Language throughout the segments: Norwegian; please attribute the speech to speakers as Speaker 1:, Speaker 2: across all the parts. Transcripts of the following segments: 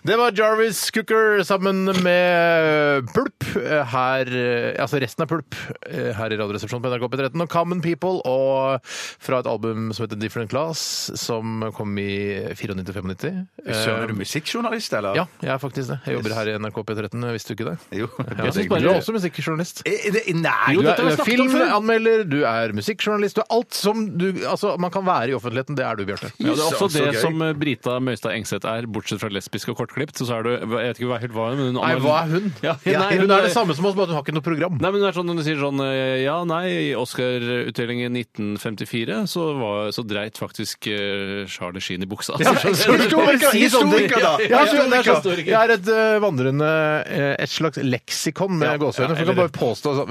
Speaker 1: Det var Jarvis Cooker sammen med Pulp eh, her eh, Altså resten av Pulp eh, her i Radioresepsjonen på NRK P13. Og Common People og fra et album som heter Different Class, som kom i 94-95.
Speaker 2: Søren, er
Speaker 1: Eh,
Speaker 2: du musikkjournalist, eller?
Speaker 1: Ja, jeg er faktisk det. Jeg jobber her i NRK P13, visste du ikke det?
Speaker 2: Jo.
Speaker 1: Jeg synes bare Du er også musikkjournalist.
Speaker 2: Er Eh, det- Nei!
Speaker 1: Du er,
Speaker 2: dette har vi
Speaker 1: du er
Speaker 2: snakket om før.
Speaker 1: filmanmelder, du er musikkjournalist, du er alt som du Altså, man kan være i offentligheten, det er du, Bjarte.
Speaker 3: Ja, det er også
Speaker 2: Så-
Speaker 1: altså,
Speaker 2: så
Speaker 3: det
Speaker 2: gøy.
Speaker 3: som eh, Brita Møystad Engseth er, bortsett fra lesbisk og kortklipt. Så er du, jeg vet ikke hva, helt hva hun
Speaker 1: Nei, hva er hun?
Speaker 3: Ja,
Speaker 1: Ja,
Speaker 3: nei,
Speaker 1: hun er det samme som oss, bare at hun har ikke noe program.
Speaker 3: Nei, men hun er sånn, hun sier sånn eh, Ja, nei, i Oscar-utdelingen 1954 så, var, så dreit faktisk eh, Charlie Sheen i buksa.
Speaker 1: Historiker,
Speaker 2: Si historiker, da!
Speaker 1: Ja, så det er sånn,
Speaker 3: historiker.
Speaker 1: jeg er et eh, vandrende eh, et slags leksikon med gåseøyne. For du kan
Speaker 3: eller-
Speaker 1: bare påstå så,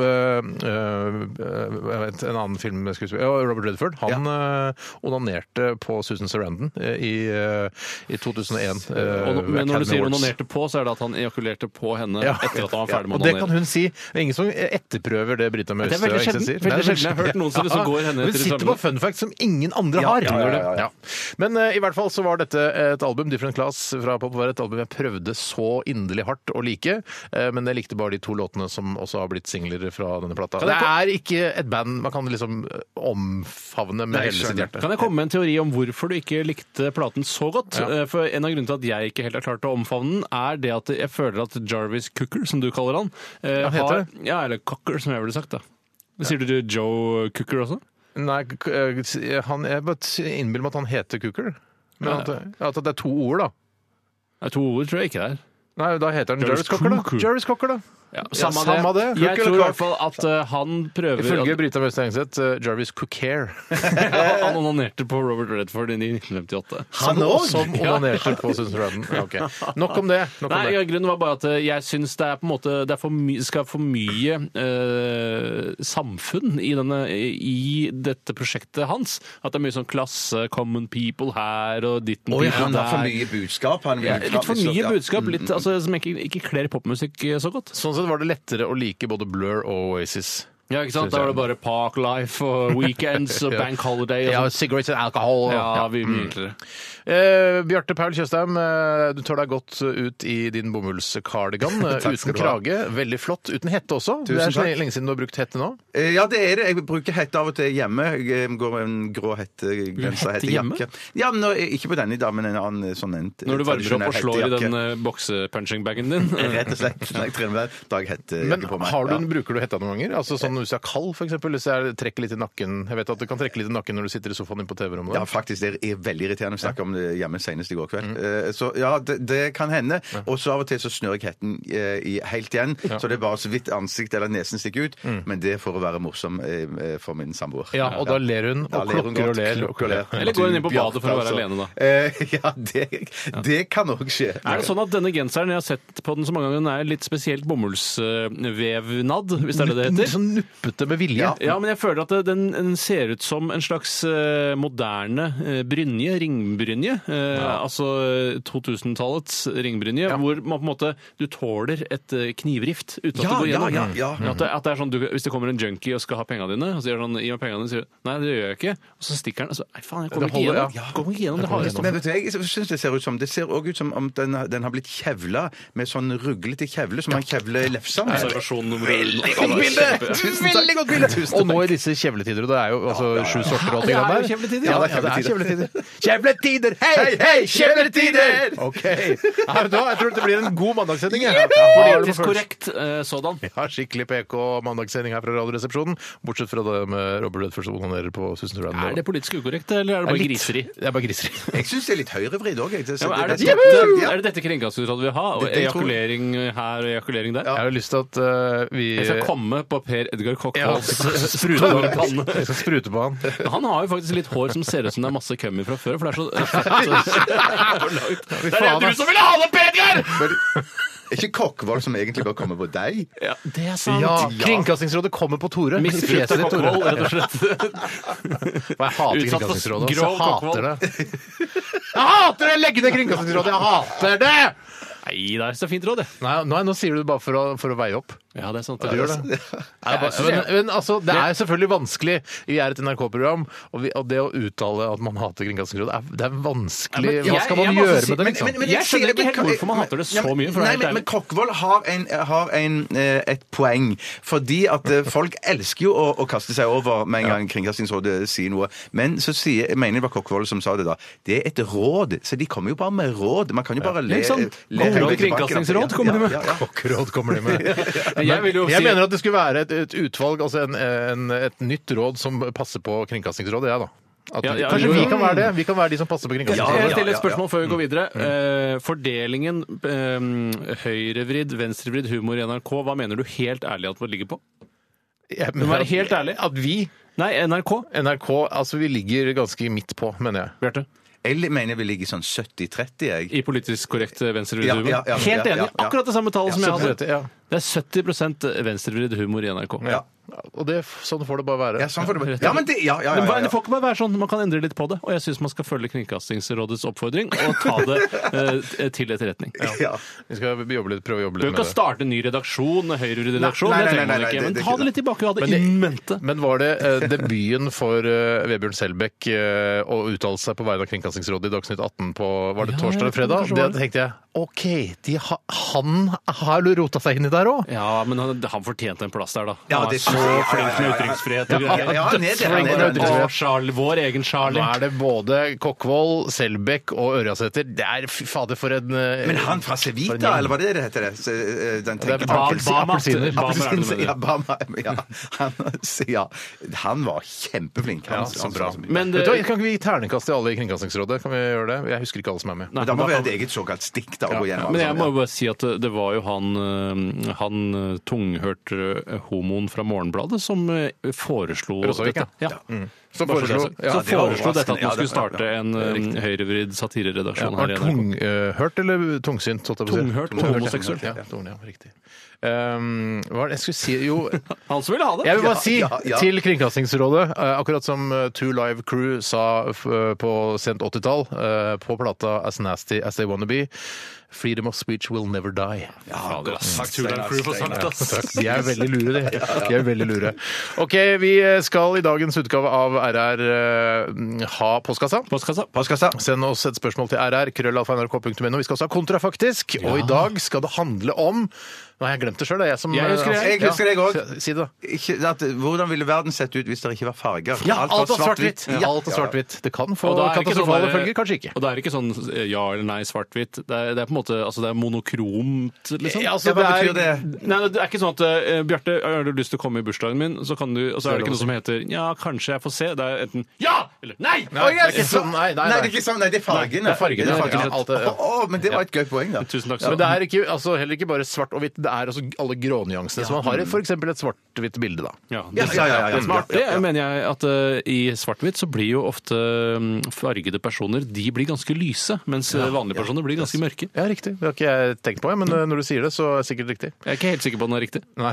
Speaker 1: eh, eh, jeg vet, En annen filmskuespiller, ja, Robert Redford, han eh, onanerte på Susan Sarandon eh, i, eh, i 2001. eh,
Speaker 3: Og nå- men når
Speaker 1: Academy
Speaker 3: du sier
Speaker 1: Awards.
Speaker 3: onanerte på, så er det at han ejakulerte på henne
Speaker 1: Ja.
Speaker 3: etter at han var ferdig
Speaker 1: Og
Speaker 3: med
Speaker 1: det kan
Speaker 3: onanere.
Speaker 1: hun si. Det er ingen som etterprøver det Brita Møystø
Speaker 3: Det er veldig sjelden.
Speaker 1: sier.
Speaker 3: Veldig
Speaker 1: Det er
Speaker 3: sjelden. Jeg har hørt noen som liksom går henne etter i
Speaker 1: Hun sitter på
Speaker 3: sømmene.
Speaker 1: fun facts som ingen andre har.
Speaker 3: ja, ja, ja,
Speaker 1: Ja. Men eh, i hvert fall så var dette et album, Different Class fra Pop var et album jeg prøvde så inderlig hardt å like, eh, men jeg likte bare de to låtene som også har blitt singler fra denne plata. Det er ikke et band man kan liksom eh, omfavne med hele sitt hjerte.
Speaker 3: Kan jeg komme med en teori om hvorfor du ikke likte platen så godt?
Speaker 1: Ja.
Speaker 3: Eh, For En av grunnene til at jeg ikke helt har klart å omfavne den, er det at jeg føler at Jarvis Cooker, som du kaller han eh,
Speaker 1: Ja, heter
Speaker 3: har-
Speaker 1: det?
Speaker 3: Ja, eller Cocker, som jeg ville sagt. da. Sier du Joe Cooker også?
Speaker 1: Nei, k- eh, han, jeg bare innbiller meg at han heter Cooker. Men at, at det er to ord, da.
Speaker 3: Nei, to ord tror jeg ikke det er.
Speaker 1: Nei, da heter han
Speaker 3: Jarvis
Speaker 1: Jarvis Cocker, da.
Speaker 3: Cocker.
Speaker 1: Jarvis Cocker, da.
Speaker 3: Ja,
Speaker 1: samme det.
Speaker 3: Jeg tror
Speaker 1: Cooker
Speaker 3: i
Speaker 1: eller
Speaker 3: hvert fall at eh, han prøver
Speaker 1: Ifølge Brita Møystad Engseth, eh, Jarvis Cookare.
Speaker 3: at, Han onanerte på Robert Redford i 1958.
Speaker 1: Han
Speaker 2: òg?
Speaker 1: Som onanerte på Susan Sarandon. Ja, ok. Nok om det. Nok om
Speaker 3: Nei, ja,
Speaker 1: det.
Speaker 3: grunnen var bare at eh, jeg syns det er på en måte Det er for my skal for mye eh, samfunn i, denne, i dette prosjektet hans. At det er mye sånn klasse, common people her og ditten
Speaker 2: Oi,
Speaker 3: people
Speaker 2: han har for
Speaker 3: der.
Speaker 2: mye budskap. Han vil
Speaker 3: Ja,
Speaker 2: fram-
Speaker 3: litt for mye
Speaker 2: ja.
Speaker 3: budskap, litt, altså, som ikke, ikke kler popmusikk eh, så godt.
Speaker 1: Sånn sett var det lettere å like både Blur og Oasis.
Speaker 3: Ja, ikke sant? Da var det bare Park Life og Weekends og
Speaker 1: Ja.
Speaker 3: Bank Holiday og
Speaker 1: Ja,
Speaker 3: sånt.
Speaker 1: cigarettes and alcohol.
Speaker 3: Ja, mm. vi mye enklere.
Speaker 1: Eh, Bjarte Paul Tjøstheim, eh, du tar deg godt ut i din bomullskardigan. eh,
Speaker 2: Takk skal
Speaker 1: uten
Speaker 2: du ha.
Speaker 1: krage. Veldig flott. Uten hette også. det er
Speaker 2: Tusen
Speaker 1: så
Speaker 2: takk.
Speaker 1: lenge siden du har brukt hette nå.
Speaker 2: Eh, Ja, det er det. Jeg bruker hette av og til hjemme. Jeg eh, går med en grå hette, genser,
Speaker 3: Hette
Speaker 2: hette,
Speaker 3: hjemme?
Speaker 2: jakke. Ja, men nå- ikke på denne i dag, men en annen sånn en
Speaker 3: Når du varmer opp og slår i
Speaker 2: tradisjonell
Speaker 3: den
Speaker 2: hettejakke.
Speaker 3: eh, boksepunching-bagen din.
Speaker 2: Rett og slett. Når jeg trener hver dag
Speaker 1: Men
Speaker 2: hettejakke på meg.
Speaker 1: har du,
Speaker 2: Ja.
Speaker 1: bruker du hetta noen ganger? Altså sånn Hvis du er kald, f.eks.? Hvis jeg trekker litt i nakken Jeg vet at du kan trekke litt i nakken når du sitter i sofaen din på TV-rommet.
Speaker 2: Ja, faktisk. Det er veldig irriterende å snakke om det hjemme senest i går kveld.
Speaker 3: Mm.
Speaker 2: Eh, Så ja, det, det kan hende. Og så av og til så snør jeg hetten eh, i- helt igjen, så det er bare så vidt ansiktet eller nesen stikker ut.
Speaker 3: Mm.
Speaker 2: Men det er for å være morsom eh, for min samboer.
Speaker 1: Ja, og da ler hun
Speaker 2: Da
Speaker 1: og
Speaker 2: ler hun
Speaker 1: klukker og
Speaker 2: godt.
Speaker 1: ler.
Speaker 2: Klukker og ler.
Speaker 3: Eller går hun inn på badet for å være
Speaker 2: Altså.
Speaker 3: alene, da.
Speaker 2: Eh, Ja, det, det kan òg skje.
Speaker 3: Er det sånn at denne genseren, jeg har sett på den så mange ganger, den er litt spesielt bomullsvevnad, hvis det er det det heter?
Speaker 1: Sånn nuppete med vilje.
Speaker 2: Ja.
Speaker 3: Ja, men jeg føler at det- den, den ser ut som en slags eh, moderne eh, brynje, ringbrynje. eh, Altså eh, 2000-tallets ringbrynje, hvor man på en måte du tåler et eh, knivrift uten at
Speaker 2: Ja,
Speaker 3: det går
Speaker 2: ja,
Speaker 3: gjennom.
Speaker 2: ja, ja.
Speaker 3: Mm. At, det, at det er sånn, du, Hvis det kommer en junkie og skal ha pengene dine, og sier sånn, gi meg pengene dine, sier du nei, det gjør jeg ikke. Og så stikker han. Altså, nei, faen, jeg kommer
Speaker 1: Det
Speaker 3: ikke
Speaker 1: holder,
Speaker 3: gjennom.
Speaker 1: ja.
Speaker 3: Jeg Kommer ikke gjennom det harde
Speaker 2: Men
Speaker 3: stoffet.
Speaker 2: vet du, jeg synes det ser ut som Det ser også ut som om den, har- den har blitt kjevla med sånn ruglete kjevle, som man kjevler lefsa med.
Speaker 3: Observasjon nummer Veldig
Speaker 1: Veldig godt bilde! Og nå i disse kjevletider, og det er jo altså sju sorter og alt det
Speaker 3: Ja,
Speaker 1: greiene
Speaker 3: det er jo kjevletider.
Speaker 1: Ja, det
Speaker 2: Ja,
Speaker 1: er
Speaker 2: det er
Speaker 1: kjevletider. Kjevletider! Hei, hei, kjevletider! OK. Ja, vet du hva, jeg tror dette blir en god mandagssending. jeg. Ja, har du på
Speaker 3: Politisk
Speaker 1: følelsen?
Speaker 3: korrekt eh, sådan.
Speaker 1: Vi har skikkelig PK mandagssending her fra Radioresepsjonen, bortsett fra det med Robert Redford som onanerer på Susan
Speaker 3: Er
Speaker 1: Sarandon.
Speaker 3: det politisk ukorrekt, eller er det bare
Speaker 1: litt-
Speaker 3: griseri?
Speaker 1: Det er bare griseri.
Speaker 2: Jeg syns det er litt høyrevridd òg. jeg. Det-
Speaker 3: Ja, men er, det,
Speaker 2: det-
Speaker 3: dette-
Speaker 2: Ja.
Speaker 3: er det dette Kringkastingsrådet vil ha? Og
Speaker 2: Det- det tror-
Speaker 3: ejakulering her og ejakulering der?
Speaker 1: Jeg har jo lyst til at eh, vi
Speaker 3: Jeg skal komme på Per Edgar
Speaker 1: Ja.
Speaker 3: Kokkvolds sprutepanne.
Speaker 1: Jeg skal sprute på han.
Speaker 3: Han har jo faktisk litt hår som ser ut som det er masse kømmi fra før. For det er så fett.
Speaker 1: Fy faen, ass.
Speaker 3: som ville ha det, Per Edgar!
Speaker 2: Men er ikke Kokkvold som egentlig bør komme på deg?
Speaker 3: Ja, det er sant.
Speaker 1: Ja, Kringkastingsrådet kommer på Tore.
Speaker 3: Misbrukt av Kokkvold, rett og slett.
Speaker 1: Og jeg hater
Speaker 3: Utsatt for
Speaker 1: Kringkastingsrådet. ass.
Speaker 3: grov
Speaker 1: Jeg hater det. Jeg hater det! Legg ned Kringkastingsrådet! Jeg hater det!
Speaker 3: Nei, det er så fint råd, det.
Speaker 1: Nei, nå, nå sier du det bare for å, for å veie opp.
Speaker 3: Ja, det er sant.
Speaker 1: Ja, du gjør det.
Speaker 3: Nei, jeg bare-
Speaker 1: men, men altså, det er selvfølgelig vanskelig. Vi er et NRK-program, og, vi- og det å uttale at man hater Kringkastingsrådet, er, det er vanskelig.
Speaker 3: Ja, men
Speaker 1: Hva
Speaker 3: jeg-
Speaker 1: skal
Speaker 3: jeg
Speaker 1: man
Speaker 3: må også
Speaker 1: gjøre
Speaker 3: si-
Speaker 1: med det? liksom?
Speaker 3: Jeg skjønner
Speaker 2: sier-
Speaker 3: ikke helt
Speaker 2: men-
Speaker 3: hvorfor man
Speaker 2: men-
Speaker 3: hater det så
Speaker 2: ja, men-
Speaker 3: mye, for å være
Speaker 2: nei,
Speaker 3: helt
Speaker 2: men,
Speaker 3: ærlig.
Speaker 2: men Kokkvold har, en, har en, eh, et poeng. Fordi at eh, folk elsker jo å, å kaste seg over med en gang Kringkastingsrådet sier noe. Men så sier, jeg mener det var Kokkvold som sa det, da. Det er et råd. Så de kommer jo bare med råd. Man kan jo bare le.
Speaker 3: ikke sant?
Speaker 2: le-
Speaker 3: Gode
Speaker 2: høyre tilbake, da.
Speaker 3: kringkastingsråd kommer de med.
Speaker 2: Ja, ja, ja.
Speaker 1: Kokkeråd kommer de med.
Speaker 3: Men jeg vil jo
Speaker 1: jeg
Speaker 3: si-
Speaker 1: mener at det skulle være et, et utvalg, altså en, en, et nytt råd som passer på Kringkastingsrådet, jeg, da. At,
Speaker 3: Ja, ja,
Speaker 1: kanskje
Speaker 3: jo,
Speaker 1: vi
Speaker 3: jo.
Speaker 1: kan være det? Vi kan være de som passer på
Speaker 3: Jeg vil
Speaker 1: Kringkastingsrådet.
Speaker 2: ja,
Speaker 3: stille et
Speaker 2: ja, Mm. ja.
Speaker 3: spørsmål før vi går videre. Eh, fordelingen eh, høyrevridd, venstrevridd humor i NRK, hva mener du helt ærlig at vår ligger på?
Speaker 1: Jeg
Speaker 3: Du må
Speaker 1: mener
Speaker 3: være helt ærlig.
Speaker 1: At vi,
Speaker 3: Nei, NRK.
Speaker 1: NRK, altså vi ligger ganske midt på, mener jeg.
Speaker 3: Bjarte.
Speaker 2: Eller mener vi ligger sånn 70-30, jeg.
Speaker 3: I politisk korrekt eh, venstrevridd
Speaker 2: Ja,
Speaker 3: humor.
Speaker 2: ja, ja,
Speaker 3: helt
Speaker 2: ja,
Speaker 3: enig.
Speaker 2: ja, ja.
Speaker 3: Akkurat det samme tallet som jeg hadde.
Speaker 1: 70, ja.
Speaker 3: Det er 70 venstrevridd humor i NRK.
Speaker 1: Ja. Og det, sånn får det bare være.
Speaker 2: Ja, sånn får det bare Ja, men det Ja, ja, ja.
Speaker 3: Men
Speaker 2: ja,
Speaker 3: hva- Det
Speaker 2: ja.
Speaker 3: får ikke bare være sånn. Man kan endre litt på det. Og jeg syns man skal følge Kringkastingsrådets oppfordring og ta det eh, til etterretning.
Speaker 2: Ja.
Speaker 1: Vi skal jobbe litt, prøve å jobbe
Speaker 3: Du
Speaker 1: litt
Speaker 3: kan ikke
Speaker 1: med det.
Speaker 3: starte en ny redaksjon, høyrevridd redaksjon,
Speaker 2: Nei,
Speaker 3: det
Speaker 2: nei,
Speaker 3: trenger
Speaker 2: nei,
Speaker 3: man
Speaker 2: nei,
Speaker 3: ikke.
Speaker 2: nei,
Speaker 3: Men
Speaker 2: det-
Speaker 3: ta
Speaker 2: det-
Speaker 3: det litt tilbake i hodet.
Speaker 1: Men det-
Speaker 3: In mente.
Speaker 1: Men var det eh, debuten for eh, Vebjørn Selbekk eh, å uttale seg på vegne av Kringkastingsrådet i Dagsnytt 18 på var det
Speaker 3: Ja, jeg
Speaker 1: torsdag eller
Speaker 3: tror
Speaker 1: fredag?
Speaker 3: kanskje
Speaker 1: Det
Speaker 3: det var det.
Speaker 1: tenkte jeg. OK, de ha, han har jo rota seg inn i der òg.
Speaker 3: Ja, men han, han fortjente en plass der, da.
Speaker 2: Ja,
Speaker 3: Han var
Speaker 2: det-
Speaker 3: så
Speaker 2: ja, ja, ja,
Speaker 3: flink med
Speaker 2: ja, ja.
Speaker 3: ytringsfrihet og
Speaker 2: Ja,
Speaker 3: greier.
Speaker 2: ja, han er det, han er
Speaker 3: Dødsflink med
Speaker 2: det, han er det.
Speaker 3: ytringsfrihet. Å, Charlie, vår egen
Speaker 1: Nå
Speaker 3: Charlie.
Speaker 1: er det både Kokkvold, Selbekk og Ørjasæter. Det er fy fader for en eh,
Speaker 2: Men han fra Cevita, eller hva det det heter? Det? Se, eh, Den tenker
Speaker 1: Bam-
Speaker 2: Appelsin-
Speaker 1: Bam-
Speaker 3: Bam-
Speaker 2: appelsiner.
Speaker 3: Bam-
Speaker 2: Appelsin-
Speaker 3: Bam-
Speaker 2: Ja, Bam- ja. Han, ja. han var kjempeflink. Han, altså.
Speaker 1: Ja, så
Speaker 2: han-
Speaker 1: bra.
Speaker 2: han-
Speaker 3: Men eh, det,
Speaker 1: Vet du hva, Kan ikke vi gi ternekast til alle i Kringkastingsrådet? Kan vi gjøre det? Jeg husker ikke alle som er med.
Speaker 3: Nei,
Speaker 2: Men da må vi ha
Speaker 3: da-
Speaker 2: et eget såkalt stikk da, å gå gjennom. altså.
Speaker 3: men jeg må jo
Speaker 2: alle
Speaker 3: bare si at det- det var jo han, eh, han eh, tunghørte eh, homoen fra Morgenbladet som eh, foreslo
Speaker 1: Rosavik,
Speaker 3: dette. Ja.
Speaker 1: Som
Speaker 3: Bare for å
Speaker 1: foreslo,
Speaker 3: si det.
Speaker 1: ja,
Speaker 3: Så
Speaker 1: det var
Speaker 3: foreslo dette at
Speaker 2: overraskende. Mm. Ja,
Speaker 3: man
Speaker 2: det-
Speaker 3: skulle starte
Speaker 2: ja,
Speaker 3: en eh, høyrevridd satireredaksjon
Speaker 1: Var
Speaker 3: her i
Speaker 1: det
Speaker 3: NRK.
Speaker 1: tunghørt eh, eller tungsynt? holdt jeg på å si?
Speaker 3: Tunghørt og homoseksuell.
Speaker 1: Ja, tunghørt, ja, riktig. Um, hva er det jeg skulle si Jo, jeg
Speaker 3: Han som ville ha det!
Speaker 1: vil bare
Speaker 2: Ja,
Speaker 1: si
Speaker 2: ja, ja.
Speaker 1: til Kringkastingsrådet, eh, akkurat som eh, Two Live Crew sa f eh, på sent 80-tall eh, på plata As Nasty As They Wanna Be, Freedom of speech will never die.
Speaker 3: Fader, ass.
Speaker 2: Takk,
Speaker 3: Tulen
Speaker 2: Steinar,
Speaker 3: Crew for
Speaker 2: Steinar.
Speaker 3: sagt, ass.
Speaker 1: Takk. De er veldig lure, de. de er veldig lure. OK, vi skal i dagens utgave av RR eh, ha postkassa.
Speaker 3: Postkassa.
Speaker 2: Postkassa.
Speaker 1: Send oss et spørsmål til rr. krøllalfa.nrk.no. Vi skal også ha kontrafaktisk, og i dag skal det handle om Nå har jeg glemt det sjøl, det er jeg som eh,
Speaker 3: Jeg husker det.
Speaker 2: Jeg husker det, jeg også.
Speaker 1: Si det, da.
Speaker 2: Ikke, at, hvordan ville verden sett ut hvis det ikke var farger?
Speaker 1: Ja, alt
Speaker 2: var
Speaker 1: var svart-hvitt.
Speaker 2: Ja.
Speaker 1: Ja, alt var svart-hvitt. Det kan få
Speaker 3: Og da er det ikke sånn
Speaker 1: katastrofale
Speaker 3: der-
Speaker 1: følger, kanskje ikke.
Speaker 3: Og da er det ikke sånn eh, ja eller nei, svart-hvitt. Det, er- det er på en måte altså det er monokromt, liksom.
Speaker 1: Ja, altså,
Speaker 2: Ja, hva
Speaker 1: det er-
Speaker 2: betyr det?
Speaker 3: Nei, det er ikke sånn at eh, Bjarte, har du lyst til å komme i bursdagen min, så kan du Og så er det ikke noe som heter ja, kanskje jeg får se. Det er enten ja eller nei!
Speaker 1: Nei, det er ikke sånn, nei, nei,
Speaker 2: Nei, det
Speaker 1: nei.
Speaker 2: er ikke sånn. Nei, det er fargene.
Speaker 1: Nei, det er fargene,
Speaker 2: Det er
Speaker 1: ja, alt det-
Speaker 2: Å, å, men det var et gøy poeng, da.
Speaker 3: Tusen takk.
Speaker 1: Men
Speaker 3: Sven.
Speaker 1: det er ikke, altså, heller ikke bare svart og hvitt, det er altså alle grånyansene. Så man har f.eks. et svart-hvitt bilde, da.
Speaker 3: ja, det,
Speaker 2: Ja, ja, ja, ja,
Speaker 3: Det som er
Speaker 2: ja,
Speaker 3: artig,
Speaker 2: ja, ja.
Speaker 3: mener jeg, at eh, i svart-hvitt så blir jo ofte mm, fargede personer de blir ganske lyse, mens eh, vanlige personer blir ganske mørke.
Speaker 1: Ja, riktig. Det har ikke jeg tenkt på, men eh, når du sier det, så er det sikkert riktig.
Speaker 3: Jeg er ikke helt sikker på om det er riktig.
Speaker 1: Nei,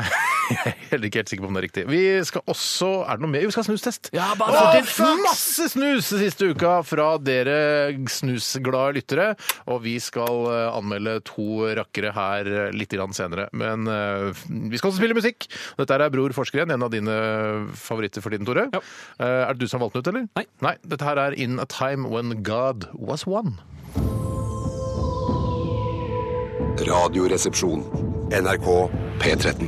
Speaker 1: jeg er heller ikke helt sikker på om det er riktig. Vi skal også Er det noe mer? Jo, Vi skal ha snustest.
Speaker 3: Ja,
Speaker 1: Å,
Speaker 3: bare
Speaker 1: fuck! masse snus den siste uka fra dere snusglade lyttere. Og vi skal eh, anmelde to rakkere her eh, litt grann senere. Men eh, vi skal også spille musikk. Dette er Bror Forskeren, en av dine favoritter for tiden, Tore.
Speaker 3: Ja.
Speaker 1: Eh, Er det du som har valgt den ut, eller?
Speaker 3: Nei.
Speaker 1: Nei. Dette her er In a Time When God Was One.
Speaker 4: Radioresepsjon. NRK P13.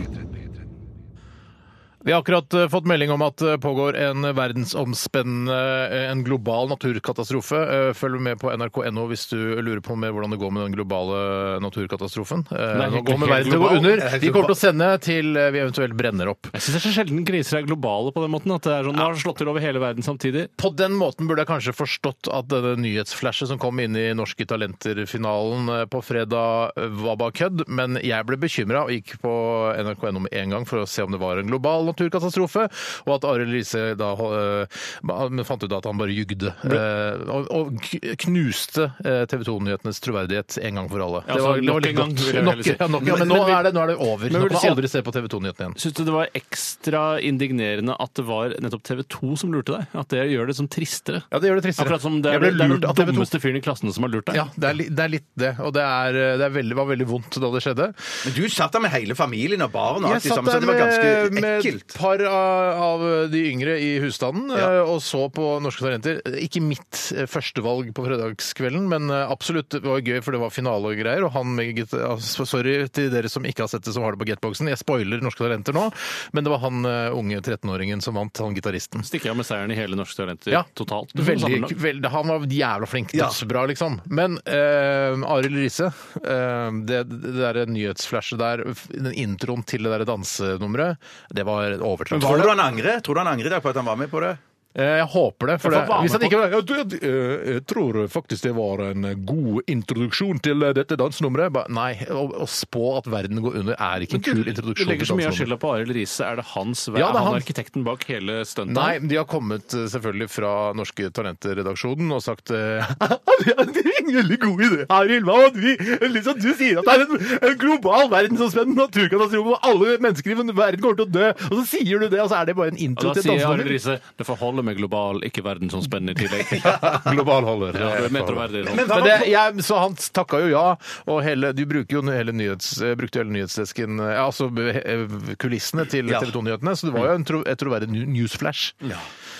Speaker 1: Vi har akkurat eh, fått melding om at det pågår en verdensomspennende, eh, en global naturkatastrofe. Eh, Følg med på nrk.no hvis du lurer på mer hvordan det går med den globale naturkatastrofen. Eh,
Speaker 3: Nei,
Speaker 1: Nå
Speaker 3: helt-
Speaker 1: går med
Speaker 3: helt
Speaker 1: verden til å gå
Speaker 3: global.
Speaker 1: under.
Speaker 2: Helt
Speaker 1: Vi kommer
Speaker 2: global.
Speaker 1: til å sende til eh, vi eventuelt brenner opp.
Speaker 3: Jeg syns det er så sjelden kriser er globale på den måten. At det er sånn, nå har det slått til over hele verden samtidig.
Speaker 1: På den måten burde jeg kanskje forstått at denne nyhetsflashet som kom inn i Norske Talenter-finalen eh, på fredag, eh, var bare kødd, men jeg ble bekymra og gikk på nrk.no med en gang for å se om det var en global naturkatastrofe, og at Arild Riise da eh, han fant ut at han bare jugde. eh, og, og k- knuste eh, TV 2-nyhetenes troverdighet en gang for alle.
Speaker 3: Ja, altså, nok
Speaker 1: litt
Speaker 3: en gang,
Speaker 1: godt.
Speaker 3: vil jeg
Speaker 1: Nok-
Speaker 3: heller si.
Speaker 1: ja, nok, ja, men
Speaker 3: Men-
Speaker 1: nå
Speaker 3: men-
Speaker 1: er det, nå er det over.
Speaker 3: Men
Speaker 1: Nå
Speaker 3: vil du
Speaker 1: kan
Speaker 3: si
Speaker 1: man
Speaker 3: at-
Speaker 1: aldri se på TV 2-nyhetene igjen.
Speaker 3: Syns du det var ekstra indignerende at det var nettopp TV 2 som lurte deg? At det gjør det som tristere?
Speaker 1: Ja, det gjør det tristere.
Speaker 3: Akkurat som det
Speaker 1: Jeg
Speaker 3: er,
Speaker 1: ble
Speaker 3: det er
Speaker 1: lurt av TV
Speaker 3: den
Speaker 1: 2.
Speaker 3: dummeste fyren i klassen som har lurt deg.
Speaker 1: Ja, det er, li- det er litt det. Og det, er, eh, det er veldig, var veldig vondt da det skjedde.
Speaker 2: Men du satt der med hele familien og barn og
Speaker 1: Jeg
Speaker 2: alt i
Speaker 1: satt
Speaker 2: sammen, så
Speaker 1: der
Speaker 2: det var
Speaker 1: med,
Speaker 2: ganske
Speaker 1: med et
Speaker 2: ekkelt.
Speaker 1: par av, av de yngre i husstanden eh, og så på Norske Talenter. Ikke mitt eh, førstevalg på fredagskvelden, men eh, absolutt det var gøy, for det var finale og greier. Og han med git- altså, Sorry til dere som ikke har sett det, som har det på Getboxen. Jeg spoiler Norske Talenter nå, men det var han eh, unge 13-åringen som vant, han gitaristen.
Speaker 3: Stikker av med seieren i hele Norske Talenter
Speaker 1: Ja.
Speaker 3: totalt. Du får
Speaker 1: Veldig,
Speaker 3: sammenlagt.
Speaker 1: veldig, han var jævla flink.
Speaker 2: Ja.
Speaker 1: Dødsbra, liksom. Men eh, Arild Riise, eh, det, det der nyhetsflashet der, den introen til det der dansenummeret, det var overtraff.
Speaker 2: Tror du han angrer? Tror du han angrer i dag på at han var med på det?
Speaker 1: Eh, jeg håper det. For
Speaker 3: Ja,
Speaker 1: det
Speaker 3: for hva
Speaker 1: hvis
Speaker 3: med
Speaker 1: han ikke var ja, du, eh, Jeg tror faktisk det var en god introduksjon til eh, dette dansenummeret. Ba, nei, å, å spå at verden går under er ikke en kul
Speaker 3: Du
Speaker 1: introduksjon til
Speaker 3: legger så mye av
Speaker 1: dansenummeret.
Speaker 3: skylda på Arild Riise. Er det hans vei?
Speaker 1: Ja, det er
Speaker 3: er han
Speaker 1: han.
Speaker 3: arkitekten bak hele stuntet?
Speaker 1: Nei, de har kommet eh, selvfølgelig fra Norske Talenter-redaksjonen og sagt eh, Det er en veldig god idé, Arild. Hva om vi liksom, Du sier at det er en, en global verdensomspennende naturkatastrofe hvor alle mennesker i verden kommer til å dø, og så sier du det, og så er det bare en
Speaker 3: Og
Speaker 1: intro
Speaker 3: da
Speaker 1: til
Speaker 3: sier Arild
Speaker 1: dansenummer?
Speaker 3: Riise det får holde med global, ikke verdensomspennende i tillegg. ja,
Speaker 1: Global holder.
Speaker 3: du er mer troverdig. sånn.
Speaker 2: Men hva
Speaker 1: Men
Speaker 2: var
Speaker 1: det, jeg, så han takka jo ja, og hele, du bruker jo hele nyhets, eh, brukte jo hele nyhetsdesken eh, Altså eh, kulissene til
Speaker 2: Ja.
Speaker 1: TV 2-nyhetene, så det var jo en tro, et troverdig nu- newsflash.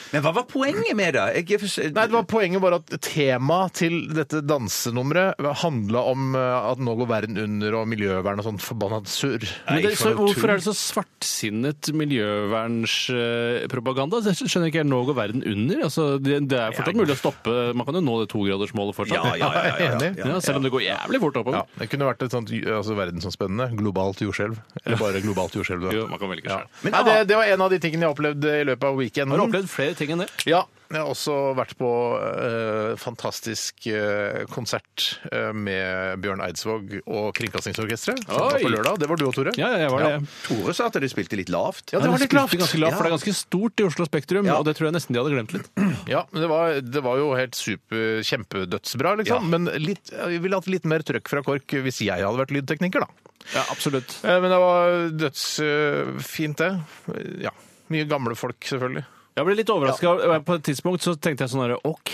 Speaker 2: Men hva var poenget med det? Jeg, jeg, jeg,
Speaker 1: Nei, det var Poenget var at temaet til dette dansenummeret handla om eh, at nå går verden under, og miljøvern og sånt forbanna surr.
Speaker 3: Men det, så,
Speaker 2: ikke for noe
Speaker 3: hvorfor
Speaker 2: tull.
Speaker 3: er det så svartsinnet miljøvernspropaganda? Det skjønner ikke jeg. Nå går verden under. Altså, det, det er fortsatt mulig å stoppe. Man kan jo nå det togradersmålet fortsatt.
Speaker 2: Ja, ja, ja, ja, ja.
Speaker 1: Enig.
Speaker 3: Ja, selv om det går jævlig fort oppover.
Speaker 1: Ja, Det kunne vært et sånt altså, verdensomspennende globalt jordskjelv. Eller bare globalt jordskjelv. da.
Speaker 3: Jo, man kan velge selv. ah.
Speaker 1: Men, Nei, det, det var en av de tingene jeg opplevde i løpet av weekenden.
Speaker 3: Har du opplevd flere ting enn det?
Speaker 1: Ja. Jeg har også vært på eh, fantastisk eh, konsert eh, med Bjørn Eidsvåg og Kringkastingsorkesteret. som var På
Speaker 3: Oi.
Speaker 1: lørdag. Det var du og Tore.
Speaker 3: Ja, ja, jeg var det.
Speaker 2: Tore sa at de spilte litt lavt.
Speaker 1: Ja, det var litt
Speaker 3: spilte
Speaker 1: lavt.
Speaker 3: Ganske lavt, for Det er ganske stort i Oslo Spektrum, og det tror jeg nesten de hadde glemt litt.
Speaker 1: Ja, men det var, det var jo helt super kjempedødsbra, liksom. Men litt, jeg ville hatt litt mer trøkk fra KORK hvis jeg hadde vært lydtekniker, da.
Speaker 3: Ja, absolutt.
Speaker 1: Eh, Men det var dødsfint, det. Eh, Ja. Mye gamle folk, selvfølgelig.
Speaker 3: Jeg ble litt overraska. På et tidspunkt så tenkte jeg sånn her OK,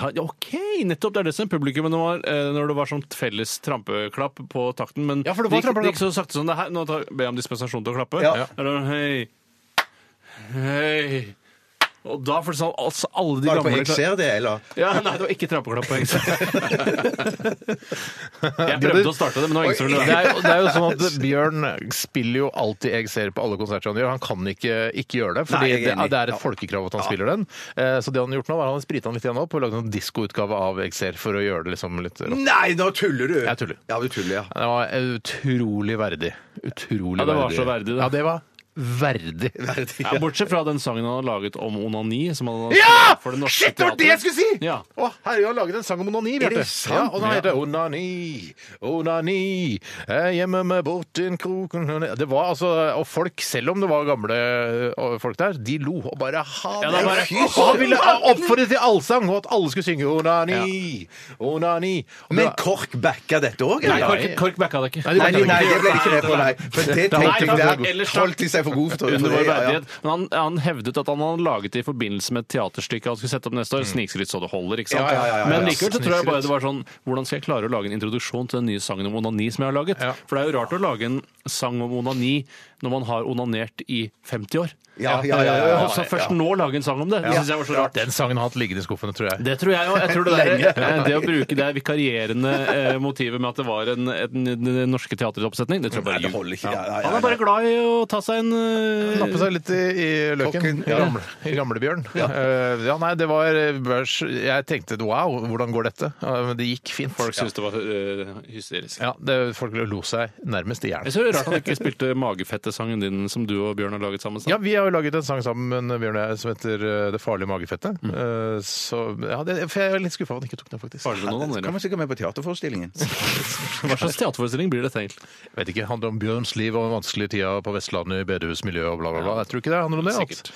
Speaker 3: ha- ok, nettopp. Det er det som er publikummet nå, var, eh, når det var sånt felles trampeklapp på takten. Men
Speaker 1: Ja, for det var
Speaker 3: gikk-
Speaker 1: trampeklapp.
Speaker 3: gikk så sakte som det her. Nå tar, ber jeg om dispensasjon til å klappe.
Speaker 2: Ja.
Speaker 3: Ja. Da, hei. Hei. Og da føltes det sånn altså, alle de
Speaker 2: Var det på
Speaker 3: gamle
Speaker 2: Jeg ser det, eller?
Speaker 3: Ja, nei, det var ikke trampeklapp på Engsø. Jeg
Speaker 1: hadde-
Speaker 3: prøvde å starte det, men det var ingen som ville
Speaker 1: Det
Speaker 3: være
Speaker 1: er, jo- det er jo sånn at Bjørn spiller jo alltid jeg ser på alle konserter han gjør. Han kan ikke ikke gjøre det,
Speaker 2: Nei,
Speaker 1: fordi
Speaker 2: jeg er
Speaker 1: det, er,
Speaker 2: enig.
Speaker 1: det er et
Speaker 2: Ja.
Speaker 1: folkekrav at han spiller den. Eh, Så det han har gjort nå, var at han sprita den litt igjen opp og lagde en diskoutgave av jeg ser for å gjøre det liksom litt rått.
Speaker 2: Nei, nå tuller du!
Speaker 1: Jeg tuller.
Speaker 2: Ja, du tuller, ja.
Speaker 1: Det var utrolig verdig. Utrolig
Speaker 3: Ja, det var så verdig, det.
Speaker 1: Ja, det var verdig.
Speaker 3: Ja, bortsett fra den sangen han har laget om onani. Som han har
Speaker 1: Ja!
Speaker 3: skrevet for det norske
Speaker 1: Shit, det var det jeg
Speaker 3: teatret.
Speaker 1: skulle si!
Speaker 3: Ja.
Speaker 1: Å, herregud, han laget en sang om onani,
Speaker 2: Er det
Speaker 1: Bjarte.
Speaker 2: sant?
Speaker 1: Ja, og den heter Onani, onani, jeg gjemmer meg bort i en krok onani. Det var altså Og folk, selv om det var gamle ø, folk der, de lo og bare ha
Speaker 3: Ja, det er bare-
Speaker 1: Og Han ville oppfordre til allsang, og at alle skulle synge onani, onani. Og
Speaker 2: Men
Speaker 1: det var-
Speaker 2: KORK backa dette òg,
Speaker 3: Nei, Kork,
Speaker 2: eller?
Speaker 3: kork backa det ikke.
Speaker 1: Nei, de
Speaker 2: Nei,
Speaker 1: backa
Speaker 2: nei, det ble ikke det på, nei. For det
Speaker 3: Nei,
Speaker 2: tenkte
Speaker 3: for-
Speaker 2: jeg der
Speaker 3: ellers-
Speaker 2: holdt de seg for gode for.
Speaker 3: Under vår
Speaker 2: Ja, ja.
Speaker 3: verdighet. Men han, han hevdet at han hadde laget det i forbindelse med et teaterstykke han skulle sette opp neste år. Snikskritt så det holder, ikke sant?
Speaker 2: Ja, ja, ja, ja, ja.
Speaker 3: Men likevel så tror jeg bare det var sånn Hvordan skal jeg klare å lage en introduksjon til den nye sangen om onani som jeg har laget?
Speaker 1: Ja.
Speaker 3: For det er jo rart å lage en sang om onani når man har onanert i 50 år.
Speaker 2: Ja, ja, ja, ja, ja.
Speaker 3: Så først nå lage en sang om det, det syns jeg var så rart.
Speaker 1: Den sangen har hatt liggende i skuffene, tror jeg.
Speaker 3: Det tror jeg jo. Jeg tror det, der, eh, det å bruke det vikarierende eh, motivet med at det var en, en, den norske teateroppsetning, det tror jeg bare
Speaker 2: Det
Speaker 3: ljuger.
Speaker 2: holder ikke. Ja, ja, ja,
Speaker 3: Han er bare glad i å ta seg en eh,
Speaker 1: Nappe seg litt i, i løken.
Speaker 2: Kokken,
Speaker 1: I,
Speaker 2: ja.
Speaker 1: gamle, i gamlebjørn. Ja. ja, nei, det var børs. Jeg tenkte wow, hvordan går dette? Ja, Men det gikk fint.
Speaker 3: Folk syntes det var eh, hysterisk.
Speaker 1: Ja, det, folk lo seg nærmest i hjel.
Speaker 3: Jeg synes det er rart han ikke spilte magefettesangen din som du og Bjørn har laget sammen.
Speaker 1: Ja, vi har har jo laget en sang sammen med Bjørn og jeg som heter eh, Det farlige magefettet. Eh, Så, ja, det, for jeg er litt skuffa over at han ikke tok den, faktisk.
Speaker 3: Farlig med noen andre.
Speaker 2: Kan man sikkert med på teaterforestillingen.
Speaker 3: Hva slags teaterforestilling blir dette egentlig?
Speaker 1: Jeg vet ikke, det handler om Bjørns liv og den vanskelige tida på Vestlandet, i bedehusmiljøet og bla, bla, bla. Jeg tror ikke det handler om det. At,
Speaker 3: Sikkert.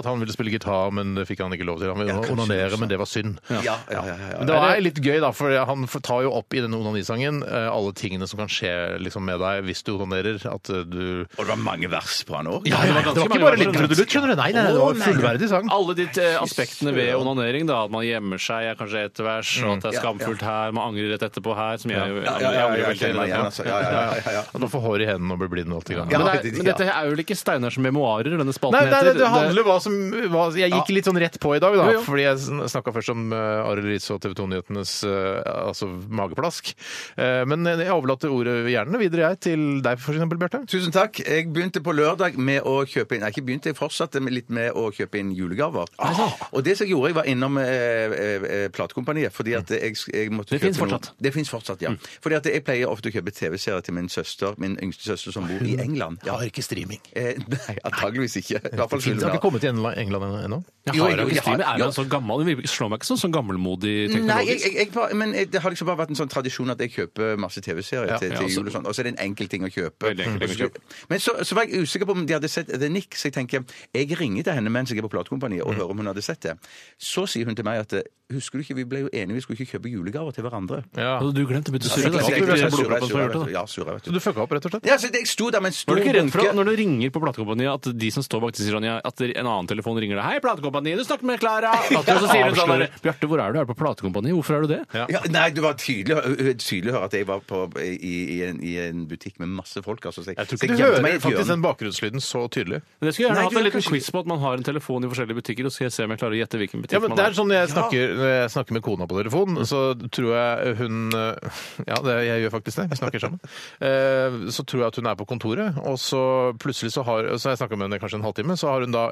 Speaker 1: at han ville spille gitar, men det fikk han ikke lov til. Han ville
Speaker 2: Ja, kanskje
Speaker 1: onanere,
Speaker 2: også.
Speaker 1: men det var synd.
Speaker 2: Ja, ja, ja, ja,
Speaker 1: Men det er litt gøy, da, for han får- tar jo opp i denne onanisangen eh, alle tingene som kan skje liksom, med deg hvis du onanerer. At eh, du
Speaker 2: Og det var mange vers på han òg.
Speaker 1: ja, det, var
Speaker 3: ganske mange
Speaker 1: ikke bare litt
Speaker 3: vers.
Speaker 1: trudelutt, skjønner du. Nei, nei, det var fullverdig sang.
Speaker 3: Alle de eh, aspektene ved onanering, da, at man gjemmer seg, er kanskje ett vers, og at det er
Speaker 2: Ja,
Speaker 3: skamfullt her, man angrer rett etterpå her, som jeg, jeg,
Speaker 2: Ja, ja,
Speaker 3: jeg
Speaker 2: ja,
Speaker 3: angrer
Speaker 2: ja, jeg
Speaker 3: veldig
Speaker 2: kjenner meg igjen,
Speaker 3: rett
Speaker 2: altså. Ja, ja, ja, ja, ja.
Speaker 1: At man får hår i hendene og blir blind og alt det greiene.
Speaker 2: Ja.
Speaker 3: Men, det er,
Speaker 2: det-
Speaker 3: men dette er vel ikke Steinars memoarer, denne spalten
Speaker 1: Nei, nei, det,
Speaker 3: heter?
Speaker 1: det handler hva som hva, Jeg gikk litt sånn rett på i dag, da.
Speaker 3: Jo, jo.
Speaker 1: Fordi jeg sn- snakka først om uh, Arild Riise og TV 2-nyhetenes altså mageplask. Eh, men jeg overlater ordet gjerne videre, jeg, til deg, for eksempel, Bjarte.
Speaker 2: Tusen takk. Jeg begynte på lørdag med å kjøpe inn Nei, ikke begynte, jeg fortsatte med- litt med å kjøpe inn julegaver. Og det som jeg gjorde, jeg var innom eh, eh, eh, platekompaniet, fordi at jeg, jeg måtte
Speaker 3: Det
Speaker 2: kjøpe
Speaker 3: finnes
Speaker 2: noe-
Speaker 3: fortsatt.
Speaker 2: Det fins fortsatt, Mm. ja. Fordi at jeg pleier ofte å kjøpe TV-serier til min søster, min yngste søster som bor i England. Ja.
Speaker 1: ikke streaming.
Speaker 2: Eh, nei, antageligvis ikke. I hvert fall
Speaker 1: Det har
Speaker 2: julegaver.
Speaker 1: ikke kommet til Engla- England ennå?
Speaker 3: Jeg
Speaker 2: Jo,
Speaker 3: har
Speaker 2: jo,
Speaker 3: jo
Speaker 2: jeg
Speaker 3: ikke streamer.
Speaker 2: har-
Speaker 3: Er
Speaker 2: ja.
Speaker 3: han så gammel? Det virker- slår meg ikke sånn, sånn gammelmodig
Speaker 2: Nei, jeg,
Speaker 3: teknologisk.
Speaker 2: jeg, jeg, bare- men det har liksom bare vært en sånn tradisjon at jeg kjøper masse TV-serier til,
Speaker 3: ja,
Speaker 2: til
Speaker 3: altså-
Speaker 2: jul og sånn, og så er det en enkel ting å kjøpe.
Speaker 3: Veldig enkel ting å kjøpe.
Speaker 2: Men så, så var jeg usikker på om de hadde sett The Nick, så jeg tenker jeg ringer til henne mens jeg er på platekompaniet
Speaker 3: Mm.
Speaker 2: og hører om hun hadde sett det. Så sier hun til meg at husker du ikke, vi ble jo enige, vi skulle ikke kjøpe julegaver til hverandre.
Speaker 1: Ja.
Speaker 3: Hadde du glemt å begynne å
Speaker 2: Jeg-
Speaker 3: surre?
Speaker 2: jeg-
Speaker 3: Det er
Speaker 2: jeg- jeg-
Speaker 3: sikkert
Speaker 2: jeg-
Speaker 3: blodproppen som har
Speaker 2: jeg-
Speaker 3: gjort det. da.
Speaker 2: Ja, surre, vet
Speaker 1: Så
Speaker 2: du.
Speaker 1: du fucka opp, rett og slett?
Speaker 2: Ja, så jeg sto der med en stor
Speaker 3: Var du ikke redd for at
Speaker 2: bunke
Speaker 3: når det ringer på platekompaniet, at de som står bak disse sånn, ja, at det- en annen telefon ringer deg 'Hei, platekompaniet, du snakker med Klara!' Og så sier hun sånn
Speaker 1: Avslører.
Speaker 3: der, 'Bjarte, hvor er du? Er du på platekompaniet? Hvorfor er du det?'
Speaker 2: ja, nei, det var tydelig, tydelig å høre at jeg var på, i, i, en, i en butikk med masse folk. Altså, så jeg,
Speaker 1: Jeg tror
Speaker 2: så
Speaker 1: ikke
Speaker 2: jeg
Speaker 1: du
Speaker 2: gjemte meg i
Speaker 1: hører
Speaker 2: et
Speaker 1: faktisk
Speaker 2: hjørne.
Speaker 1: den bakgrunnslyden så tydelig.
Speaker 3: Men jeg skulle gjerne
Speaker 2: Nei,
Speaker 3: hatt
Speaker 2: du
Speaker 3: en
Speaker 2: gjør
Speaker 3: liten
Speaker 2: kanskje
Speaker 3: quiz på at man har en telefon i forskjellige butikker, og så skal jeg se om jeg klarer å gjette hvilken butikk
Speaker 1: Ja, men
Speaker 3: man
Speaker 1: Det
Speaker 3: er.
Speaker 1: er Mm. sånn jeg snakker når jeg snakker med kona på telefon, så tror jeg hun eh, Ja, det, jeg gjør faktisk det. Vi snakker sammen. Eh, Så tror jeg at hun er på kontoret, og så plutselig så har Så har jeg snakka med henne i kanskje en halvtime, så har hun da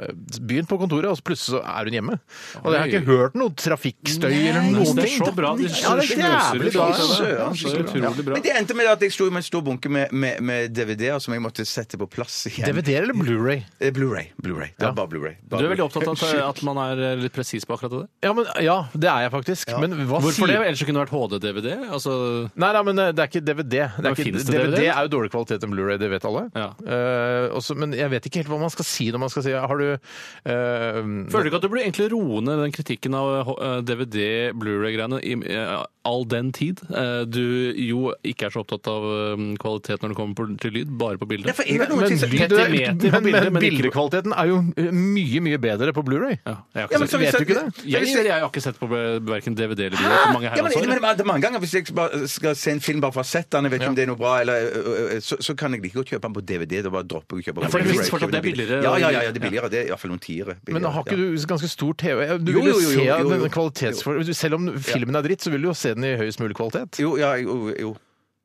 Speaker 1: begynt på kontoret, og så plutselig så er hun hjemme. Og jeg har ikke hørt noe trafikkstøy eller noen
Speaker 3: det er
Speaker 1: ting.
Speaker 3: så bra. De
Speaker 1: Ja, det er jævlig bra.
Speaker 2: Søren,
Speaker 3: Det er utrolig bra.
Speaker 2: Men det endte med at jeg sto med en stor bunke med, med, med DVD-er som jeg måtte sette på plass igjen.
Speaker 1: DVD-er eller Blu-ray?
Speaker 2: Eh, Blu-ray. Blu-ray. Det var bare Blu-ray. Bare
Speaker 3: Du er veldig
Speaker 2: Blu-ray.
Speaker 3: opptatt av at, at man er litt presis på akkurat det?
Speaker 1: Ja, men, ja, det er jeg faktisk. Men hva
Speaker 3: Hvorfor det?
Speaker 1: sier
Speaker 3: Ellers kunne det vært HD-DVD? Altså,
Speaker 1: Nei, nei, men eh, det er ikke DVD. Det er
Speaker 3: Men
Speaker 1: ikke,
Speaker 3: finnes det
Speaker 1: DVD,
Speaker 3: DVD?
Speaker 1: er jo dårlig kvalitet enn Blu-ray, det vet alle.
Speaker 3: Ja.
Speaker 1: Eh, også, men jeg vet ikke helt hva man skal si når man skal si Har du eh,
Speaker 3: føler du ikke at du blir egentlig roende den kritikken av eh, DVD, Blu-ray-greiene i eh, all den tid? Eh, Du jo ikke er så opptatt av eh, kvalitet når det kommer på- til lyd, bare på
Speaker 2: Nei,
Speaker 3: bildet.
Speaker 2: for jeg har noen
Speaker 1: men,
Speaker 2: ting som-
Speaker 1: lyd,
Speaker 3: Petimeter på
Speaker 1: men,
Speaker 3: bildet,
Speaker 1: men
Speaker 3: men ikke-
Speaker 1: bildekvaliteten er jo eh, mye, mye bedre på Blu-ray.
Speaker 3: Ja, jeg har
Speaker 2: Ja,
Speaker 3: ikke
Speaker 2: men
Speaker 3: sett
Speaker 2: så
Speaker 1: vet
Speaker 2: hvis
Speaker 1: du ikke det?
Speaker 2: Men
Speaker 3: Jeg,
Speaker 2: hvis
Speaker 3: jeg, har ikke sett på eh, verken DVD eller video.
Speaker 2: Hæ?
Speaker 3: Mange her
Speaker 2: Ah! Ja, men,
Speaker 3: også.
Speaker 2: men, men, mange ganger hvis jeg bare skal se en film bare for å ha sett den, jeg vet ikke om det er noe bra, eller, ø, ø, så, så kan jeg like godt kjøpe den på DVD. Da bare dropper jeg å kjøpe den
Speaker 3: for
Speaker 2: på
Speaker 3: det
Speaker 2: Blu-ray.
Speaker 3: finnes fortsatt, det er billigere.
Speaker 2: Ja, ja, ja, ja, det er billigere. Det er iallfall noen tiere. billigere,
Speaker 1: Men har ikke
Speaker 2: ja.
Speaker 1: du ganske stor TV? Du
Speaker 2: Jo,
Speaker 1: vil jo,
Speaker 2: jo, jo,
Speaker 1: se
Speaker 2: jo, jo, jo.
Speaker 1: den kvalitetsfor... Selv om filmen er dritt, så vil du jo se den i høyest mulig kvalitet.
Speaker 2: Jo, ja, jo, jo.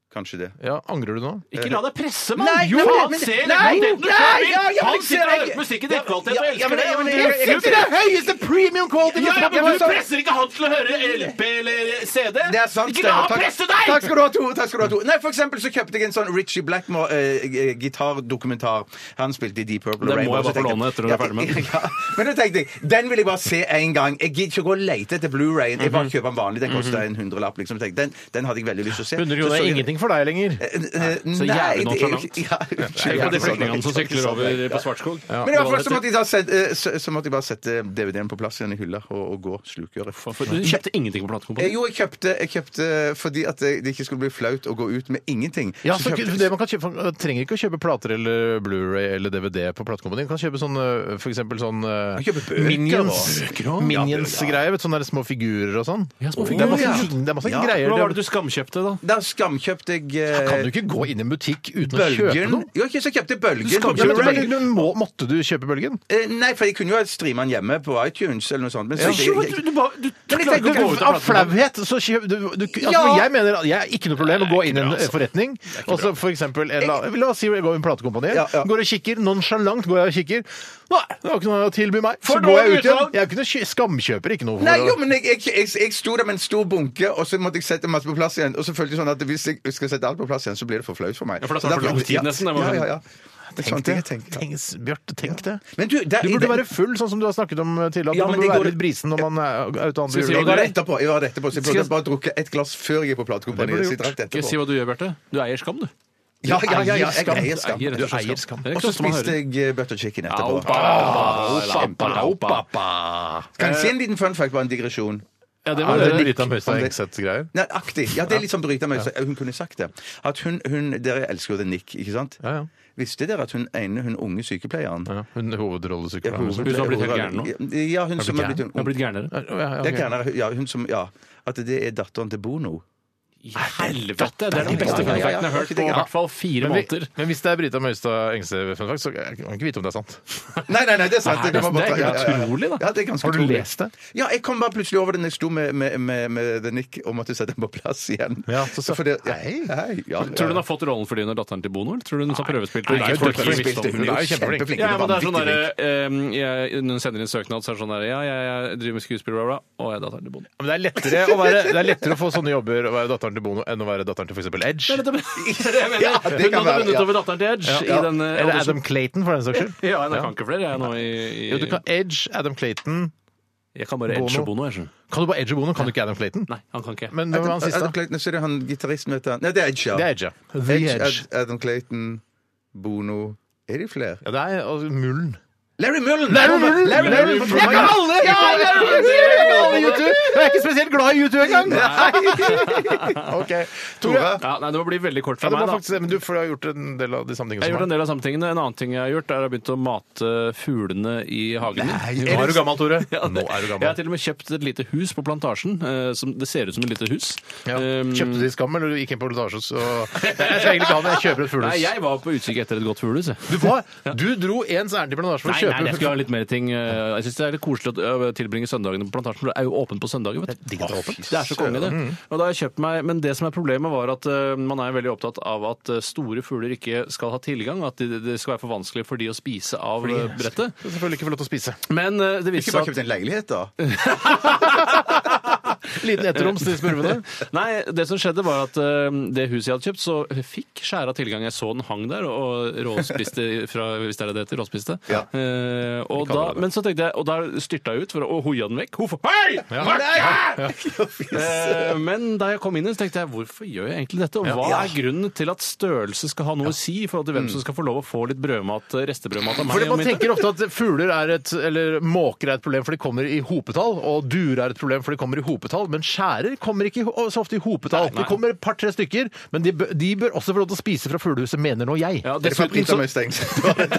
Speaker 2: Kanskje det.
Speaker 1: Ja, Angrer du nå?
Speaker 3: Ikke la deg presse, mann!
Speaker 2: Nei,
Speaker 3: jo,
Speaker 2: men-
Speaker 3: faen,
Speaker 2: men-
Speaker 3: se
Speaker 2: nei,
Speaker 3: lekkerheten du
Speaker 2: nei,
Speaker 3: kjører bil!
Speaker 2: ja, ja, men
Speaker 3: Han
Speaker 2: jeg
Speaker 3: sitter og
Speaker 2: ser-
Speaker 3: hører musikk i drikkvalitet
Speaker 2: Ja,
Speaker 3: og
Speaker 2: ja,
Speaker 3: elsker
Speaker 2: men-
Speaker 3: det!
Speaker 2: ja, men-
Speaker 3: og
Speaker 2: jeg- jeg-
Speaker 3: elsker det.
Speaker 1: høyeste premium quality!
Speaker 3: Ja, ja,
Speaker 2: Ja,
Speaker 3: men
Speaker 2: men
Speaker 3: Du
Speaker 2: så-
Speaker 3: presser ikke han til å høre LP eller CD!
Speaker 2: Det er sant,
Speaker 3: ikke la
Speaker 2: Steinar.
Speaker 3: han presse deg!
Speaker 2: Takk skal du ha, Tore. Takk skal du ha, Tore. Nei, for eksempel så kjøpte jeg en sånn Richie eh, Blackmore-gitardokumentar. Han spilte i Deep
Speaker 3: Den
Speaker 2: Purple og
Speaker 3: må
Speaker 2: Rainbow.
Speaker 3: jeg bare
Speaker 2: så
Speaker 3: få
Speaker 2: tenkte
Speaker 3: låne etter du er ferdig med den.
Speaker 2: Ja, men da tenkte jeg, den vil jeg bare se én gang. Jeg gidder ikke å gå og lete etter Blu-rayen. Jeg
Speaker 3: Mhm.
Speaker 2: bare kjøper den vanlig. Den koster en hundrelapp. Liksom. Tenkte, Den, den hadde jeg veldig lyst til å se.
Speaker 1: 100 kroner
Speaker 2: Så så
Speaker 1: er
Speaker 2: jeg-
Speaker 1: ingenting for deg lenger.
Speaker 2: Eh, eh, Nei,
Speaker 3: jævlig
Speaker 2: det er jo
Speaker 3: nonchalant.
Speaker 2: ikke- ja,
Speaker 3: Det er jo de flyktningene
Speaker 2: jævlig
Speaker 3: som
Speaker 2: nonchalant.
Speaker 3: sykler over på Svartskog.
Speaker 2: Men i hvert fall så måtte jeg, da sette, eh, så, så måtte jeg bare sette eh, DVD-en på plass igjen i hylla og, og gå slukøret.
Speaker 3: For Du kjøpte ingenting på
Speaker 2: Eh,
Speaker 3: platekompaniet?
Speaker 2: Jo, jeg kjøpte, jeg kjøpte fordi at det det ikke skulle bli flaut å gå ut med ingenting.
Speaker 1: Ja,
Speaker 2: Så
Speaker 1: for
Speaker 2: kjøpte-
Speaker 1: det man kan kjøpe, man trenger ikke å kjøpe plater eller Blu-ray eller DVD på platekompaniet. Man kan kjøpe sånn, øh, for eksempel sånn øh,
Speaker 2: Man kjøper bøker
Speaker 1: Minions.
Speaker 2: også. Bøker også?
Speaker 1: Minions-greier. vet du, Sånne der små figurer og sånn.
Speaker 3: Ja, små
Speaker 1: Det er masse,
Speaker 2: figurer.
Speaker 1: ting- det er masse
Speaker 2: Ja.
Speaker 1: greier.
Speaker 3: Hva var det du skamkjøpte, da?
Speaker 2: Da skamkjøpte jeg eh,
Speaker 1: kan du ikke gå inn i en butikk uten å kjøpe
Speaker 2: Bølgen.
Speaker 1: noe?
Speaker 2: Jo, ikke så kjøpte jeg Bølgen.
Speaker 1: Ja,
Speaker 2: på
Speaker 1: men
Speaker 2: Blu-ray.
Speaker 1: Bølgen, du må, måtte du kjøpe Bølgen?
Speaker 2: Eh, Nei, for jeg kunne jo ha streama den hjemme på iTunes eller noe sånt. Men så, jeg,
Speaker 3: du bare du,
Speaker 2: Men jeg tenker-
Speaker 3: gå ut av
Speaker 1: Av
Speaker 3: platekompaniet.
Speaker 1: flauhet så kjøper du, du altså,
Speaker 2: Ja.
Speaker 1: Jeg mener at jeg har ikke noe problem med å gå inn i en
Speaker 3: bra, altså.
Speaker 1: forretning. Og så for eksempel en, la, la oss si jeg går i en platekompani.
Speaker 2: Ja, ja.
Speaker 1: Går og kikker. Nonchalant går jeg og kikker. Nei, det var ikke noe å tilby meg. Så
Speaker 3: For
Speaker 1: går jeg
Speaker 3: dårlig
Speaker 1: ut igjen.
Speaker 3: utvalg.
Speaker 1: Jeg er ikke noe kjø- skamkjøper ikke noe. for
Speaker 2: Nei,
Speaker 1: å-
Speaker 2: jo, men jeg, jeg, jeg, jeg sto der med en stor bunke, og så måtte jeg sette masse på plass igjen. Og så følte jeg sånn at hvis jeg skal sette alt på plass igjen, så blir det for flaut for meg.
Speaker 3: Ja, for da
Speaker 2: Så
Speaker 3: tar det for
Speaker 2: derfor-
Speaker 3: lang tid nesten, det må-
Speaker 2: Ja, ja, ja. er sant,
Speaker 1: Tenk det.
Speaker 2: jeg tenker.
Speaker 1: Tenk, Bjarte, tenk det.
Speaker 2: Men du, det-
Speaker 1: burde
Speaker 2: det-
Speaker 1: være full, sånn som du har snakket om tidligere. at
Speaker 2: Ja,
Speaker 1: man
Speaker 2: men
Speaker 1: burde
Speaker 2: det
Speaker 1: være
Speaker 2: går-
Speaker 1: litt brisen når man er ute andre
Speaker 3: Skal vi si
Speaker 2: Jeg var
Speaker 1: juledag.
Speaker 2: det etterpå. Jeg var det etterpå så jeg
Speaker 1: Skal
Speaker 2: burde
Speaker 1: jeg-
Speaker 2: bare drukke et glass før jeg gikk
Speaker 1: Det
Speaker 2: på
Speaker 1: burde
Speaker 2: platekompaniet.
Speaker 1: du
Speaker 2: så jeg
Speaker 1: gjort.
Speaker 2: drakk det
Speaker 3: Skal jeg si
Speaker 2: etterpå.
Speaker 3: hva du gjør, Bjarte? Du eier skam, du.
Speaker 2: Ja, ja, ja, ja,
Speaker 1: Skam.
Speaker 2: jeg eier skam.
Speaker 3: Eier, rett og
Speaker 1: Du
Speaker 3: slett
Speaker 1: eier skam.
Speaker 3: Det er
Speaker 2: Og
Speaker 3: ikke
Speaker 2: så
Speaker 3: ofte man
Speaker 2: spiste
Speaker 3: hører det.
Speaker 2: jeg eh, butter chicken etterpå. Ah! Kanskje
Speaker 1: Kanskje
Speaker 2: en liten fun fact, bare en digresjon.
Speaker 3: Ja, det
Speaker 1: Er
Speaker 3: var
Speaker 1: sånn det
Speaker 3: det.
Speaker 1: Brita Møystad Hegseth-greier?
Speaker 2: Nei, aktig. Ja, det er litt sånn Brita Møystad. Hun kunne sagt det. At hun, hun Dere elsker jo The Nick, ikke sant?
Speaker 1: Ja, ja.
Speaker 2: Visste dere at hun ene, hun unge sykepleieren
Speaker 1: Ja, hun
Speaker 2: Ja,
Speaker 1: hovedrollesykler.
Speaker 2: hun-
Speaker 3: Hun som har blitt helt gæren
Speaker 2: nå? Ja, hun som har blitt
Speaker 3: Hun har blitt gærnere.
Speaker 2: Ja, gærnere. Ja, hun som Ja. At det er datteren til Bono.
Speaker 3: Helvete! Det er den beste
Speaker 2: Ja, ja, ja, ja.
Speaker 3: funfacten jeg har hørt på i hvert fall fire
Speaker 1: Men, vi,
Speaker 3: måneder.
Speaker 1: men hvis det er Brita Møystad Engstad-fun fact, så kan man ikke vite om det er sant.
Speaker 2: Nei, nei, nei, det er sant.
Speaker 3: Nei,
Speaker 2: Det kan man
Speaker 3: det er
Speaker 2: bare- ja, ja, ja.
Speaker 3: utrolig, da.
Speaker 2: Ja, det er ganske
Speaker 1: Har du
Speaker 2: utrolig.
Speaker 1: lest det?
Speaker 2: Ja, jeg kom bare plutselig over det når jeg sto med, med, med, med The Nick og måtte sette den på plass igjen.
Speaker 1: Ja, så sa-
Speaker 2: For det, hei, hei. Ja,
Speaker 3: Tror du hun
Speaker 2: ja.
Speaker 3: har fått rollen fordi hun er datteren til Bono? eller Tror du hun har prøvespilt?
Speaker 1: Nei,
Speaker 3: Det er jo
Speaker 1: jeg tror
Speaker 3: folk
Speaker 1: ikke
Speaker 3: som
Speaker 1: hun
Speaker 3: visste om
Speaker 1: visste.
Speaker 3: det.
Speaker 1: Hun er jo kjempeflink.
Speaker 2: Kjempeflink.
Speaker 3: Ja, men det er sånn
Speaker 2: Vanvittig
Speaker 3: der,
Speaker 2: flink.
Speaker 3: eh, jeg, Når hun sender inn søknad, så er det sånn der Ja, jeg, jeg driver med skuespill, bla, bla, og jeg er datteren til Bono.
Speaker 1: Men det er lettere å, være, det er lettere å få sånne jobber å være datteren til Bono enn å være datteren til f.eks. Edge.
Speaker 2: Ja, det
Speaker 3: Hun
Speaker 2: kan
Speaker 3: hadde
Speaker 2: være,
Speaker 3: vunnet
Speaker 2: ja.
Speaker 3: over datteren til Edge i den eh,
Speaker 1: Eller
Speaker 3: audition.
Speaker 1: Adam Clayton, for den saks skyld.
Speaker 3: Ja, jeg kan ikke flere, jeg nå i, i
Speaker 1: Jo, du kan Edge, Adam Clayton
Speaker 3: Jeg kan bare Edge og Bono, jeg skjønner.
Speaker 1: Kan du bare Edge og Bono? Kan du ikke Adam Clayton?
Speaker 3: Nei, han kan ikke.
Speaker 1: Men hvem var han
Speaker 2: Adam
Speaker 1: siste?
Speaker 2: Clayton, så er det han gitaristen, vet du. Nei, det er Edge, ja.
Speaker 1: Det er Edge, ja. The
Speaker 2: Edge,
Speaker 1: Edge.
Speaker 2: Ad- Adam Clayton, Bono Er de flere?
Speaker 1: Ja, det er altså, Mullen.
Speaker 2: Larry Mullen!
Speaker 1: Larry Mullen!
Speaker 2: Larry
Speaker 1: Larry
Speaker 2: Mullen!
Speaker 1: Mullen! Jeg kan alle! Ja, Larry Mullen! Jeg kan alle YouTube! Jeg er ikke spesielt glad i YouTube engang! OK. Tore.
Speaker 2: Tore?
Speaker 3: Ja, nei, det må bli veldig kort
Speaker 1: Ja,
Speaker 3: fra
Speaker 1: det var
Speaker 3: meg, da.
Speaker 1: faktisk det, men du, for du har gjort en del av de samme tingene
Speaker 3: Jeg har gjort
Speaker 1: som
Speaker 3: en
Speaker 1: meg.
Speaker 3: del av samme tingene. En annen ting jeg har gjort, er at jeg har begynt å mate fuglene i hagen min.
Speaker 1: Nå er du gammel, Tore. Nå er du
Speaker 3: Jeg har
Speaker 1: gammel.
Speaker 3: til og med kjøpt et lite hus på plantasjen. eh, Som det ser ut som et lite hus.
Speaker 1: Ja.
Speaker 3: Um,
Speaker 1: Kjøpte de Skam, eller du gikk inn på Plantasjes og Jeg skal egentlig ikke ha det, jeg kjøper et
Speaker 3: Nei,
Speaker 1: fuglehus.
Speaker 3: jeg var på utkikk etter et godt fuglehus. jeg.
Speaker 1: Du, får, du dro ens ærend til Plantasjen for
Speaker 3: Nei, nei, jeg
Speaker 1: å kjøpe
Speaker 3: skulle ha litt mer ting. eh, Jeg syns det er litt koselig å eh, tilbringe søndagene på plantasjen, for det er jo åpent på søndager. vet du.
Speaker 1: digg at det er åpent.
Speaker 3: Å, fy Det er så konge, det. Og da har jeg kjøpt meg, men det som er problemet, var at eh, man er veldig opptatt av at eh, store fugler ikke skal ha tilgang, at det det skal være for vanskelig for de å spise av eh, brettet.
Speaker 1: Selvfølgelig ikke få lov til å spise.
Speaker 3: Men eh, det
Speaker 2: Ikke
Speaker 3: viste
Speaker 2: bare
Speaker 3: seg
Speaker 2: kjøpt
Speaker 3: at
Speaker 2: en leilighet, da?
Speaker 1: Liten etteroms til spurvene.
Speaker 3: Nei, det som skjedde var at eh, det huset jeg hadde kjøpt, så fikk skjæra tilgang. Jeg så den hang der og råspiste fra, hvis det er det det heter, råspiste.
Speaker 2: Ja.
Speaker 3: Eh, og da,
Speaker 1: kaller det det.
Speaker 3: men så tenkte jeg, og da styrta jeg ut for å og hoia den vekk. Hvorfor? Hei! Eh, Men da jeg kom inn, i det, så tenkte jeg hvorfor gjør jeg egentlig dette? Og hva er grunnen til at størrelse skal ha noe å si i forhold til hvem som skal få lov å få litt brødmat, eh, restebrødmat av
Speaker 1: Mm.
Speaker 3: meg?
Speaker 1: For
Speaker 3: og
Speaker 1: Man
Speaker 3: min-
Speaker 1: tenker ofte at fugler er et, eller måker er et problem, for de kommer i hopetall. Og duer er et problem, for de kommer i hopetall. Men skjærer kommer ikke i ho- så ofte i hopetall.
Speaker 3: nei.
Speaker 1: Det kommer et par-tre stykker, men de, bø- de bør også få lov til å spise fra fuglehuset, mener nå jeg.
Speaker 3: Ja,
Speaker 2: Er det fra
Speaker 3: dessuten
Speaker 2: Brita
Speaker 3: så
Speaker 2: Møystad?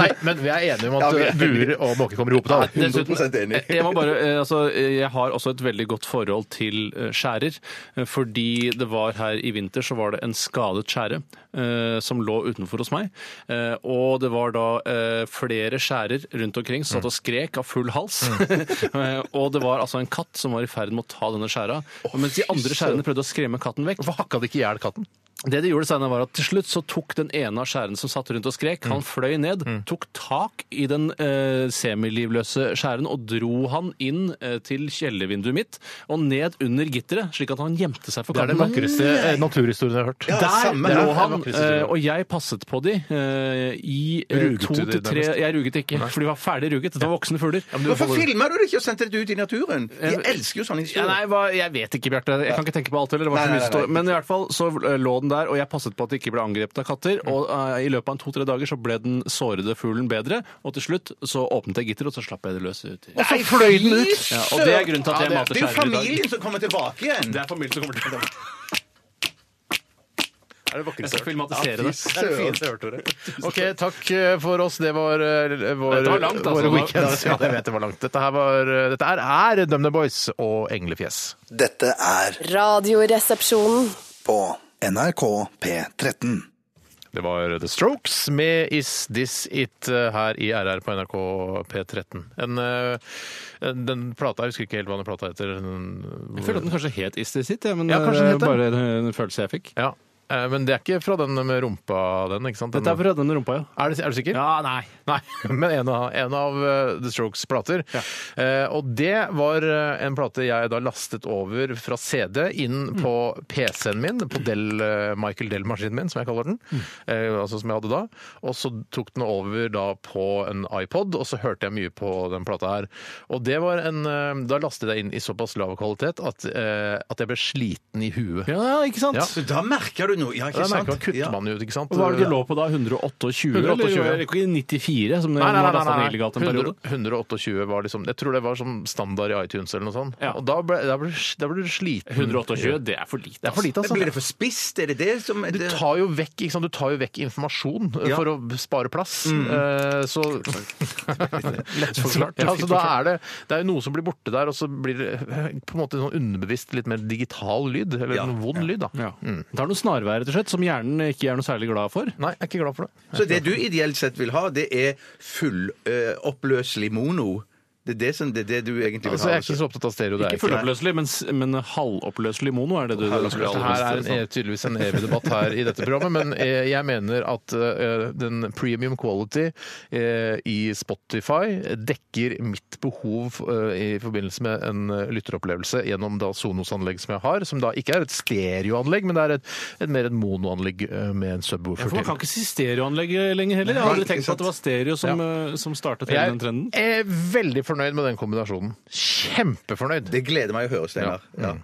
Speaker 1: Nei, men vi er enige om
Speaker 2: Ja,
Speaker 1: at
Speaker 2: vi er
Speaker 1: eh, buer og måker kommer i hopetall.
Speaker 3: Nei, dessuten-
Speaker 2: 100% enig.
Speaker 3: Jeg, må bare, eh, altså, eh, jeg har også et veldig godt forhold til eh, skjærer. eh, Fordi det var her i vinter så var det en skadet skjære eh, som lå utenfor hos meg. eh, og det var da eh, flere skjærer rundt omkring som satt og skrek av full hals. Eh, og det var altså en katt som var i ferd med å ta denne skjæra. mens de andre skjærene prøvde å skremme katten vekk.
Speaker 1: Hvorfor hakka de ikke i hjel katten?
Speaker 3: Det de gjorde, Steinar, var at Til slutt så tok den ene av skjærene som satt rundt og skrek,
Speaker 1: Mm.
Speaker 3: han fløy ned, tok tak i den eh, semilivløse skjæren og dro han inn eh, til kjellervinduet mitt og ned under gitteret, slik at han gjemte seg for
Speaker 1: Det er den
Speaker 3: katten.
Speaker 1: vakreste eh, naturhistorien jeg har hørt.
Speaker 2: Ja,
Speaker 3: Der
Speaker 2: samme
Speaker 3: lå han,
Speaker 2: her.
Speaker 1: Det er
Speaker 3: eh,
Speaker 1: vakreste historien.
Speaker 3: og jeg passet på de eh, i eh,
Speaker 1: Ruget
Speaker 3: to
Speaker 1: du de
Speaker 3: til tre
Speaker 1: nærmest?
Speaker 3: Jeg ruget ikke, for de var ferdig ruget. Dette var voksne fugler.
Speaker 2: Hvorfor filma du det ikke og sendte det ut i naturen? De elsker jo sånne
Speaker 3: Ja,
Speaker 2: historier.
Speaker 3: nei, hva, Jeg vet ikke, Bjarte. Jeg kan ikke tenke på alt heller. Det var så
Speaker 2: Nei,
Speaker 3: mye
Speaker 2: nei, nei,
Speaker 3: stå- Men i hvert fall så eh, lå den der, og jeg passet på at det ikke ble angrepet av katter. Og eh, i løpet av en to-tre dager så ble den sårede fuglen bedre, og til slutt så åpnet jeg gitteret, og så slapp jeg det løs ut.
Speaker 1: Og så fløy den ut!
Speaker 3: Ja, og det er grunnen til at
Speaker 2: Ja,
Speaker 3: jeg
Speaker 2: det,
Speaker 3: mater
Speaker 2: det er jo
Speaker 3: skjærer i dag.
Speaker 2: familien som kommer tilbake igjen!
Speaker 3: Det er familien som kommer til å
Speaker 1: Er
Speaker 3: Jeg skal
Speaker 1: det vakreste
Speaker 3: filmatisere det.
Speaker 1: Det er det fineste jeg har hørt, Tore. OK, takk eh, for oss. Det var eh, vår,
Speaker 3: Dette var langt, altså.
Speaker 1: våre weekends. Ja, jeg vet det var langt. Dette, her var, eh, dette er, er Dumb Dumb Boys og Englefjes.
Speaker 5: Dette er
Speaker 6: Radioresepsjonen.
Speaker 5: på NRK P13.
Speaker 1: Det var The Strokes med Is This It eh, her i RR på NRK P13. En, eh, en- den plata, jeg husker ikke helt hva den plata heter. Den,
Speaker 3: Jeg føler at den kanskje het Is This It, ja, men
Speaker 1: Ja, kanskje
Speaker 3: det
Speaker 1: den
Speaker 3: er
Speaker 1: het det.
Speaker 3: bare en en følelse jeg fikk.
Speaker 1: ja. Eh, Men det er ikke fra den med rumpa, den, ikke sant? Den,
Speaker 3: Dette er for å redde den rumpa, ja.
Speaker 1: er, du, er du sikker?
Speaker 3: Ja, nei.
Speaker 1: Nei, men en av, en av eh, The Strokes plater. Eh, og det var eh, en plate jeg da lastet over fra CD inn
Speaker 3: Mm.
Speaker 1: på PC-en min, på Del, eh, Michael Dell-maskinen min, som jeg kaller den.
Speaker 3: Mm.
Speaker 1: Eh, altså som jeg hadde da. Og så tok den over da på en iPod, og så hørte jeg mye på den plata her. Og det var en eh, Da lastet jeg inn i såpass lav kvalitet at, eh, at jeg ble sliten i huet.
Speaker 3: Ja, ikke sant?
Speaker 1: Ja.
Speaker 2: Så da merker du noe. Ja,
Speaker 1: Da
Speaker 2: ikke sant?
Speaker 1: merker man, kutter
Speaker 2: Ja.
Speaker 1: man jo ut, ikke sant?
Speaker 3: Og Hva er det
Speaker 1: Ja.
Speaker 3: du lå på da? 128?
Speaker 1: 128,
Speaker 3: eller ikke 94, som det
Speaker 1: Nei, nei,
Speaker 3: var
Speaker 1: nei,
Speaker 3: nesten
Speaker 1: nei,
Speaker 3: illegalt en
Speaker 1: nei.
Speaker 3: periode?
Speaker 1: 100, 128 var liksom Jeg tror det var som standard i iTunes eller noe sånt.
Speaker 3: Ja.
Speaker 1: Og da ble, da, ble, da ble du sliten.
Speaker 3: 128, det er for lite.
Speaker 1: Det er for lite,
Speaker 2: Men Blir
Speaker 1: altså.
Speaker 2: det for spisst? Er det det som
Speaker 1: Du
Speaker 2: det-
Speaker 1: tar jo vekk, ikke sant? Du tar jo vekk informasjon eh,
Speaker 2: Ja.
Speaker 1: for å spare plass. Eh, så Lett
Speaker 3: forklart.
Speaker 1: Ja, så da er det, det er jo noe som blir borte der, og så blir det eh, på en måte sånn underbevisst litt mer digital lyd. Eller
Speaker 2: Ja.
Speaker 1: en vond lyd, da.
Speaker 3: Ja.
Speaker 2: Mm.
Speaker 3: Det er noe snarvei, rett og slett, som hjernen ikke er noe særlig glad for.
Speaker 1: Nei, jeg er ikke glad for det.
Speaker 2: Så det du ideelt sett vil ha, det er fulloppløselig mono? Det er det, som, det er det du egentlig vil
Speaker 1: Altså,
Speaker 2: ha?
Speaker 1: jeg er ikke så opptatt av stereo. Det er
Speaker 3: Ikke
Speaker 1: jeg ikke.
Speaker 3: fulloppløselig, men, s- men halvoppløselig mono er det du
Speaker 2: Halvoppløselig.
Speaker 1: Det her er en, e- tydeligvis en evig debatt her i dette programmet, men eh, jeg mener at eh, den premium quality eh, i Spotify dekker mitt behov eh, i forbindelse med en eh, lytteropplevelse gjennom da Sonos-anlegg som jeg har, som da ikke er et stereoanlegg, men det er et, et mer et monoanlegg eh, med en subwoofer
Speaker 3: For man kan
Speaker 1: til.
Speaker 3: ikke si stereoanlegg eh, lenger heller. Jeg har aldri
Speaker 2: Nei,
Speaker 3: tenkt på at det var stereo som, eh, som startet hele den trenden.
Speaker 1: Jeg er veldig fornøyd med den kombinasjonen. Kjempefornøyd!
Speaker 2: Det gleder meg å høre, Steinar. Ja.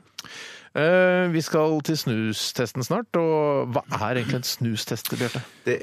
Speaker 1: Eh, vi skal til snustesten snart, og hva er egentlig en snustest, Bjarte?
Speaker 2: Det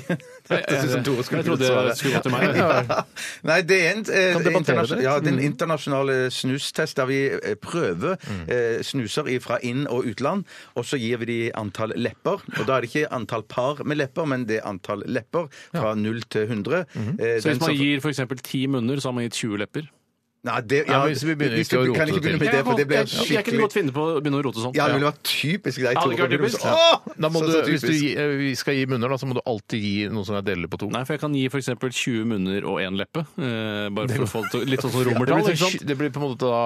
Speaker 2: hørtes ut som Tore skulle
Speaker 3: Jeg trodde
Speaker 2: svare.
Speaker 3: det skulle gå til meg.
Speaker 2: Ja. Nei, det er en, eh,
Speaker 1: Kan debattere
Speaker 2: internasjonal,
Speaker 1: det. Mm.
Speaker 2: ja, det er en internasjonal eh, snustest der vi eh, prøver
Speaker 1: Mm.
Speaker 2: eh, snuser fra inn- og utland, og så gir vi de antall lepper. Og da er det ikke antall par med lepper, men det er antall lepper fra 0 til 100.
Speaker 1: Mhm.
Speaker 2: Eh,
Speaker 3: Så
Speaker 2: den
Speaker 3: hvis man
Speaker 2: som-
Speaker 3: gir f.eks. ti munner, så har man gitt 20 lepper?
Speaker 2: Nei, det,
Speaker 1: Ja, men hvis vi begynner ikke å rote
Speaker 2: kan
Speaker 1: det
Speaker 2: ikke begynne
Speaker 1: til.
Speaker 2: med det, for det blir
Speaker 3: jeg, jeg kunne
Speaker 2: skikkelig
Speaker 3: godt finne på å begynne å rote sånn.
Speaker 2: Ja, det ville vært typisk deg,
Speaker 3: Ja, det
Speaker 2: Tore.
Speaker 3: kunne vært typisk.
Speaker 2: Åh!
Speaker 1: Da må
Speaker 2: Så-
Speaker 1: du,
Speaker 2: så
Speaker 1: hvis du,
Speaker 2: typisk.
Speaker 1: gi- eh, vi skal gi munner, da, så må du alltid gi noe som er delelig på to.
Speaker 3: Nei, for jeg kan gi f.eks. 20 munner og én leppe. Eh, bare for å få det til- litt sånn som
Speaker 1: Det
Speaker 3: romertall.
Speaker 1: blir,
Speaker 3: ikke sant?
Speaker 1: sånn- det blir på en måte da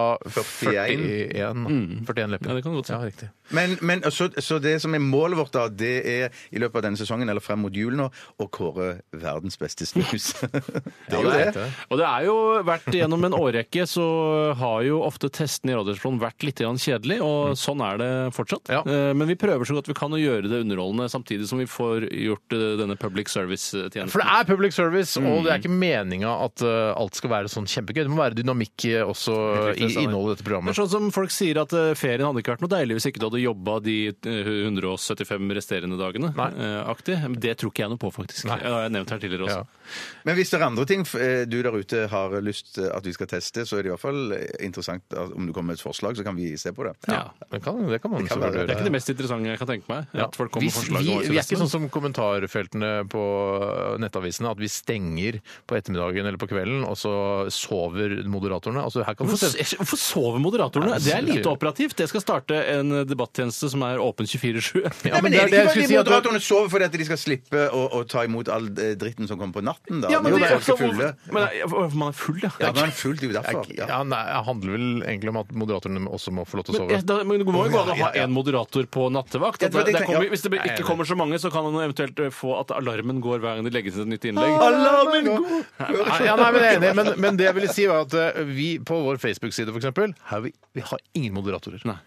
Speaker 2: 41.
Speaker 1: 41, 41 lepper.
Speaker 3: Ja, det kan du godt si.
Speaker 1: Ja, riktig.
Speaker 2: Men, men så, så det som er målet vårt, da, det er i løpet av denne sesongen eller frem mot jul nå, å kåre verdens beste snus. det er jo
Speaker 1: det er
Speaker 2: det.
Speaker 1: det.
Speaker 3: Og det er jo vært gjennom en årrekke så har jo ofte testene i Radiosplan vært litt grann kjedelig, og sånn er det fortsatt.
Speaker 1: Mm. Ja.
Speaker 3: Eh, Men vi prøver så godt vi kan å gjøre det underholdende, samtidig som vi får gjort eh, denne public
Speaker 1: For det
Speaker 3: service-tjenesten.
Speaker 1: er public service, og det er ikke meninga at eh, alt skal være sånn kjempegøy. Det må være dynamikk eh, også i innholdet i dette
Speaker 3: Det er
Speaker 1: programmet.
Speaker 3: sånn som folk sier at eh, ferien hadde ikke vært noe deilig hvis ikke du hadde jobba de eh, 175 resterende dagene. eh, aktig. Men Det tror ikke jeg noe på, faktisk. Det har jeg nevnt her tidligere også.
Speaker 1: Ja.
Speaker 2: Men hvis det er andre ting f- eh, du der ute har lyst til at vi skal teste, så er det i hvert fall eh, interessant at om du kommer med et forslag, så kan vi se på det.
Speaker 3: Ja.
Speaker 1: Det kan, det kan man
Speaker 2: kan
Speaker 1: selvfølgelig
Speaker 2: være-
Speaker 3: Det er
Speaker 1: gjøre.
Speaker 3: ikke det mest interessante jeg kan tenke meg.
Speaker 1: Ja.
Speaker 3: At folk kommer med
Speaker 1: Hvis
Speaker 3: forslag.
Speaker 1: vi,
Speaker 3: om hva
Speaker 1: vi er ikke
Speaker 3: resten av-
Speaker 1: sånn som kommentarfeltene på eh, nettavisene, at vi stenger på ettermiddagen eller på kvelden, og så sover moderatorene. Altså, her kan du
Speaker 3: Hvorfor, hvorfor sover moderatorene?
Speaker 1: Nei,
Speaker 3: Det er
Speaker 1: det er
Speaker 3: lite
Speaker 1: sykt.
Speaker 3: operativt. Jeg skal starte en eh, debattjeneste som er åpen 24-7.
Speaker 1: Ja,
Speaker 2: Nei,
Speaker 1: men
Speaker 2: men
Speaker 1: det er
Speaker 2: Er
Speaker 1: det
Speaker 2: det
Speaker 1: jeg skulle
Speaker 2: ikke fordi
Speaker 1: si at-
Speaker 2: moderatorene sover fordi at de skal slippe å, å ta imot all eh, dritten som kommer på natten? da? Jo,
Speaker 3: det er
Speaker 2: folk er
Speaker 3: også-
Speaker 2: fulle.
Speaker 3: men det er- hvorfor man er full, ja.
Speaker 2: Ja, men fullt det er jo derfor.
Speaker 1: ja,
Speaker 2: Ja.
Speaker 1: nei, Det handler vel egentlig om at moderatorene også må få lov til å
Speaker 3: Men,
Speaker 1: sove.
Speaker 3: eh, da, men det må jo gå an å ha
Speaker 2: Ja, ja.
Speaker 3: én moderator på nattevakt.
Speaker 2: Ja, det var
Speaker 3: At det- det
Speaker 2: det jeg tenkte,
Speaker 3: kommer,
Speaker 2: ja.
Speaker 3: hvis det
Speaker 1: Jeg er
Speaker 3: ikke
Speaker 1: enig.
Speaker 3: kommer så mange, så kan han eventuelt eh, få at alarmen går hver gang det legges inn et nytt innlegg.
Speaker 2: Ah. Alarmen går!
Speaker 1: Nei, Ja, nei, men jeg er enig, men, men det jeg ville si var at eh, vi på vår Facebook-side for eksempel, har vi, vi har ingen moderatorer.
Speaker 3: Nei.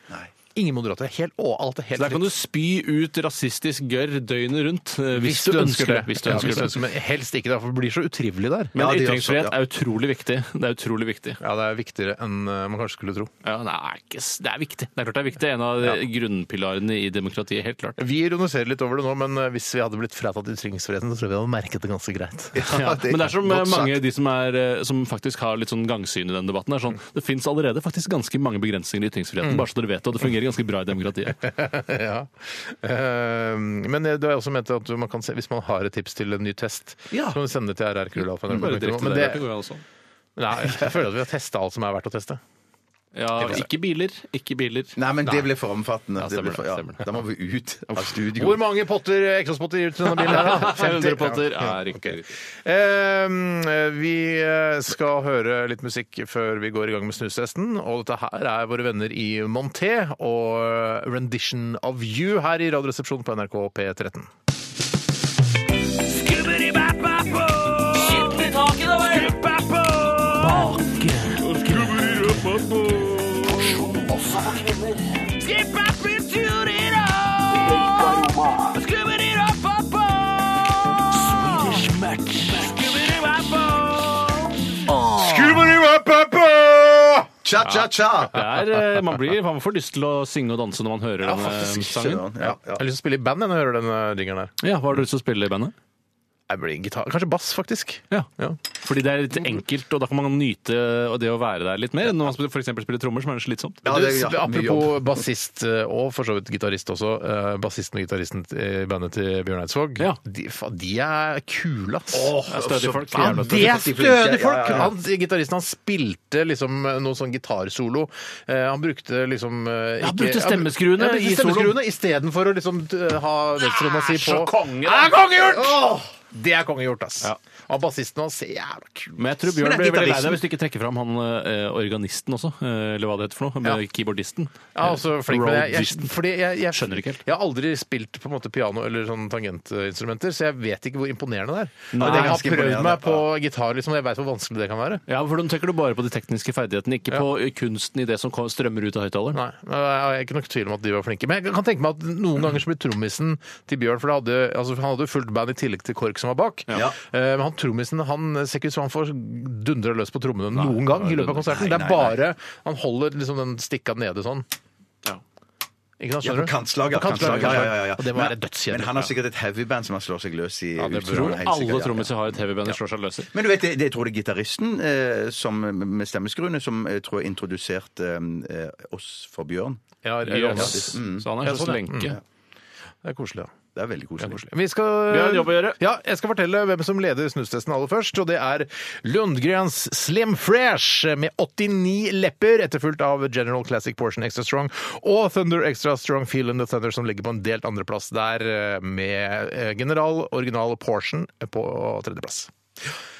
Speaker 1: Ingen moderatorer. Helt, og alt er helt
Speaker 3: Der kan du spy ut rasistisk gørr døgnet rundt eh, hvis, du ønsker det. Hvis du
Speaker 1: Ja,
Speaker 3: ønsker det.
Speaker 1: Men helst ikke, da, for det blir så utrivelig der.
Speaker 3: Men
Speaker 2: Ja, det gjør
Speaker 3: ytringsfrihet
Speaker 2: så, ja.
Speaker 3: er utrolig viktig. Det er utrolig viktig.
Speaker 1: Ja, det er viktigere enn eh, man kanskje skulle tro.
Speaker 3: Ja, det, er ikke, s- det er viktig. Det er klart det er viktig. En av eh, grunnpilarene i demokratiet, helt klart.
Speaker 1: Vi ironiserer litt over det nå, men eh, hvis vi hadde blitt fratatt ytringsfriheten, så tror jeg vi hadde merket det ganske greit.
Speaker 3: Ja, men det er som eh,
Speaker 2: godt
Speaker 3: mange de som, er, eh, som faktisk har litt sånn gangsyn i denne debatten. Er sånn, det fins allerede faktisk ganske mange begrensninger i ytringsfriheten, bare så dere vet det. Og det fungerer ganske bra i demokratiet.
Speaker 1: ja. Eh, Men det er også ment at man kan se, hvis man har et tips til en ny test,
Speaker 3: Ja.
Speaker 1: så kan du sende det til rr
Speaker 3: Bare direkte
Speaker 1: Men
Speaker 3: der,
Speaker 1: det,
Speaker 3: det går jo an også.
Speaker 1: nei, jeg føler at vi har testa alt som er verdt å teste.
Speaker 3: Ja, ikke biler. Ikke biler.
Speaker 2: Nei, men det ble for omfattende.
Speaker 3: Ja,
Speaker 2: Det ble
Speaker 3: stemmer
Speaker 2: for,
Speaker 3: det,
Speaker 2: ja.
Speaker 3: stemmer det.
Speaker 2: Da må vi ut av studio.
Speaker 1: Hvor mange potter, eh, eksospotter gir du til denne bilen? her da?
Speaker 3: 500 potter er riktig.
Speaker 1: Eh, vi eh, skal høre litt musikk før vi går i gang med snustesten. Og dette her er våre venner i Monté og eh, Rendition of You her i Radioresepsjonen på NRK P13.
Speaker 2: Cha-cha-cha!
Speaker 3: Det er, eh, man, blir, man får lyst til å synge og danse når man hører eh, denne sangen.
Speaker 2: Ja,
Speaker 1: Jeg har lyst til å spille i band jeg, når jeg hører denne dingeren her.
Speaker 3: Ja, Hva har du lyst til å spille i bandet?
Speaker 1: Jeg blir gitar. Kanskje bass, faktisk.
Speaker 3: Ja. Mm.
Speaker 1: Ja.
Speaker 3: Fordi det er litt enkelt, og da kan man nyte det å være der litt mer enn når man sp- for eksempel spiller trommer, som er slitsomt.
Speaker 2: Ja, det, ja, mye jobb.
Speaker 1: Apropos bassist eh, og for så vidt gitarist også. eh, Bassisten og gitaristen t- i bandet til Bjørn Eidsvåg,
Speaker 3: Ja.
Speaker 1: de, fa- de er kule, ass.
Speaker 3: Det er stødige folk.
Speaker 1: Ja,
Speaker 3: Jævla
Speaker 1: det er stødige folk!
Speaker 2: Ja, ja, ja.
Speaker 1: Han, gitaristen han spilte liksom noe sånn gitarsolo. Eh, han brukte liksom eh,
Speaker 3: Ja, han brukte stemmeskruene
Speaker 1: ja, han brukte
Speaker 3: i soloen.
Speaker 1: stemmeskruene istedenfor å liksom eh, ha venstrehånda si på.
Speaker 3: så konge, da.
Speaker 1: det er kongegjort! Det er kongegjort, ass.
Speaker 3: Ja.
Speaker 1: Og bassisten hans er jævla kul.
Speaker 3: Men jeg tror
Speaker 1: Men
Speaker 3: Bjørn
Speaker 1: det
Speaker 3: blir
Speaker 1: er
Speaker 3: veldig lei
Speaker 1: gitaristen.
Speaker 3: deg hvis du ikke trekker fram han eh, organisten også, eh, eller hva det heter for noe. med Keyboardisten.
Speaker 1: Ja, altså flink, men jeg, jeg,
Speaker 3: Roadisten.
Speaker 1: fordi jeg, jeg
Speaker 3: Skjønner ikke helt.
Speaker 1: Jeg har aldri spilt på en måte piano eller sånn tangentinstrumenter, så jeg vet ikke hvor imponerende det er.
Speaker 3: Nei,
Speaker 1: jeg har
Speaker 2: ganske
Speaker 1: prøvd
Speaker 2: imponerende.
Speaker 1: meg på gitar, liksom, og jeg veit hvor vanskelig det kan være.
Speaker 3: Ja, for da tenker du bare på de tekniske ferdighetene, ikke på eh, kunsten i det som kom- strømmer ut av høyttaleren.
Speaker 1: Nei, men jeg er ikke nok tvil om at de var flinke. Men jeg kan tenke meg at noen ganger så blir trommisen til Bjørn For det hadde, altså, han hadde jo fullt band i tillegg til KORK som var bak.
Speaker 2: Ja.
Speaker 1: Eh, Men han trommisen han ser ikke ut som han får dundra løs på trommene noen gang i løpet av konserten. det er bare Han holder liksom den stikka nede sånn.
Speaker 3: Ja.
Speaker 1: Ikke sant,
Speaker 2: Ja, på
Speaker 1: skjønner du?
Speaker 2: kantslager.
Speaker 1: På kantslager,
Speaker 2: kantslager, ja, ja, ja.
Speaker 1: Og det må
Speaker 2: Men-
Speaker 1: være dødskjedelig.
Speaker 2: Men han har sikkert et heavyband som han slår seg løs i.
Speaker 3: Jeg
Speaker 2: utstyret,
Speaker 3: tror
Speaker 2: helt sikkert,
Speaker 3: alle
Speaker 2: ja.
Speaker 3: trommiser har et heavyband og slår seg løs i.
Speaker 2: Men du vet, det, det tror jeg det er gitaristen eh, som, med stemmeskruene som jeg tror introduserte eh, oss for Bjørn.
Speaker 1: Ja, ja, ja,
Speaker 3: Yes. Så han er en
Speaker 1: Ja,
Speaker 3: slags
Speaker 1: sånn, ja.
Speaker 3: lenke.
Speaker 1: Det er koselig, ja.
Speaker 2: Det er veldig koselig.
Speaker 1: Vi, skal,
Speaker 3: Vi har en jobb å gjøre.
Speaker 1: Ja, jeg skal fortelle hvem som leder snustesten aller først, og det er Lundgrens Slim Fresh med 89 lepper, etterfulgt av General Classic Portion Extra Strong og Thunder Extra Strong Feel and the Thunder, som ligger på en delt andreplass der, eh, med eh, General Original Portion på tredjeplass.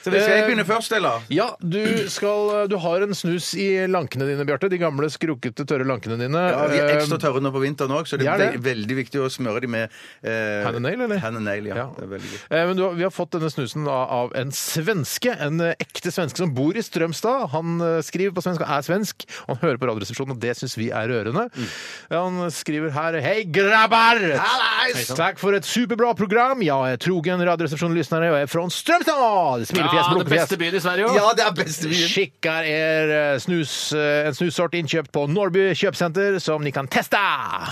Speaker 2: Så vi Eh, skal jeg begynne først, eller?
Speaker 1: Eh, Ja, du, skal, du har en snus i lankene dine, Bjarte. De gamle, skrukkete, tørre lankene dine.
Speaker 2: Ja, de er
Speaker 1: Eh,
Speaker 2: ekstra tørre nå på vinteren òg, så det
Speaker 1: Ja,
Speaker 2: er
Speaker 1: det.
Speaker 2: ve- veldig viktig å smøre dem med eh,
Speaker 1: Hand and nail, eller?
Speaker 2: Hand and nail, ja.
Speaker 1: Ja.
Speaker 2: Det er veldig godt.
Speaker 1: Eh, Men du, har- vi har fått denne snusen da av en svenske, en eh, ekte svenske som bor i Strømstad. Han eh, skriver på svensk og er svensk, og han hører på Radioresepsjonen, og det syns vi er rørende.
Speaker 2: Mm.
Speaker 1: Ja, Han skriver her Hei, grabbar! Takk for et superbra program. Jeg er trogen radioresepsjonlyssnare og er fra Strømstad! Smilefjes,
Speaker 3: den
Speaker 1: blunkefjes.
Speaker 3: beste byen i Sverige
Speaker 2: Ja, det er beste vin!
Speaker 1: Skickar er eh, snus, eh, en snussort innkjøpt på Norrby kjøpesenter, som ni kan teste!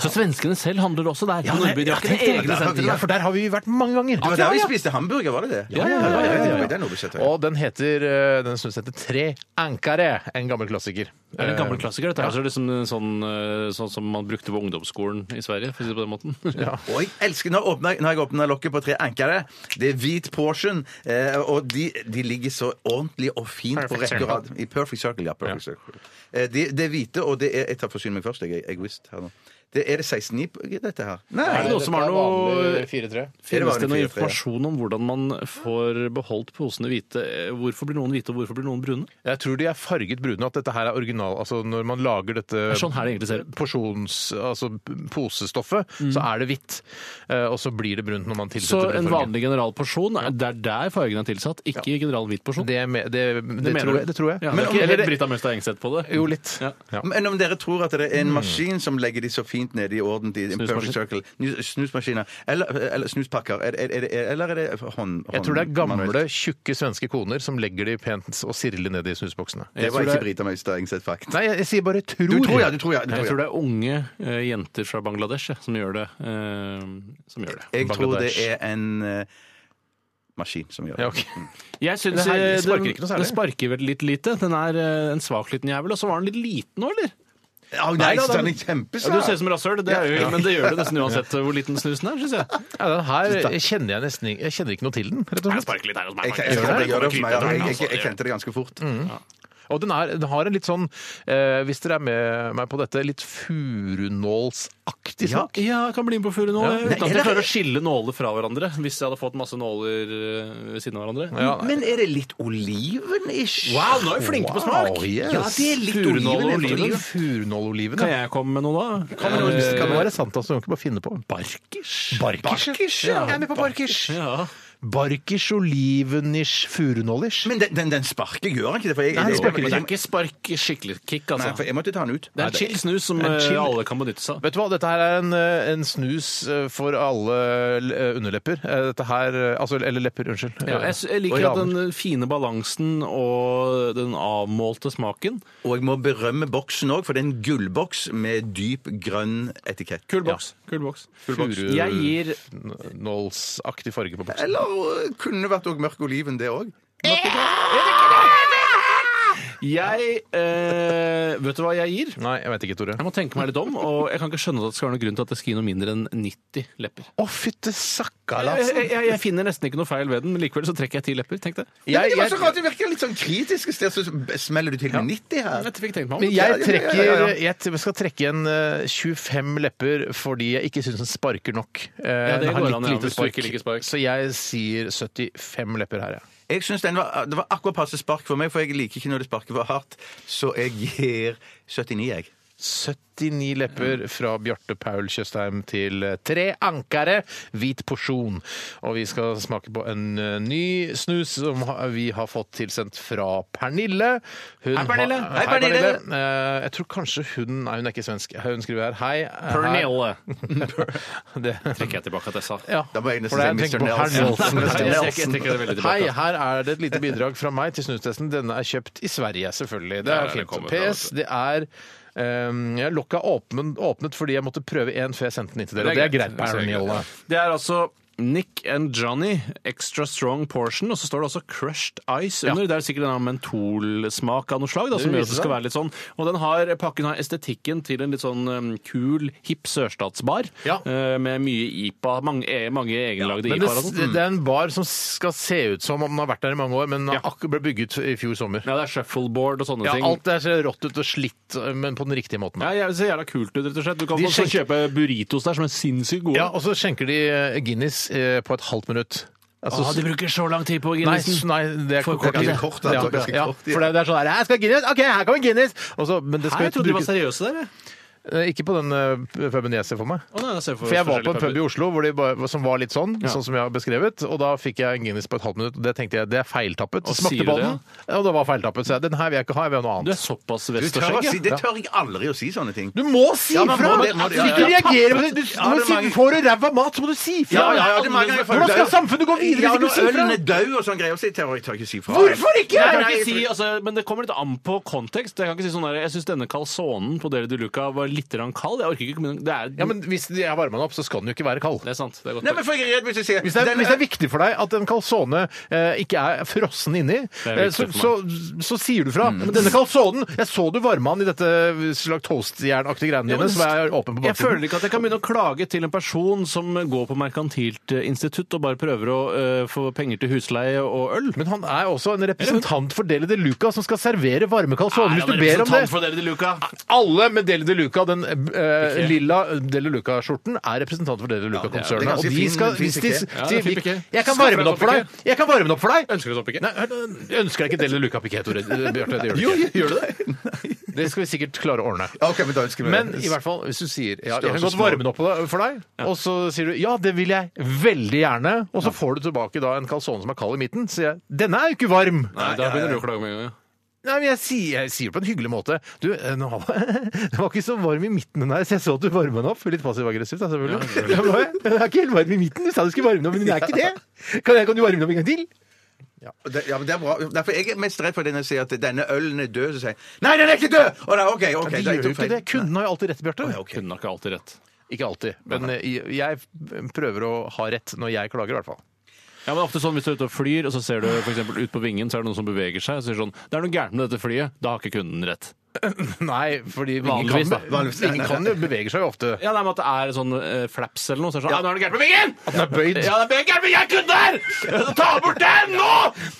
Speaker 3: Så svenskene selv handler også der. Ja, Nordby, de har ikke egne
Speaker 1: Tenk deg,
Speaker 3: sentre.
Speaker 1: For der har vi vært mange ganger.
Speaker 2: Det var der vi spiste hamburger, var det det?
Speaker 3: Ja, ja, ja, ja, ja, ja.
Speaker 2: Det er noe vi setter.
Speaker 1: Og den heter, eh, den snusen heter Tre ankare, en gammel klassiker.
Speaker 3: Det er en
Speaker 1: Eh,
Speaker 3: gammel klassiker. Dette her så er det liksom en sånn, eh, sånn som man brukte på ungdomsskolen i Sverige. for å si det på den måten.
Speaker 2: Og jeg elsker når jeg åpner, når jeg åpner lokket på tre ankere. Det er hvit portion, eh, og de, de ligger så ordentlig og fint på
Speaker 1: Perfect
Speaker 2: rekke og
Speaker 1: circle.
Speaker 2: rad. I perfect circle, ja. Perfect circle. Eh, det, det er hvite, og det er Jeg tar forsyne meg først, jeg er egoist her nå. Det er det 16 i dette her? Nei.
Speaker 3: Er det noe som er noe
Speaker 1: Fire-tre.
Speaker 3: Finnes det
Speaker 2: vanlig
Speaker 3: noe
Speaker 2: fire, tre, ja.
Speaker 3: informasjon om hvordan man får beholdt posene hvite? Eh, Hvorfor blir noen hvite, og hvorfor blir noen brune?
Speaker 1: Jeg tror de er farget brune, at dette her er original. Altså når man lager dette
Speaker 3: er sånn her det egentlig ser ut. Mm.
Speaker 1: porsjons... Altså posestoffet, så er det hvitt. Eh, Og så blir det brunt når man
Speaker 3: Så
Speaker 1: tilsetter
Speaker 3: en
Speaker 1: brun farge.
Speaker 3: vanlig generalporsjon, er- det er der fargen er tilsatt, ikke general hvit porsjon.
Speaker 1: Det, me- det, det,
Speaker 3: mener
Speaker 1: tror
Speaker 3: du?
Speaker 1: jeg, det tror jeg.
Speaker 3: Ja, det er
Speaker 1: Men om-
Speaker 3: ikke
Speaker 1: eller
Speaker 3: helt
Speaker 1: det-
Speaker 3: Brita Møystad Engseth på det.
Speaker 1: jo, litt.
Speaker 3: Ja.
Speaker 1: Ja.
Speaker 2: Men om dere tror at det er en maskin som legger de så fint nede i orden i en
Speaker 3: Snusmaskin.
Speaker 2: perfect circle Nus- Snusmaskiner. Eller, eller snuspakker. Er, er, er, er, eller er det hånd, hånd...
Speaker 1: Jeg tror det er gamle,
Speaker 2: manuelt?
Speaker 1: tjukke svenske koner som legger de pent og sirlig ned i snusboksene.
Speaker 2: Det
Speaker 3: tror
Speaker 2: var
Speaker 3: det-
Speaker 2: ikke Brita Møystad Engseth Fakt.
Speaker 1: Nei, jeg, jeg sier bare tror.
Speaker 2: Du tror ja, du tror ja. Du
Speaker 3: Jeg
Speaker 2: tror
Speaker 3: tror det
Speaker 2: ja.
Speaker 3: er unge eh, jenter fra Bangladesh ja, som gjør det. eh, som gjør det.
Speaker 2: Jeg tror det
Speaker 1: Bangladesh.
Speaker 2: er en eh, maskin som gjør det.
Speaker 1: Ja, ok.
Speaker 3: Jeg synes,
Speaker 1: her
Speaker 3: eh,
Speaker 1: sparker
Speaker 3: den-
Speaker 1: ikke noe
Speaker 3: Den
Speaker 1: særlig.
Speaker 3: sparker vel litt lite. Den er eh, en svak liten jævel. Og så var den litt liten nå, eller?
Speaker 2: Ja, nei,
Speaker 3: da,
Speaker 2: den
Speaker 3: den- Ja,
Speaker 2: er
Speaker 3: du ser
Speaker 2: kjempesvær!
Speaker 3: ut som rasshøl, det er jo, men det gjør du nesten uansett hvor liten snusen er, syns jeg.
Speaker 1: Ja, den her kjenner jeg nesten ikke Jeg kjenner ikke noe til den, rett og slett.
Speaker 3: litt her hos
Speaker 2: altså, Jeg, jeg, jeg, jeg, jeg, jeg, jeg, jeg, jeg kjente det ganske fort.
Speaker 1: Og den, er, den har en litt sånn, eh, hvis dere er med meg på dette, litt furunålsaktig smak.
Speaker 3: Ja, jeg kan bli med på furunål.
Speaker 1: Ja.
Speaker 3: jeg, Uten at jeg klarer å skille nåler fra hverandre. Hvis jeg hadde fått masse nåler eh, ved siden av hverandre.
Speaker 1: Ja, nei.
Speaker 2: Men er det litt oliven-ish?
Speaker 3: Wow, nå er vi flinke på smak!
Speaker 1: Wow, yes.
Speaker 2: Ja, det er litt
Speaker 3: Furunål og
Speaker 2: oliven.
Speaker 3: oliven.
Speaker 2: oliven.
Speaker 1: Furunåloliven,
Speaker 3: Kan
Speaker 1: ja.
Speaker 3: jeg komme med noe, da?
Speaker 1: Kan det være- kan det være sant, altså? Du kan ikke bare finne på Barkers. Barkers, ja. Jeg er med på barkers.
Speaker 3: Ja.
Speaker 1: Barkers, olivenish, furunålish.
Speaker 2: Men den, den, den sparker, gjør han ikke det? For jeg,
Speaker 1: Nei, den
Speaker 2: jeg-
Speaker 1: sparker
Speaker 3: Men det er
Speaker 2: jeg-
Speaker 3: ikke spark skikkelig kick,
Speaker 2: Nei, for
Speaker 3: altså.
Speaker 2: jeg måtte ta den ut.
Speaker 3: Det er en chill snus som
Speaker 1: det er en
Speaker 3: eh,
Speaker 1: chill-
Speaker 3: alle kan benytte seg av.
Speaker 1: Vet du hva, dette her er en, eh, en snus eh, for alle eh, underlepper. Eh, Dette her eh, Altså, eller lepper, unnskyld.
Speaker 3: Ja, jeg, s- jeg
Speaker 1: Og
Speaker 3: liker at
Speaker 1: raner.
Speaker 3: den fine balansen og den avmålte smaken
Speaker 2: Og jeg må berømme boksen òg, for det er en gullboks med dyp grønn etikett.
Speaker 3: Kul boks. Kul boks. Jeg gir
Speaker 1: Furunålsaktig farge på boksen.
Speaker 2: Eller øh, kunne vært òg mørk oliven, det òg.
Speaker 3: Jeg eh, Vet du hva jeg gir?
Speaker 1: Nei, jeg vet ikke, Tore.
Speaker 3: Jeg må tenke meg litt om, og jeg kan ikke skjønne at det skal være noen grunn til at det skal gi noe mindre enn 90 lepper.
Speaker 1: Å, fytte
Speaker 3: Jeg,
Speaker 1: sakkalasen!
Speaker 3: jeg, jeg- jeg finner nesten ikke noe feil ved den, men likevel så trekker jeg ti lepper. Tenk det.
Speaker 2: Ja, men det var så rart, det virker litt sånn kritisk, i sted, så smeller du til med 90 her.
Speaker 3: Dette fikk jeg tenkt meg om.
Speaker 1: Men jeg,
Speaker 2: Ja, ja,
Speaker 1: trekker,
Speaker 2: ja,
Speaker 1: jeg t- skal trekke igjen eh, 25 lepper fordi jeg ikke syns den sparker nok. Eh,
Speaker 3: det
Speaker 1: den har
Speaker 3: går
Speaker 1: litt
Speaker 3: an, ja,
Speaker 1: lite
Speaker 3: hvis du ikke liker spark.
Speaker 1: Så jeg sier 75 lepper her, jeg.
Speaker 2: Jeg synes den var, Det var akkurat passe spark for meg, for jeg liker ikke når det sparker for hardt. Så jeg gir 79, jeg.
Speaker 1: 79 lepper fra Bjarte Paul Tjøstheim til eh, tre ankere, hvit porsjon. Og vi skal smake på en eh, ny snus som ha- vi har fått tilsendt fra Pernille. Hun
Speaker 3: Hei, Pernille.
Speaker 1: har-
Speaker 3: Hei,
Speaker 1: Hei, Pernille.
Speaker 3: Pernille.
Speaker 1: Eh, Jeg tror kanskje hun Nei, hun er ikke svensk. Hun skriver her Hei. eh,
Speaker 3: Pernille.
Speaker 1: her- Det
Speaker 3: Trekker jeg tilbake at jeg sa.
Speaker 1: Ja.
Speaker 2: Da må jeg
Speaker 1: for
Speaker 2: nesten
Speaker 1: det er-
Speaker 2: si
Speaker 1: tenker
Speaker 2: Mr.
Speaker 1: på herr
Speaker 2: Nelson.
Speaker 1: Nelson.
Speaker 3: Jeg
Speaker 2: Mr. Nelson.
Speaker 3: trekker- jeg trekker det veldig tilbake.
Speaker 1: Hei, her er det et lite bidrag fra meg til snustesten. Denne er kjøpt i Sverige, selvfølgelig. Det
Speaker 3: Ja,
Speaker 1: er
Speaker 3: det
Speaker 1: fint.
Speaker 3: kommer fra,
Speaker 1: PS, det er ehm, Jeg lokka åpnet, åpnet fordi jeg måtte prøve en før jeg sendte den inn til dere. og Det er greit. Bernjolle.
Speaker 3: Det er altså Nick and Johnny, extra strong portion, og så står det også crushed ice under. Det er sikkert en annen mentolsmak av noe slag, da, som
Speaker 1: vil
Speaker 3: gjør at
Speaker 1: vise
Speaker 3: det skal
Speaker 1: seg.
Speaker 3: være litt sånn. Og den har, pakken har estetikken til en litt sånn um, kul, hipp sørstatsbar,
Speaker 1: Ja.
Speaker 3: eh, med mye IPA, mange, eh, mange egenlagde
Speaker 1: Men det,
Speaker 3: IPA-er og sånt.
Speaker 1: det det er en bar som skal se ut som om den har vært der i mange år, men den
Speaker 3: Ja.
Speaker 1: akkurat ble bygget i fjor sommer.
Speaker 3: Ja, det er shuffleboard og sånne
Speaker 1: Ja,
Speaker 3: ting.
Speaker 1: alt er så rått ut og slitt, eh, men på den riktige måten.
Speaker 3: Ja, jeg- det ser jævla kult ut, rett og slett. Du kan
Speaker 1: De
Speaker 3: også
Speaker 1: skjenker-
Speaker 3: kjøpe burritos der som er sinnssykt gode.
Speaker 1: Ja, og så skjenker de eh, Guinness eh, på et halvt minutt. Altså,
Speaker 3: Å, de bruker så lang tid på
Speaker 1: Nei,
Speaker 3: Guinnessen.
Speaker 1: s- nei, det er
Speaker 3: For kort,
Speaker 1: kort. det er
Speaker 2: ja.
Speaker 1: kort,
Speaker 2: Det er
Speaker 1: ja.
Speaker 2: ganske
Speaker 1: Ja,
Speaker 2: kort, ja.
Speaker 1: For det er- det er sånn her Jeg skal ha Guinness! OK, her kommer Guinness! Og så, men
Speaker 3: Nei,
Speaker 1: det skal
Speaker 3: jeg
Speaker 1: jo
Speaker 3: trodde de var
Speaker 1: brukes
Speaker 3: seriøse der, jeg.
Speaker 1: Eh, Ikke på den eh, puben jeg ser for meg.
Speaker 3: Å, nei, jeg ser
Speaker 1: For jeg var
Speaker 3: forskjellige
Speaker 1: på en pub i
Speaker 3: puber.
Speaker 1: Oslo hvor de bare, som var litt sånn,
Speaker 3: Ja.
Speaker 1: sånn som jeg har beskrevet, og da fikk jeg en Guinness på et halvt minutt, og det tenkte jeg, det er feiltappet.
Speaker 3: Og
Speaker 1: Så smakte
Speaker 3: sier du
Speaker 1: på den, og det var feiltappet. Så jeg, den her vil jeg ikke ha, jeg vil ha noe
Speaker 3: Du er
Speaker 1: annet.
Speaker 3: såpass
Speaker 2: Du tør å
Speaker 3: vestårskjegg,
Speaker 2: si, det tør jeg aldri å si sånne ting.
Speaker 1: Du må si
Speaker 2: Ja, men
Speaker 1: ifra!
Speaker 2: må det- må det-
Speaker 1: Hvis du
Speaker 2: ja, ja.
Speaker 1: reagerer på det, du,
Speaker 2: Ja, det er
Speaker 1: du,
Speaker 2: mange-
Speaker 1: du får du ræva mat, så må du si ifra!
Speaker 2: Ja, ja, ja, det er mange ganger jeg føler
Speaker 1: Hvordan skal
Speaker 2: det.
Speaker 1: samfunnet gå videre
Speaker 2: Ja,
Speaker 1: hvis du
Speaker 2: når
Speaker 1: ikke sier
Speaker 2: ølen
Speaker 1: ifra?
Speaker 2: er død og sånn greier, så tør jeg tør jeg ikke si fra.
Speaker 1: Hvorfor ikke?
Speaker 3: Jeg kan
Speaker 2: Nei,
Speaker 3: ikke
Speaker 2: nei,
Speaker 3: si, altså, men Det kommer litt an på kontekst. Jeg kan ikke si sånn der, jeg syns denne calzonen på Deli de Luca var litt grann kald. Jeg orker ikke men det er,
Speaker 1: Ja, men hvis jeg varmer den opp, så skal den jo ikke være kald.
Speaker 3: det er sant. Det er godt.
Speaker 2: Nei, men for jeg er redd hvis jeg sier
Speaker 1: Hvis det, er,
Speaker 2: den-
Speaker 1: hvis det er viktig for deg at en calzone eh, ikke er frossen inni,
Speaker 3: er
Speaker 1: eh, så,
Speaker 3: viktig
Speaker 1: så,
Speaker 3: for Mm.
Speaker 1: så sier du fra. Men denne calzonen Jeg så du varma den i dette slags toastjernaktige greiene
Speaker 3: Ja, men
Speaker 1: dine, som er åpen på
Speaker 3: jeg føler
Speaker 1: baksiden.
Speaker 3: ikke at jeg kan begynne å klage til en person som går på merkantilt eh, institutt og bare prøver å eh, få penger til husleie og øl.
Speaker 1: Men han er også en representant for Deli de Luca som skal servere varme calzoner. Hvis
Speaker 3: Er han
Speaker 1: du ber om det
Speaker 3: representant for Deli de Luca?
Speaker 1: Alle med Deli de Luca, den eh, lilla eh, Deli de Luca-skjorten, er representant for Deli de Luca-konsernet.
Speaker 2: det er
Speaker 1: og
Speaker 2: ganske
Speaker 1: de
Speaker 2: fin-
Speaker 1: skal
Speaker 2: fin
Speaker 1: hvis de,
Speaker 2: piké.
Speaker 3: Ja, det er
Speaker 1: de,
Speaker 3: fin piké.
Speaker 1: Jeg kan
Speaker 3: Skal
Speaker 1: varme den opp for
Speaker 3: jeg
Speaker 1: deg! Jeg kan varme den opp for deg!
Speaker 3: Ønsker du sånn pikke?
Speaker 1: Nei, jeg ønsker jeg ikke Deli de Luca-piké, Tore. Eh, Bjarte, det gjør du ikke.
Speaker 2: Gjør du det?
Speaker 1: Det skal vi sikkert klare å ordne.
Speaker 2: Ok, men da ønsker vi
Speaker 1: Men
Speaker 2: det.
Speaker 1: i hvert fall, hvis du sier ja, Jeg
Speaker 2: Størrelse
Speaker 1: kan godt
Speaker 2: små.
Speaker 1: varme den opp på deg- for deg, og så sier du ja, det vil jeg veldig gjerne, og så får du tilbake da en calzone som er kald i midten, sier jeg denne er jo ikke varm. Nei,
Speaker 3: Nei, da begynner du å klage med en gang. ja.
Speaker 1: men jeg sier, jeg sier det på en hyggelig måte. Du, eh, nå var- den var ikke så varm i midten den her, så jeg så at du varma den opp. Litt passiv-aggressivt, da, selvfølgelig. Jeg bare, Den er ikke helt varm i midten, du sa du skulle varme den opp, men den er ikke det. Kan, jeg, kan du varme den opp en gang til?
Speaker 2: Det, ja, men det er bra. Derfor jeg er mest redd for det når jeg sier at denne ølen er død, så sier jeg Nei, den er ikke død! Og da,
Speaker 1: De
Speaker 2: OK, OK. da, jeg
Speaker 1: gjør
Speaker 2: tok
Speaker 1: jo ikke
Speaker 2: feil.
Speaker 1: det. Kunden har jo alltid rett, Bjarte.
Speaker 3: Hun har ikke alltid rett.
Speaker 1: Ikke alltid, men eh, jeg prøver å ha rett når jeg klager, i hvert fall.
Speaker 3: Ja, men ofte sånn Hvis du er ute og flyr, og så ser du for eksempel ut på vingen, så er det noen som beveger seg, og så sier sånn 'Det er noe gærent med dette flyet.' Da har ikke kunden rett.
Speaker 1: Nei, fordi vinger
Speaker 3: Vanligvis, da.
Speaker 1: kan, vanligvis, vinger kan jo beveger seg jo ofte.
Speaker 3: Ja, nei, men at det er sånn eh, flaps eller noe. Så er det sånn, ja, nå er det gærent med
Speaker 1: At
Speaker 3: vingen!
Speaker 1: den er bøyd.
Speaker 3: Ja, det er gærent med jeg kunne der! Ta bort den nå!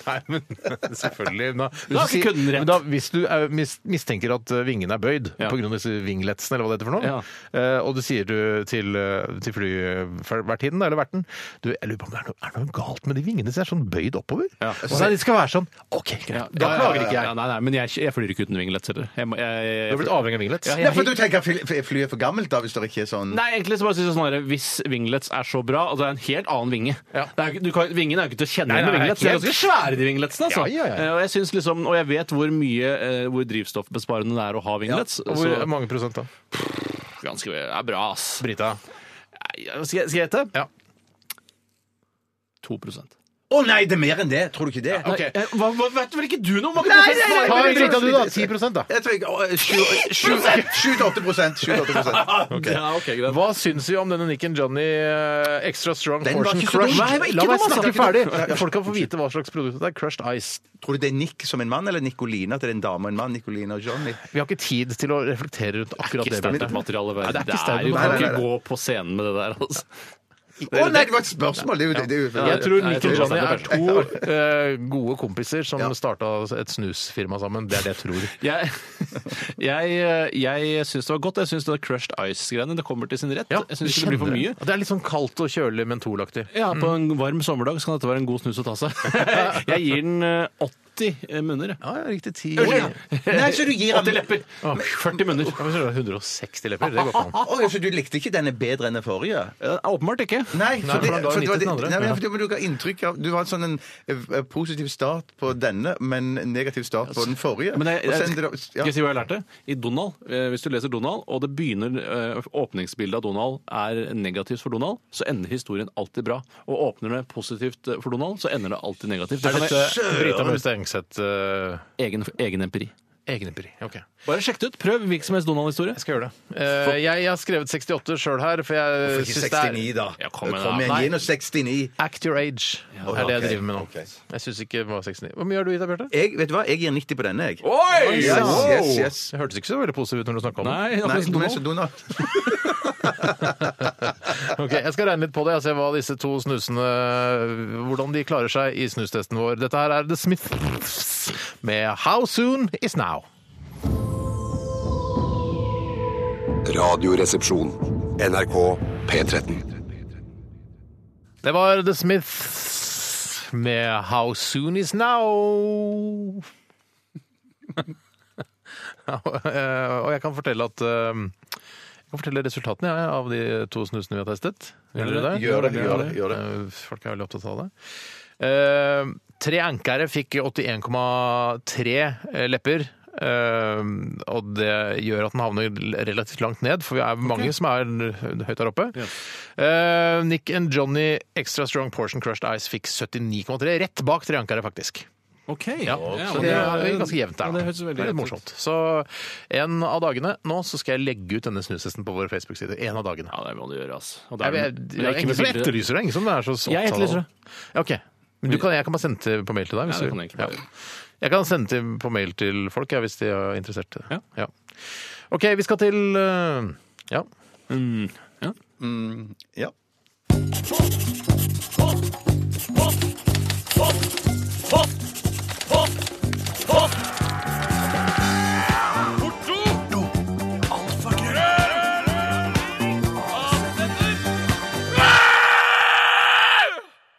Speaker 1: Nei, men selvfølgelig. Da, hvis,
Speaker 3: Da er
Speaker 1: du
Speaker 3: ikke
Speaker 1: sier-
Speaker 3: kunden rett.
Speaker 1: men da, hvis du er, mis, mistenker at eh, vingene er bøyd
Speaker 3: Ja.
Speaker 1: pga. disse vingletsene, eller hva det heter for noe,
Speaker 3: Ja.
Speaker 1: eh, og du sier du til, eh, til flyvertinnen eller verten du, jeg lurer på om det er noe, er det noe galt med de vingene som er sånn bøyd oppover?
Speaker 3: Ja.
Speaker 1: Og så er det- de skal være sånn. OK, greit. da klager ikke jeg.
Speaker 3: Ja, nei, nei, men jeg, jeg flyr ikke uten vinglets heller. Jeg, må- jeg, jeg,
Speaker 1: Du har blitt avhengig av vinglets.
Speaker 3: Ja,
Speaker 2: Ja, for du tenker at fly- flyet er for gammelt da, hvis det ikke er sånn
Speaker 3: Nei, egentlig så bare synes jeg sånn her, Hvis vinglets er så bra altså Det er en helt annen vinge.
Speaker 1: Ja.
Speaker 3: Det er, jo ikke- du kan, vingen er jo ikke til å kjenne
Speaker 1: Nei,
Speaker 3: igjen med
Speaker 1: nei,
Speaker 3: vinglets. De er
Speaker 1: helt-
Speaker 3: ganske svære, de vingletsene. Altså.
Speaker 1: Ja, ja, ja.
Speaker 3: Eh, Og jeg synes liksom, og jeg vet hvor mye eh, hvor drivstoffbesparende det er å ha vinglets. altså,
Speaker 1: Og Hvor
Speaker 3: så
Speaker 1: mange prosent, da?
Speaker 3: ganske det er bra, ass.
Speaker 1: Brita?
Speaker 3: Nei, Skal jeg, skal jeg gjette?
Speaker 1: Ja.
Speaker 3: 2
Speaker 2: Å nei, det er mer enn det! Tror du ikke det?
Speaker 3: Nei, eh, hva, hva, vet vel ikke du noe om?
Speaker 2: Nei, nei, nei,
Speaker 1: Ta
Speaker 2: men det er
Speaker 1: Brita,
Speaker 2: sånn-
Speaker 1: du, da. 10 da.
Speaker 2: Jeg tror ikke å, eh, sju- sju- 7-8 prosent. 7-8 prosent.
Speaker 3: Ja, ok, greit.
Speaker 1: Hva syns vi om denne Nick and Johnny eh, Extra Strong
Speaker 2: Den var
Speaker 1: Portion
Speaker 2: ikke så
Speaker 1: Crush?
Speaker 2: dum. Nei, den var ikke
Speaker 1: La meg
Speaker 2: dum, altså.
Speaker 1: snakke
Speaker 2: Den var
Speaker 1: ferdig!
Speaker 2: ikke dum. Ja, ja.
Speaker 1: Folk kan få vite hva slags produkt det er. Crushed Ice.
Speaker 2: Tror du det er Nick som en mann, eller Nicolina at det er en dame og en mann? Nicolina og Johnny.
Speaker 1: Vi har ikke tid til å reflektere rundt akkurat det. Bjarte.
Speaker 3: Standardmateriale,
Speaker 1: Nei, det er ikke
Speaker 3: Du kan
Speaker 1: standardmateriale.
Speaker 2: Nei, nei,
Speaker 3: ikke
Speaker 2: nei.
Speaker 3: gå på scenen med det der, altså.
Speaker 2: Å nei, det var et spørsmål! Det er jo det. det er jo-
Speaker 1: Jeg tror
Speaker 3: Nei, jeg
Speaker 1: Nick
Speaker 3: tror det var
Speaker 1: og Johnny er
Speaker 3: standard
Speaker 1: to eh, gode kompiser som
Speaker 2: Ja.
Speaker 1: starta et snusfirma sammen. Det er det jeg tror.
Speaker 3: Jeg, jeg, eh, jeg syns det var godt. Jeg syns det crushed ice-greiene det kommer til sin rett. jeg syns ikke det blir for mye.
Speaker 1: Det er litt sånn kaldt og kjølig mentolaktig.
Speaker 3: Ja, På en varm sommerdag så kan dette være en god snus å ta seg. Jeg gir den eh, 80 munner. jeg.
Speaker 1: Ja, ja, riktig ti
Speaker 2: Nei, så du gir ham
Speaker 3: 80 lepper. 40 munner.
Speaker 1: 160 lepper, det går ikke an.
Speaker 2: Å, ja, så du likte ikke denne bedre enn den forrige?
Speaker 3: Eh, Åpenbart ikke.
Speaker 1: Nei,
Speaker 2: Nei, for det,
Speaker 1: for han ga
Speaker 2: for det,
Speaker 1: litt
Speaker 2: var
Speaker 1: til den andre.
Speaker 2: det- nei,
Speaker 1: Ja.
Speaker 2: men for du ga inntrykk av Du har en sånn en, eh, positiv start på denne, men negativ start på den forrige.
Speaker 3: Men jeg,
Speaker 2: Og
Speaker 3: jeg,
Speaker 2: sen- ja.
Speaker 3: skal jeg si hva jeg lærte? I Donald, eh, Hvis du leser Donald, og det begynner eh, åpningsbildet av Donald er negativt for Donald, så ender historien alltid bra. Og åpner det positivt eh, for Donald, så ender det alltid negativt. Det
Speaker 1: Er
Speaker 3: er
Speaker 1: dette Brita Møste Engseth uh,
Speaker 3: egen, egen empiri.
Speaker 1: egenempiri? Ok.
Speaker 3: Bare sjekk det ut. Prøv hvilken som helst Donald-historie.
Speaker 1: Jeg skal gjøre det. Eh, jeg, jeg har skrevet 68 sjøl her, for jeg
Speaker 2: Ikke
Speaker 1: syns det er
Speaker 2: 69, Eh, da. Eh,
Speaker 3: Ja, kom igjen, da.
Speaker 2: igjen,
Speaker 3: Nei.
Speaker 2: gi nå 69.
Speaker 1: Act your age er det jeg driver med nå. Jeg syns ikke det var 69. Hvor mye har du gitt deg, Bjarte?
Speaker 2: Jeg, vet du hva, jeg gir 90 på denne, jeg.
Speaker 3: Oi!
Speaker 2: Yes, yes, yes.
Speaker 1: Det hørtes ikke så veldig positivt ut når du snakka om det.
Speaker 3: Nei,
Speaker 2: Nei,
Speaker 3: akkurat som
Speaker 2: men så
Speaker 3: Donald.
Speaker 2: Donald.
Speaker 1: Ok, Jeg skal regne litt på det og se hva disse to snusene Hvordan de klarer seg i snustesten vår. Dette her er The Smiths med How Soon Is Now.
Speaker 4: Radioresepsjon. NRK P13.
Speaker 1: Det var The Smiths med How Soon Is Now. Ja, eh, og jeg kan fortelle at eh, jeg kan fortelle resultatene jeg, av de to snusene vi har testet. Gjør dere det?
Speaker 2: Gjør det, gjør det, gjør det.
Speaker 1: Eh, Folk er veldig opptatt av det. Eh, tre ankere fikk 81,3 lepper. eh, og det gjør at den havner relativt langt ned, for vi er mange som er høyt der oppe. Eh, Nick and Johnny Extra Strong Portion Crushed Ice fikk 79,3, rett bak tre ankere, faktisk.
Speaker 3: Ok.
Speaker 1: Ja, så det er jo ganske jevnt der.
Speaker 3: Ja,
Speaker 1: da.
Speaker 3: det høres veldig
Speaker 1: er litt
Speaker 3: jevnt ut.
Speaker 1: morsomt. Så en av dagene nå så skal jeg legge ut denne snustesten på vår Facebook-side. En av dagene.
Speaker 3: Ja, det må du gjøre, altså. Og det
Speaker 1: Jeg,
Speaker 3: er-
Speaker 1: jeg,
Speaker 3: men det
Speaker 1: jeg,
Speaker 3: er ikke
Speaker 1: ingen
Speaker 3: med
Speaker 1: som
Speaker 3: bilder.
Speaker 1: etterlyser det. Ingen som er så opptatt
Speaker 3: Jeg
Speaker 1: av
Speaker 3: etterlyser det.
Speaker 1: Ja, ok. Men du kan, jeg kan bare sende til på mail til deg.
Speaker 3: Ja,
Speaker 1: Hvis
Speaker 3: det
Speaker 1: du-
Speaker 3: kan jeg egentlig bare gjøre.
Speaker 1: Jeg kan sende til, på mail til folk ja, hvis de er interessert.
Speaker 3: Ja.
Speaker 1: OK, vi skal til øh, ja.
Speaker 2: Ja.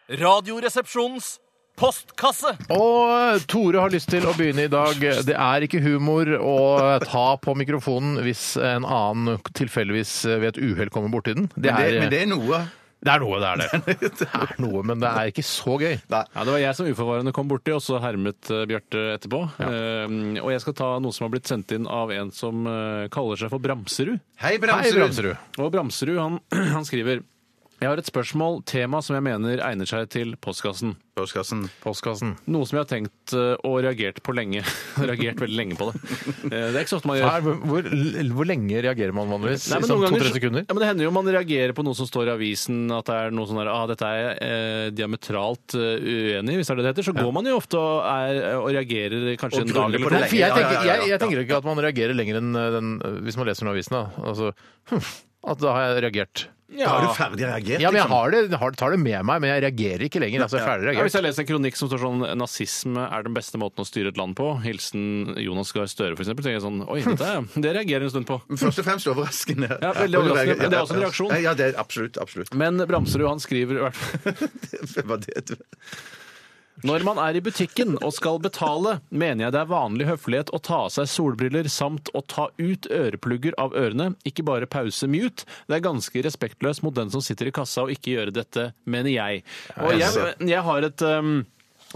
Speaker 7: Radioresepsjonens postkasse.
Speaker 1: Og Tore har lyst til å begynne i dag. Det er ikke humor å ta på mikrofonen hvis en annen tilfeldigvis ved et uhell kommer borti den. Det
Speaker 2: Men, det,
Speaker 1: er,
Speaker 2: men det er noe.
Speaker 1: det er noe, det er det. Det er noe, men det er ikke så gøy.
Speaker 3: Ja, Det var jeg som uforvarende kom borti, og så hermet eh, Bjarte etterpå. Eh, og jeg skal ta noe som har blitt sendt inn av en som eh, kaller seg for Bramserud.
Speaker 2: Hei,
Speaker 1: Hei,
Speaker 2: Bramserud.
Speaker 1: Bramserud.
Speaker 3: Og Bramserud han, han skriver Jeg har et spørsmål, tema, som jeg mener egner seg til postkassen.
Speaker 2: Postkassen.
Speaker 1: Postkassen.
Speaker 3: Noe som jeg har tenkt eh, og reagert på lenge. reagert veldig lenge på det. Eh, Det er ikke så ofte man
Speaker 1: Her,
Speaker 3: gjør.
Speaker 1: hvor, hvor lenge reagerer man vanligvis?
Speaker 3: Nei, men
Speaker 1: sånn
Speaker 3: noen ganger
Speaker 1: to-tre
Speaker 3: så-
Speaker 1: sekunder?
Speaker 3: Ja, men det hender jo man reagerer på noe som står i avisen, at det er noe sånn der, ah, dette er jeg eh, diametralt eh, uenig i, hvis det er det det heter. Så går man jo ofte og, er, eh, og reagerer kanskje
Speaker 2: Og
Speaker 3: en
Speaker 2: gruller
Speaker 3: dag
Speaker 2: på
Speaker 3: eller
Speaker 2: det
Speaker 3: to.
Speaker 1: Nei, for jeg
Speaker 2: lenge. Ja, ja,
Speaker 1: tenker,
Speaker 2: ja, ja.
Speaker 1: jeg, jeg tenker ikke at man reagerer lenger enn eh, den eh, hvis man leser den avisen. Da. Altså, hm, at da har jeg reagert.
Speaker 2: Da har du ferdig reagert,
Speaker 1: Ja, men jeg
Speaker 2: liksom.
Speaker 1: har det, har, tar det med meg, men jeg reagerer ikke lenger. Altså, jeg er ferdig
Speaker 3: Ja, hvis
Speaker 1: reagert.
Speaker 3: jeg leser en kronikk som står sånn 'Nazisme er den beste måten å styre et land på', hilsen Jonas Gahr Støre, for eksempel, tenker jeg sånn Oi, dette er, det reagerer jeg en stund på.
Speaker 2: Men Først og fremst overraskende.
Speaker 3: Ja, veldig overraskende, men det er også en reaksjon.
Speaker 2: Ja, det er absolutt. Absolutt.
Speaker 3: Men Bramserud han skriver i hvert fall
Speaker 2: Hva er det? du-
Speaker 3: Når man er i butikken og skal betale, mener jeg det er vanlig høflighet å ta av seg solbriller samt å ta ut øreplugger av ørene, ikke bare pause mute. Det er ganske respektløst mot den som sitter i kassa og ikke gjør dette, mener jeg. Og jeg, jeg har et um,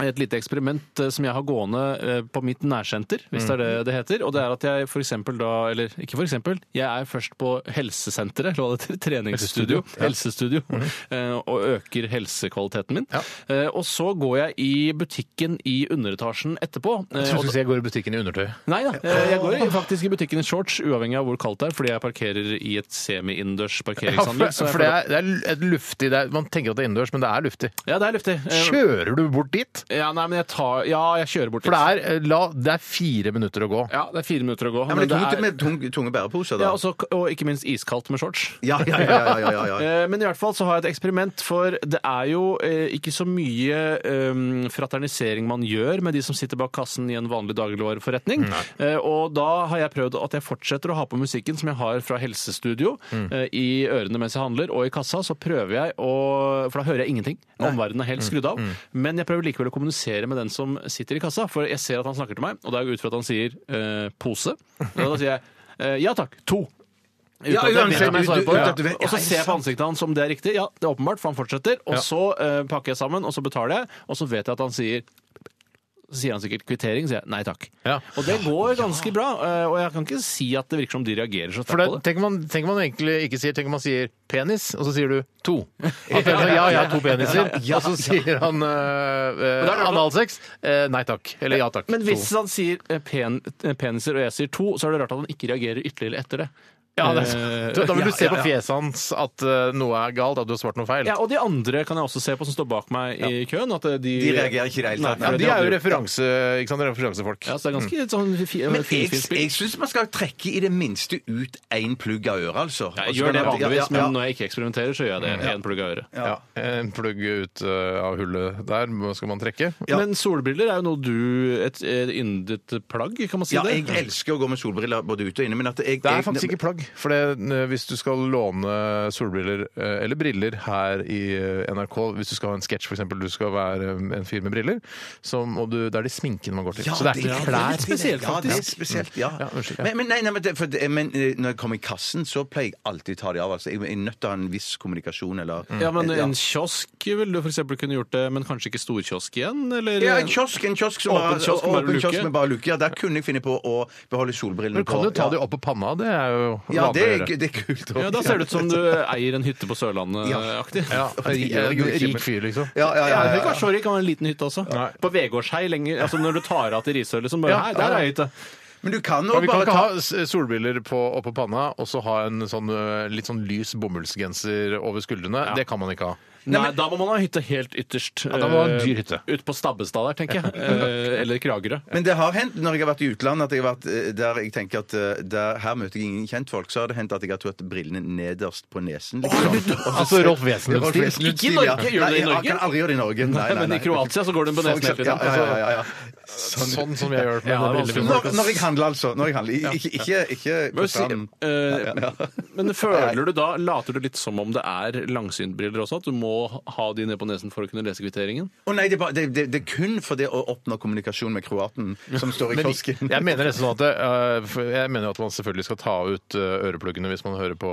Speaker 3: et lite eksperiment eh, som jeg har gående eh, på mitt nærsenter, hvis det er det
Speaker 1: Mm.
Speaker 3: det heter. Og det er at jeg for eksempel da, eller ikke for eksempel, jeg er først på helsesenteret, eller hva det heter, treningsstudio, helsestudio,
Speaker 1: Mm.
Speaker 3: eh, og øker helsekvaliteten min. Eh, Og så går jeg i butikken i underetasjen etterpå.
Speaker 1: Jeg
Speaker 3: eh,
Speaker 1: tror
Speaker 3: og da-
Speaker 1: du skulle si jeg går i butikken i undertøy.
Speaker 3: Nei da, eh, jeg går i- faktisk i butikken i shorts, uavhengig av hvor kaldt det er, fordi jeg parkerer i et semi-innendørs
Speaker 1: Ja, for,
Speaker 3: parkeringsanlegg. så jeg
Speaker 1: for det,
Speaker 3: føler-
Speaker 1: er, det er et luftig det er, Man tenker at det er innendørs, men det er luftig.
Speaker 3: Ja, det er luftig. Eh,
Speaker 1: Kjører du bort dit?
Speaker 3: Ja, nei, men jeg tar Ja, jeg kjører bort
Speaker 1: For det
Speaker 3: dit.
Speaker 1: er, eh, la, det er fire minutter å gå.
Speaker 3: Ja, det er fire minutter å gå.
Speaker 2: Ja, men det er tungt med tung, tunge bæreposer, da.
Speaker 3: Ja, altså- og, så, og ikke minst iskaldt med shorts.
Speaker 2: Ja, ja, ja, ja, ja, ja, ja.
Speaker 3: Eh, Men i hvert fall så har jeg et eksperiment, for det er jo eh, ikke så mye eh, fraternisering man gjør med de som sitter bak kassen i en vanlig dagligvareforretning. Eh, Og da har jeg prøvd at jeg fortsetter å ha på musikken som jeg har fra helsestudio eh, i ørene mens jeg handler, og i kassa så prøver jeg å For da hører jeg ingenting. Omverdenen er helt skrudd av. Men jeg prøver likevel å kommunisere med den som sitter i kassa, for jeg ser at han snakker til meg, og da går jeg ut fra at han sier eh, 'pose'. Og da sier jeg eh, 'ja takk, to'. Uten
Speaker 2: Ja,
Speaker 3: at jeg vet
Speaker 2: uansett,
Speaker 3: om jeg
Speaker 2: du-
Speaker 3: svarer
Speaker 2: du-
Speaker 3: på
Speaker 2: uten
Speaker 3: det.
Speaker 2: at du vet-
Speaker 3: Og så
Speaker 2: Ja,
Speaker 3: ser jeg på ansiktet hans om det er riktig. Ja, det er åpenbart, for han fortsetter. Og så eh, pakker jeg sammen, og så betaler jeg, og så vet jeg at han sier så sier han sikkert kvittering, sier jeg nei takk.
Speaker 1: Ja.
Speaker 3: Og det går ganske bra. eh, Og jeg kan ikke si at det virker som de reagerer så
Speaker 1: For
Speaker 3: sterkt
Speaker 1: det,
Speaker 3: på det.
Speaker 1: tenker, man, tenker man egentlig ikke sier Tenker man sier 'penis', og så sier du 'to'. At ja, ja, jeg har to peniser. Og så sier han
Speaker 3: Men
Speaker 1: eh, eh,
Speaker 3: det er rart at-
Speaker 1: analsex. Eh, nei takk. Eller ja takk.
Speaker 3: Men
Speaker 1: To.
Speaker 3: hvis han sier eh, pen, eh, peniser, og jeg sier to, så er det rart at han ikke reagerer ytterligere etter det.
Speaker 1: Ja, det er sant. Da vil
Speaker 3: Eh, Ja,
Speaker 1: du se
Speaker 3: ja,
Speaker 1: på
Speaker 3: ja.
Speaker 1: fjeset hans at eh, noe er galt, at du har svart noe feil.
Speaker 3: Ja, Og de andre kan jeg også se på som står bak meg i køen. At eh, de,
Speaker 2: De reagerer ikke i det hele tatt.
Speaker 3: Nei, for
Speaker 1: de er jo
Speaker 3: hadde-
Speaker 1: referanse, ikke sant? referansefolk.
Speaker 3: Ja, så det er ganske sånn fi-
Speaker 2: Men jeg,
Speaker 3: finfint spill.
Speaker 2: jeg syns man skal trekke i det minste ut én plugg av øret, altså.
Speaker 3: Ja, jeg
Speaker 2: Og så
Speaker 3: gjør
Speaker 2: kan
Speaker 3: det
Speaker 2: man-
Speaker 3: vanligvis,
Speaker 2: ja, ja.
Speaker 3: men når jeg ikke eksperimenterer, så gjør jeg det. En plugg av øret.
Speaker 1: Ja. En plugg ut eh, av hullet der skal man trekke.
Speaker 2: Ja.
Speaker 3: Men solbriller er jo noe du Et, et yndet plagg, kan man si
Speaker 2: Ja,
Speaker 3: det?
Speaker 2: jeg elsker å gå med solbriller både ute og inne, men at jeg
Speaker 1: Det er
Speaker 2: jeg-
Speaker 1: faktisk ikke plagg. For det, eh, hvis du skal låne solbriller eh, eller briller her i eh, NRK, hvis du skal ha en sketsj f.eks., du skal være eh, en fyr med briller, så må du, det er det sminken man går til.
Speaker 2: Ja,
Speaker 1: så det er ikke
Speaker 2: det er
Speaker 1: klær.
Speaker 2: litt
Speaker 3: spesielt,
Speaker 2: Ja, det er
Speaker 3: faktisk.
Speaker 2: spesielt, ja.
Speaker 1: Ja, unnskyld, ja.
Speaker 2: Men, men, nei, nei, men, det, for det, men eh, når jeg kommer i kassen, så pleier jeg alltid å ta de av. Altså. Jeg jeg er nødt til å ha en viss kommunikasjon, eller
Speaker 3: Mm.
Speaker 2: Eh,
Speaker 3: Ja, men En kiosk ville du for eksempel kunne gjort det, men kanskje ikke storkiosk igjen? Eller?
Speaker 2: Ja, en kiosk, en kiosk som
Speaker 3: Åpen
Speaker 2: bare-
Speaker 3: kiosk med bare
Speaker 2: åpen
Speaker 3: luke.
Speaker 2: kiosk med bare luke. Ja, der kunne jeg finne på å beholde solbrillene
Speaker 1: Men du kan
Speaker 2: på.
Speaker 1: jo ta
Speaker 2: ja.
Speaker 1: de opp på panna. Det er jo
Speaker 2: Ja,
Speaker 1: vanlig
Speaker 2: det
Speaker 1: å
Speaker 2: er,
Speaker 1: gjøre.
Speaker 2: det er kult. også.
Speaker 3: Ja, Da ser det ut som du eier en hytte på
Speaker 2: Ja.
Speaker 3: Sørlandet-aktig.
Speaker 1: Ja, eh,
Speaker 2: det gjør jeg jo ikke, men-
Speaker 1: rik fyr, liksom.
Speaker 2: Ja, ja,
Speaker 3: Ja,
Speaker 2: ja, ja,
Speaker 3: det
Speaker 2: ja.
Speaker 3: kan være en liten hytte også.
Speaker 1: Nei.
Speaker 3: På Vegårshei lenger. Altså når du tar av til Risør, liksom. Bare,
Speaker 1: Ja,
Speaker 3: her, der
Speaker 1: ja.
Speaker 3: er hytte.
Speaker 2: Men du kan
Speaker 1: Men
Speaker 2: jo
Speaker 1: vi kan
Speaker 2: bare
Speaker 1: ikke
Speaker 2: ta
Speaker 1: ha s- solbriller på, oppå panna og så ha en sånn, eh, litt sånn lys bomullsgenser over skuldrene. Det kan man ikke ha.
Speaker 3: Nei, da må man ha hytte helt ytterst.
Speaker 1: Ja, da må man ha en dyr hytte.
Speaker 3: Ute på Stabbestad der, tenker jeg. Eh, Eller Kragerø.
Speaker 2: men det har hendt når jeg har vært i utlandet, at jeg har vært eh, der jeg tenker at eh, der, her møter jeg ingen kjentfolk, så har det hendt at jeg har tatt brillene nederst på nesen. Liksom.
Speaker 1: Altså Rolf Wesenlund-stil.
Speaker 3: Ikke i Norge. Gjør du det i Norge?
Speaker 2: Jeg kan aldri gjøre det i Norge. Nei, nei,
Speaker 3: Men
Speaker 2: nei.
Speaker 3: i Kroatia så går den på nesen hele
Speaker 2: Ja,
Speaker 3: tiden.
Speaker 2: ja, ja, ja, ja.
Speaker 1: Sånn, sånn som jeg gjør med
Speaker 3: Ja,
Speaker 1: brillene
Speaker 3: det er
Speaker 1: mine.
Speaker 2: Når, når jeg handler, altså. Når jeg handler. I- Ikke, ikke, ikke på
Speaker 3: Men, si-
Speaker 2: stranden.
Speaker 3: eh, men føler du da Later du litt som om det er langsyntbriller også? At du må må ha de ned på nesen for å kunne lese kvitteringen?
Speaker 2: Å nei, det er, bare, det, det, det er kun for det å oppnå kommunikasjon med kroaten som står i
Speaker 1: Men
Speaker 2: kiosken.
Speaker 1: jeg mener nesten at det, øh, for jeg mener at man selvfølgelig skal ta ut øh, ørepluggene hvis man hører på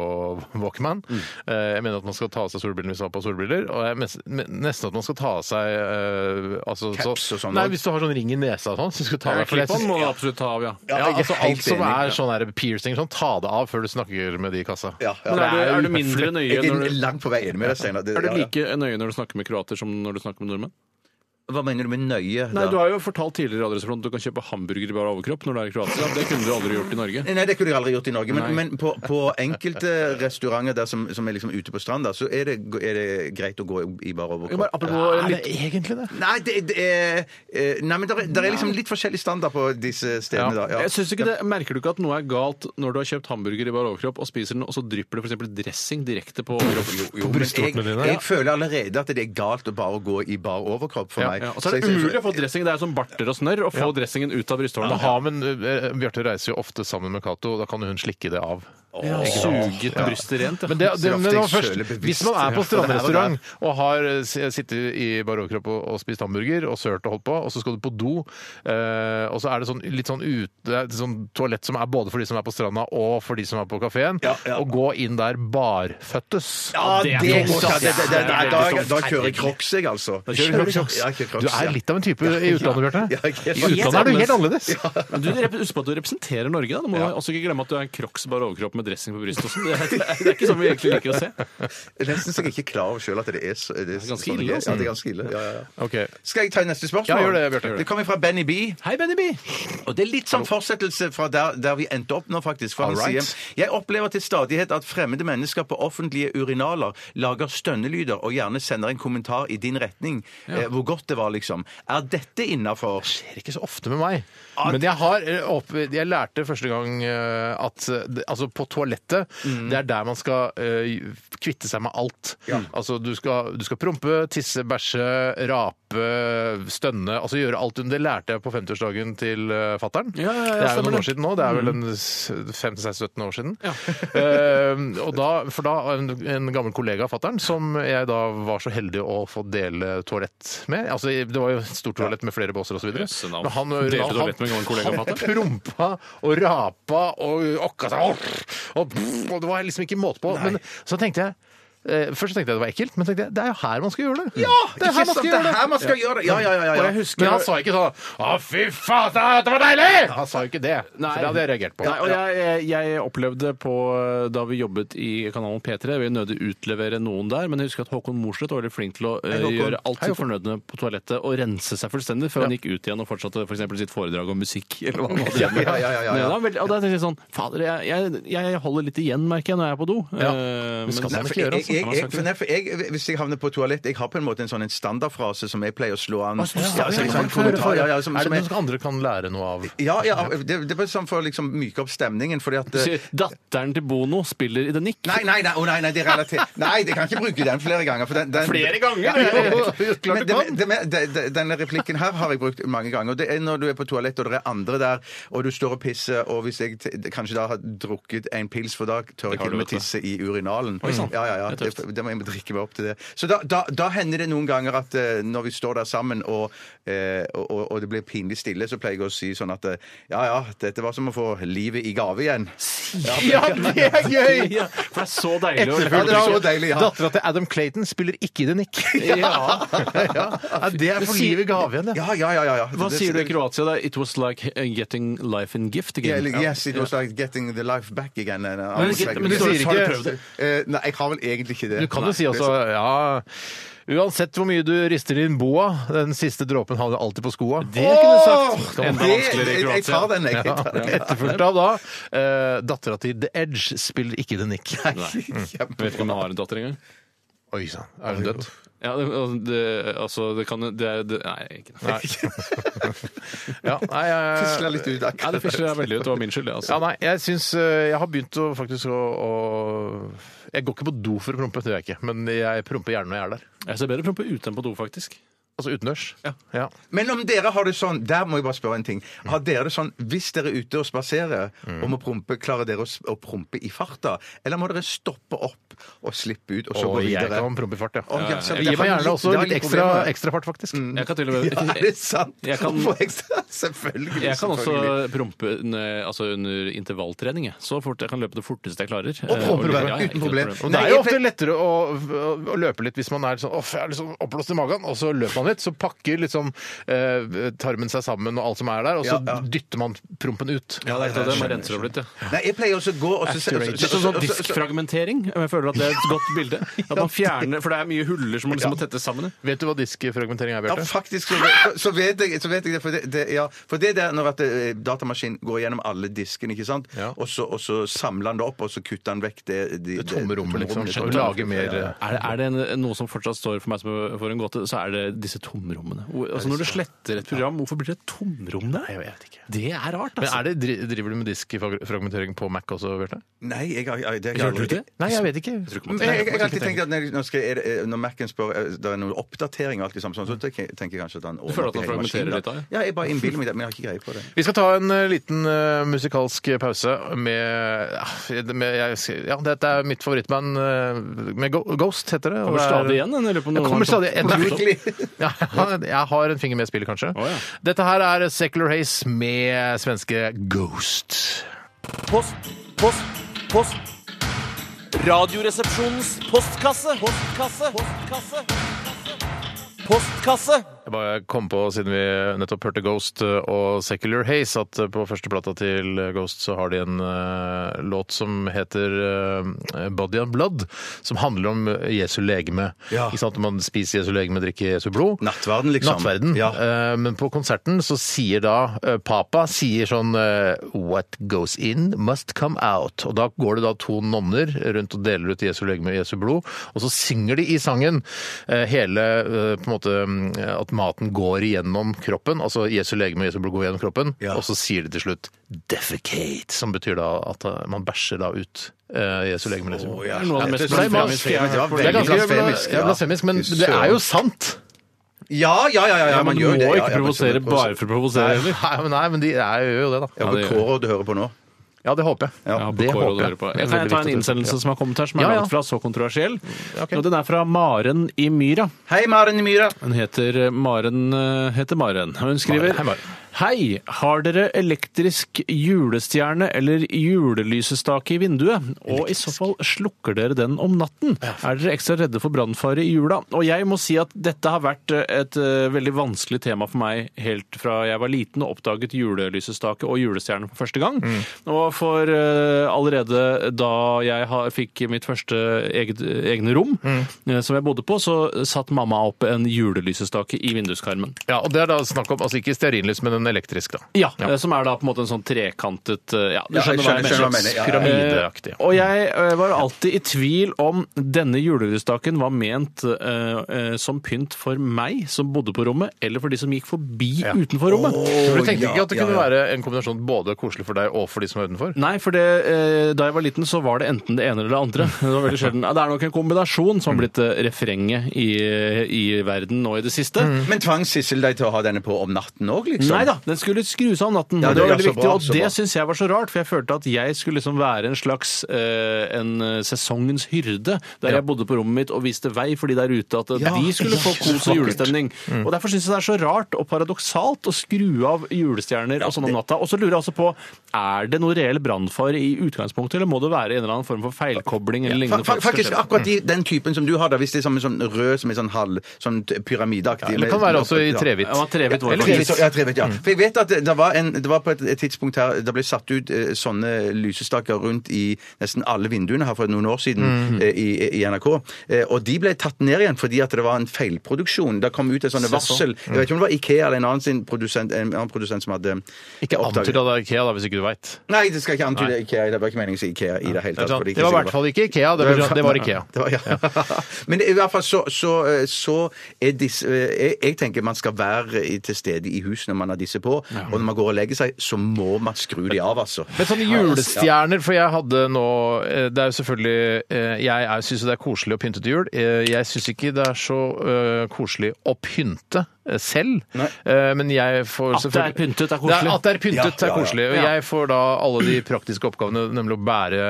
Speaker 1: Walkman.
Speaker 2: Mm.
Speaker 1: Eh, Jeg mener at man skal ta av seg solbrillene hvis man har på solbriller. Og jeg mes- men- nesten at man skal ta av seg øh, altså,
Speaker 2: Caps og sånn
Speaker 1: Nei,
Speaker 2: også.
Speaker 1: hvis du har sånn ring i nesa og sånn, så skal du ta av deg for jeg
Speaker 3: Klipp-on
Speaker 1: synes-
Speaker 3: må du absolutt ta av, ja.
Speaker 1: Ja,
Speaker 2: jeg er
Speaker 1: altså
Speaker 2: helt
Speaker 1: alt som
Speaker 2: enig.
Speaker 1: er sånn der piercing, sånn, ta det av før du snakker med de i kassa.
Speaker 2: Ja, ja.
Speaker 3: Men er du,
Speaker 1: Det er
Speaker 3: er du
Speaker 1: jo
Speaker 3: mindre nøye
Speaker 2: Jeg er
Speaker 3: når du
Speaker 2: langt på vei enig med deg, Steinar. Det-
Speaker 3: er du
Speaker 2: ja, ja.
Speaker 3: like nøye når du snakker med kroater som når du snakker med nordmenn?
Speaker 2: Hva mener du med nøye?
Speaker 3: Nei,
Speaker 2: da?
Speaker 3: Du har jo fortalt tidligere i Radioresepsjonen at du kan kjøpe hamburger i bar overkropp når du er i Kroatia. Det kunne du aldri gjort i Norge.
Speaker 2: Nei, det kunne du aldri gjort i Norge. Men,
Speaker 3: Nei.
Speaker 2: men på, på enkelte restauranter der som, som er liksom ute på stranda, så er det, er det greit å gå i bar
Speaker 3: Jo, bare
Speaker 2: overkropp.
Speaker 3: apropos
Speaker 1: Er det
Speaker 3: litt
Speaker 1: egentlig det?
Speaker 2: Nei, det, det er, eh, nei, men det er, der er liksom litt forskjellig standard på disse stedene.
Speaker 1: Ja.
Speaker 2: Da. Ja.
Speaker 3: Jeg synes ikke det, Merker du ikke at noe er galt når du har kjøpt hamburger i bar overkropp og spiser den, og så drypper det for eksempel dressing direkte på overkroppen?
Speaker 2: Jo, men jeg,
Speaker 1: brystvortene dine?
Speaker 2: jeg føler allerede at det er galt å bare gå i bar overkropp for
Speaker 1: Ja,
Speaker 2: meg.
Speaker 3: Ja, og så er det
Speaker 2: Så jeg-
Speaker 3: umulig å få dressing. Det er som barter og snørr å få dressingen ut av
Speaker 1: Da
Speaker 3: brysthårene.
Speaker 1: har men, eh, Bjarte reiser jo ofte sammen med Cato, og da kan hun slikke det av.
Speaker 3: Ja, Suget brystet rent.
Speaker 1: Men det, det,
Speaker 2: Så ofte
Speaker 1: men det var
Speaker 2: jeg kjøler
Speaker 1: først,
Speaker 2: bevisst.
Speaker 1: hvis man er på
Speaker 2: Ja, for det er
Speaker 1: strandrestaurant og har eh, s- sittet i bar overkropp og, og spist hamburger og sølt og holdt på, og så skal du på do, eh, og så er det sånn, litt sånn ute det er et sånn toalett som er både for de som er på stranda og for de som er på kafeen,
Speaker 2: Ja, ja.
Speaker 1: og gå inn der barføttes.
Speaker 2: Ja, det,
Speaker 3: det er
Speaker 2: går
Speaker 3: dumt,
Speaker 2: ikke.
Speaker 3: ass.
Speaker 2: det, det, det,
Speaker 3: Det
Speaker 2: nei,
Speaker 3: er
Speaker 2: da,
Speaker 3: veldig dumt.
Speaker 2: da kjører jeg crocs, jeg, altså.
Speaker 3: Da kjører du crocs.
Speaker 2: Ja, jeg kjører
Speaker 1: Du
Speaker 2: crocs,
Speaker 1: er
Speaker 2: ja.
Speaker 1: litt av en type i utlandet, Bjarte.
Speaker 2: Ja, jeg er
Speaker 1: I
Speaker 2: helt
Speaker 1: utlandet er du helt
Speaker 3: annerledes.
Speaker 1: annerledes.
Speaker 3: Men du, rep- Husk på at du representerer Norge. da. Du må også ikke glemme at du er en crocs bar overkropp med dressing på brystet. og sånn. Det, er- det er ikke sånn vi egentlig liker å se.
Speaker 2: Jeg er Nesten så jeg ikke er klar over sjøl at det er, så, det er
Speaker 3: ganske
Speaker 2: sånn
Speaker 3: ille,
Speaker 2: jeg er.
Speaker 3: altså.
Speaker 2: Ja, det er ganske ille. Ja, ja, ja.
Speaker 1: Ok.
Speaker 2: Skal jeg ta neste spørsmål?
Speaker 1: Ja, gjør det, Bjarte. Gjør det.
Speaker 2: Det kommer fra Benny B.
Speaker 3: Hei, Benny B!
Speaker 2: Og det er litt sånn fortsettelse fra der, der vi endte opp nå, faktisk. For han
Speaker 1: Alright.
Speaker 2: sier Jeg opplever til stadighet at fremmede mennesker på offentlige urinaler lager stønnelyder og gjerne sender en kommentar i din retning. Eh, hvor godt det var, liksom. Er dette innafor?
Speaker 1: skjer ikke så ofte med meg.
Speaker 3: Ah,
Speaker 1: Men jeg har eh, opp, jeg lærte første gang eh, at eh, det- altså på toalettet
Speaker 3: Mm.
Speaker 1: Det er der man skal eh, kvitte seg med alt. Altså du skal, du skal prompe, tisse, bæsje, rape, stønne. Altså gjøre alt. Det lærte jeg på 50-årsdagen til uh, fattern.
Speaker 3: Ja, ja, ja,
Speaker 1: det er jo
Speaker 3: stemmer det. Mm.
Speaker 1: noen år siden nå. Det er vel en s- 15-16-17 år siden. Eh, og da, for da en, en gammel kollega av fattern, som jeg da var så heldig å få dele toalett med. Altså, det var jo et stort toalett med flere båser osv.
Speaker 3: Jøsse navn.
Speaker 1: Men han,
Speaker 3: Delte
Speaker 1: han,
Speaker 3: du toalett med en gammel kollega,
Speaker 1: han
Speaker 3: Pater?
Speaker 1: prompa og rapa og okka seg og, og, og det var liksom ikke måte på. Men så tenkte jeg eh, Først tenkte jeg det var ekkelt, men så tenkte jeg, det er jo her man skal gjøre det. Ja, det er her man skal gjøre det.
Speaker 2: her man skal gjøre det! Ja, ja, ja. ja,
Speaker 1: Og jeg
Speaker 2: ja.
Speaker 1: husker, men han sa ikke sånn 'Å, fy faen, det var deilig!' Han sa jo ikke det.
Speaker 3: Nei.
Speaker 1: For det hadde jeg reagert på.
Speaker 3: Nei, og jeg, jeg, jeg opplevde på eh, da vi jobbet i kanalen P3 Jeg vil nødig utlevere noen der, men jeg husker at Håkon Mosleth var veldig flink til å eh,
Speaker 2: Hei, Håkon.
Speaker 3: gjøre alt
Speaker 1: Hei,
Speaker 3: sitt
Speaker 1: Håkon.
Speaker 3: fornødne på toalettet og rense seg fullstendig før han gikk ut igjen og fortsatte for eksempel sitt foredrag om musikk. Eller hva han hadde drevet med.
Speaker 2: Ja, ja, ja, ja, ja.
Speaker 3: Men da vel- Og da tenkte jeg sånn Fader, jeg, jeg, jeg holder litt igjen, merker jeg, når jeg er på do.
Speaker 1: Ja.
Speaker 3: Eh,
Speaker 1: Det skal
Speaker 3: men-
Speaker 1: man
Speaker 2: For
Speaker 1: ikke gjøre,
Speaker 2: jeg,
Speaker 1: altså.
Speaker 2: jeg, jeg, for nei, for jeg, hvis jeg havner på toalett Jeg har på en måte en sånn en standardfrase som jeg pleier å slå an.
Speaker 1: Ja,
Speaker 2: Ja, altså, en
Speaker 1: ja, man
Speaker 2: sånn
Speaker 1: får høre
Speaker 2: kommentar,
Speaker 1: for-
Speaker 2: ja, ja, som-
Speaker 1: Er
Speaker 2: som
Speaker 1: det
Speaker 2: jeg-
Speaker 1: noe andre kan lære noe av?
Speaker 2: Ja, ja, det, det er bare sånn for å liksom myke opp stemningen, fordi at eh,
Speaker 3: Sier, Datteren til Bono spiller i The Nick.
Speaker 2: Nei, nei, nei, å, nei, nei, det er relatert. Nei, jeg kan ikke bruke den flere ganger. For den, den,
Speaker 1: Flere ganger?
Speaker 2: Ja, ja, ja.
Speaker 1: Jo, klart
Speaker 2: Men
Speaker 1: du
Speaker 2: det-
Speaker 1: kan.
Speaker 2: det med- det- det- Denne replikken her har jeg brukt mange ganger. Det er når du er på toalettet, og det er andre der, og du står og pisser, og hvis jeg t- kanskje da har drukket en pils for dag, tør jeg
Speaker 3: har
Speaker 2: til
Speaker 3: du
Speaker 2: og med
Speaker 3: vet du.
Speaker 2: tisse i urinalen.
Speaker 1: sånn.
Speaker 3: sant.
Speaker 2: Ja, ja, ja.
Speaker 3: Det er tøft.
Speaker 2: Det, det må jeg drikke meg opp til det. Så da, da, da hender det noen ganger at eh, når vi står der sammen, og, eh, og, og- og det blir pinlig stille, så pleier jeg å si sånn at eh, ja, ja, dette var som å få livet i gave igjen.
Speaker 1: Ja, det er gøy!
Speaker 3: Ja, for det er så deilig å
Speaker 2: Ja, det er så
Speaker 1: Etterfølgelig.
Speaker 2: deilig, ja.
Speaker 1: Dattera til Adam Clayton spiller ikke i The Nick.
Speaker 3: Ja.
Speaker 1: Ja, det er for livet gave igjen, det.
Speaker 2: Ja, ja, ja, ja, ja.
Speaker 3: Hva
Speaker 2: Det-
Speaker 3: sier du i
Speaker 2: det-
Speaker 3: Kroatia? da? It was like uh, getting life in gift again.
Speaker 2: Yeah, yes, it was like getting the life back again. and uh, I was
Speaker 3: ikke-
Speaker 2: like-
Speaker 3: men du
Speaker 1: sier
Speaker 2: Har du
Speaker 1: ikke-
Speaker 2: prøvd det? Eh, nei, jeg har vel egentlig ikke det.
Speaker 1: Du kan
Speaker 2: Nei,
Speaker 1: jo si
Speaker 2: det
Speaker 1: altså
Speaker 2: er sant.
Speaker 1: ja Uansett hvor mye du rister inn boa, den siste dråpen havner alltid på skoa. Det
Speaker 2: Åh,
Speaker 1: Kan man-
Speaker 2: det-
Speaker 3: vanskeligere i
Speaker 2: jeg- Jeg tar
Speaker 3: Kroatia.
Speaker 2: den, jeg. jeg. tar den.
Speaker 1: Etterfulgt av da eh, dattera til The Edge spiller ikke The Nick.
Speaker 3: Jeg vet ikke om jeg har en datter engang.
Speaker 1: Oi sann, er hun død?
Speaker 3: Ja, det, det, altså, det kan det, det, Nei, ikke det.
Speaker 1: Ja, nei, jeg-
Speaker 2: Fisler litt sånn.
Speaker 3: Ja,
Speaker 2: ut
Speaker 3: det
Speaker 2: akkurat.
Speaker 3: fisler jeg veldig ut. Det var min skyld, det.
Speaker 1: Ja,
Speaker 3: Altså.
Speaker 1: nei, jeg syns eh, Jeg har begynt å faktisk å, å Jeg går ikke på do for å prompe, det gjør jeg ikke. Men jeg promper gjerne når jeg er der.
Speaker 3: Jeg ser bedre prompe ute enn på do, faktisk.
Speaker 1: Altså utendørs?
Speaker 3: Ja.
Speaker 2: Men om dere har det sånn Der må jeg bare spørre en ting. Har dere det sånn hvis dere er ute og spaserer
Speaker 3: Mm.
Speaker 2: og må prompe, klarer dere å, s- å prompe i farta? Eller må dere stoppe opp og slippe ut og så
Speaker 1: Og
Speaker 2: gå
Speaker 1: jeg
Speaker 2: videre?
Speaker 1: kan prompe i fart, ja.
Speaker 2: Å, ja, Mm.
Speaker 1: Jeg
Speaker 2: så det
Speaker 1: gir meg
Speaker 2: har
Speaker 1: gjerne
Speaker 2: litt-
Speaker 1: også
Speaker 2: det har
Speaker 1: litt
Speaker 2: litt
Speaker 1: ekstra,
Speaker 2: problemer.
Speaker 1: ekstra fart, faktisk.
Speaker 3: Jeg kan til og med
Speaker 2: Ja, er det sant?
Speaker 3: Jeg kan-
Speaker 2: Å få ekstra, selvfølgelig.
Speaker 3: Jeg kan også
Speaker 2: selvfølgelig.
Speaker 3: prompe under, altså under intervalltrening. jeg. Så fort jeg kan løpe det forteste jeg klarer.
Speaker 2: Og promper du
Speaker 3: Ja,
Speaker 2: bare,
Speaker 3: ja, ikke
Speaker 2: uten
Speaker 3: noe
Speaker 2: problem.
Speaker 1: Og det
Speaker 2: Nei,
Speaker 1: er jo
Speaker 2: jeg-
Speaker 1: ofte lettere å, å- å løpe litt hvis man er sånn Uff, jeg er liksom oppblåst i magen, og så løper man litt. Så pakker liksom eh, tarmen seg sammen og alt som er der, og så
Speaker 2: Ja, ja.
Speaker 1: dytter man prompen ut.
Speaker 3: Ja, det er ikke det. Man renser opp litt, ja.
Speaker 2: Nei, jeg pleier også å gå og så-
Speaker 1: Accurate.
Speaker 3: Litt sånn, sånn diskfragmentering. Jeg føler at det er et godt bilde. At man fjerner, For det er mye huller som man liksom må tette sammen. i.
Speaker 1: Vet du hva diskfragmentering er,
Speaker 2: Ja,
Speaker 1: Bjarte?
Speaker 2: faktisk så vet, så vet, jeg, så vet jeg det. For det, det, ja, for det der når at eh, datamaskinen går gjennom alle diskene, ikke sant?
Speaker 1: Ja.
Speaker 2: Og, så, og så samler han det opp, og så kutter han vekk det de,
Speaker 1: Det tomme rommet, liksom.
Speaker 2: rommet.
Speaker 1: Og lage mer eh.
Speaker 2: Ja, ja.
Speaker 3: Er det, er det en, noe som fortsatt står for meg som for en gåte, så er det disse tomrommene. Hvor- Altså Når du sletter et program, hvorfor blir det et tomrom der? Jeg vet ikke. Det er rart,
Speaker 1: Men
Speaker 3: altså.
Speaker 1: er det, dri- driver du med diskfragmentering på Mac også, Bjarte?
Speaker 2: Nei, jeg har jeg- det har jeg
Speaker 3: Hørte du
Speaker 2: aldri-
Speaker 3: ikke?
Speaker 1: Nei, jeg vet ikke.
Speaker 2: Men Jeg, jeg, jeg har alltid tenkt at når, når, skal, er det, eh, når Mac-en spør eh, det er noen oppdatering, og alt det samme, sånn, så tenker jeg tenker jeg kanskje at han ordner
Speaker 3: føler at
Speaker 2: opp i
Speaker 3: han
Speaker 2: hele
Speaker 3: fragmenterer
Speaker 2: maskinen,
Speaker 3: litt
Speaker 2: da.
Speaker 3: av det?
Speaker 2: Ja, jeg bare innbiller meg det, men jeg har ikke greie på det.
Speaker 1: Vi skal ta en eh, liten eh, musikalsk pause med, ja, med jeg, Ja, dette er mitt favorittband eh, med Go- Ghost, heter det. og
Speaker 3: Kommer
Speaker 1: det er-
Speaker 3: stadig igjen, eller lurer på om
Speaker 1: Jeg
Speaker 3: noen har
Speaker 1: kommer stadig
Speaker 3: tatt-
Speaker 1: jeg-
Speaker 2: Virkelig.
Speaker 1: Ja, jeg har en finger med i spillet, kanskje.
Speaker 3: Å, ja.
Speaker 1: Dette her er Secular Haze med svenske Ghost.
Speaker 7: Post, post, post. Radioresepsjonens postkasse. Postkasse. Postkasse. Postkasse.
Speaker 1: Jeg bare kom på, siden vi nettopp hørte Ghost og Secular Haze, at på første plata til Ghost så har de en eh, låt som heter eh, Body and Blood, som handler om Jesu legeme.
Speaker 2: Ja.
Speaker 1: Ikke sant? Man spiser Jesu legeme, drikker Jesu blod.
Speaker 2: Nattverden, liksom.
Speaker 1: Nattverden.
Speaker 2: Ja.
Speaker 1: Eh, Men på konserten så sier da eh, Papa sier sånn eh, What goes in must come out. Og da går det da to nonner rundt og deler ut Jesu legeme og Jesu blod, og så synger de i sangen eh, hele eh, på en måte mm, at maten går igjennom kroppen, altså Jesu legeme og Jesu blod går igjennom kroppen,
Speaker 2: Ja.
Speaker 1: og så sier de til slutt defecate, som betyr da at eh, man bæsjer da ut eh, Jesu legeme og Jesu blod.
Speaker 2: Å, ja.
Speaker 3: Noe av det mest
Speaker 2: Det er
Speaker 1: blasfemiske jeg
Speaker 3: har hørt.
Speaker 2: Det
Speaker 1: Det er
Speaker 2: var
Speaker 1: ganske
Speaker 2: veldig
Speaker 1: blasfemisk,
Speaker 2: blasfemisk. ja.
Speaker 1: men
Speaker 2: Fy
Speaker 1: det er jo
Speaker 2: søren.
Speaker 1: sant!
Speaker 2: Ja, ja, ja, ja, ja,
Speaker 3: Ja,
Speaker 2: man
Speaker 3: men du
Speaker 2: gjør
Speaker 3: må
Speaker 2: det. ja,
Speaker 3: ikke
Speaker 2: ja,
Speaker 3: provosere
Speaker 2: man gjør
Speaker 3: bare
Speaker 2: det.
Speaker 3: for å provosere,
Speaker 1: Nei,
Speaker 3: eller?
Speaker 1: men, nei, men de er jo- gjør jo det, da.
Speaker 2: Ja,
Speaker 3: Ja,
Speaker 2: på
Speaker 3: det gjør
Speaker 2: Kåre du hører på nå.
Speaker 1: Ja, det håper jeg.
Speaker 3: Ja, på Kåre du hører på. Jeg kan ta en innsendelse som har kommet her, som er
Speaker 1: Ja, ja.
Speaker 3: langt fra så kontroversiell.
Speaker 1: Ok.
Speaker 3: Og den er fra Maren i Myra.
Speaker 2: Hei, Maren i Myra.
Speaker 3: Hun heter Maren. eh, Heter Maren. Og Hun skriver
Speaker 1: Maren. Hei, Maren.
Speaker 3: Hei, har dere elektrisk julestjerne eller julelysestake i vinduet? Og i så fall slukker dere den om natten. Er dere ekstra redde for brannfare i jula? Og jeg må si at dette har vært eh, et eh, veldig vanskelig tema for meg helt fra jeg var liten og oppdaget julelysestake og julestjerne for første gang. Og for eh, allerede da jeg har, fikk mitt første eget, egne rom, eh, som jeg bodde på, så satt mamma opp en julelysestake i vinduskarmen.
Speaker 1: Ja, og det er da snakk om, altså ikke stearinlys, men en elektrisk, da.
Speaker 3: Ja, eh, som er da på en måte en sånn trekantet eh, Ja, du
Speaker 2: Ja, jeg
Speaker 3: skjønner, hva jeg
Speaker 2: skjønner
Speaker 3: mener.
Speaker 2: hva jeg mener. Ja, ja, ja.
Speaker 1: Pyramideaktig.
Speaker 3: Eh, og jeg eh, var alltid i tvil om denne julelysestaken var ment eh, eh, som pynt for meg som bodde på rommet, eller for de som gikk forbi
Speaker 1: Ja.
Speaker 3: utenfor rommet.
Speaker 1: For du tenkte
Speaker 2: ja,
Speaker 1: ikke at det
Speaker 2: Eh, ja,
Speaker 1: kunne
Speaker 2: ja.
Speaker 1: være en kombinasjon både koselig for deg og for de som er utenfor?
Speaker 3: Nei, for det, eh, da jeg var liten, så var det enten det ene eller det andre. Det var veldig sjelden. Ja, Det er nok en kombinasjon som har blitt eh, refrenget i, eh, i verden nå i det siste.
Speaker 2: Men tvang Sissel deg til å ha denne på om natten òg, liksom?
Speaker 3: Nei da, den skulle skrus av om natten.
Speaker 2: Ja,
Speaker 3: og det var
Speaker 2: det-
Speaker 3: veldig
Speaker 2: ja, så
Speaker 3: viktig,
Speaker 2: bra,
Speaker 3: og
Speaker 2: så
Speaker 3: det
Speaker 2: bra.
Speaker 3: syns jeg var så rart, for jeg følte at jeg skulle liksom være en slags eh, en eh, sesongens hyrde, der jeg bodde på rommet mitt og viste vei for de der ute, at eh,
Speaker 2: Ja,
Speaker 3: de skulle
Speaker 2: ja,
Speaker 3: få
Speaker 2: så
Speaker 3: kos og
Speaker 2: vakkert. Mm.
Speaker 3: julestemning. Og derfor syns jeg det er så rart og paradoksalt å skru av julestjerner og sånn om natta. Og så lurer jeg altså på, er det noe reell brannfare i utgangspunktet, eller må det være en eller annen form for feilkobling eller
Speaker 2: Fa
Speaker 3: lignende?
Speaker 2: fa
Speaker 3: for at det
Speaker 2: faktisk
Speaker 3: skal skje?
Speaker 2: akkurat de, den typen som du har, da, hvis det er som en sånn rød som er sånn halv sånn t- pyramideaktig
Speaker 1: Eller det kan
Speaker 2: med-
Speaker 1: være også i
Speaker 2: ja.
Speaker 1: trehvitt.
Speaker 3: Ja, det var trehvitt var det
Speaker 1: Eller
Speaker 2: Trehvitt,
Speaker 1: hvit.
Speaker 2: ja, trehvitt,
Speaker 1: Mm.
Speaker 2: ja. For jeg vet at det, det, var en, det var på et, et tidspunkt her det ble satt ut eh, sånne lysestaker rundt i nesten alle vinduene her for noen år siden
Speaker 1: Mm.
Speaker 2: eh, i, i NRK. Eh, og de ble tatt ned igjen fordi at det var en feilproduksjon. Det kom ut et sånt
Speaker 1: sånn.
Speaker 2: varsel. Jeg vet ikke om det var Ikea eller en annen, sin produsent, en annen produsent som hadde
Speaker 1: Ikke
Speaker 2: oppdaget-
Speaker 1: antyd at det er Ikea, da, hvis ikke du veit.
Speaker 2: Nei, det skal ikke antyde Ikea. Det var ikke meningen å si Ikea i det hele
Speaker 1: Det
Speaker 2: tatt. fordi
Speaker 1: var i
Speaker 2: ikke sikkert-
Speaker 1: hvert fall ikke Ikea, det var, det var Ikea.
Speaker 2: det var, ja. Men i hvert fall eh, så, så, så er disse jeg, jeg tenker man skal være i- til stede i huset når man har spiser på. Og når man går og legger seg, så må man skru de av, altså.
Speaker 1: Men
Speaker 3: sånn
Speaker 1: sånne julestjerner, for jeg hadde nå eh, Det er jo selvfølgelig eh, Jeg er- syns jo det er koselig å pynte til jul. Eh, Jeg syns ikke det er så eh, koselig å pynte eh, selv. Eh, Men jeg får
Speaker 3: At det er pyntet er koselig.
Speaker 1: Det er- At det er pyntet
Speaker 2: Ja,
Speaker 1: er
Speaker 2: ja, ja.
Speaker 1: koselig. Og jeg får da alle de praktiske oppgavene, nemlig å bære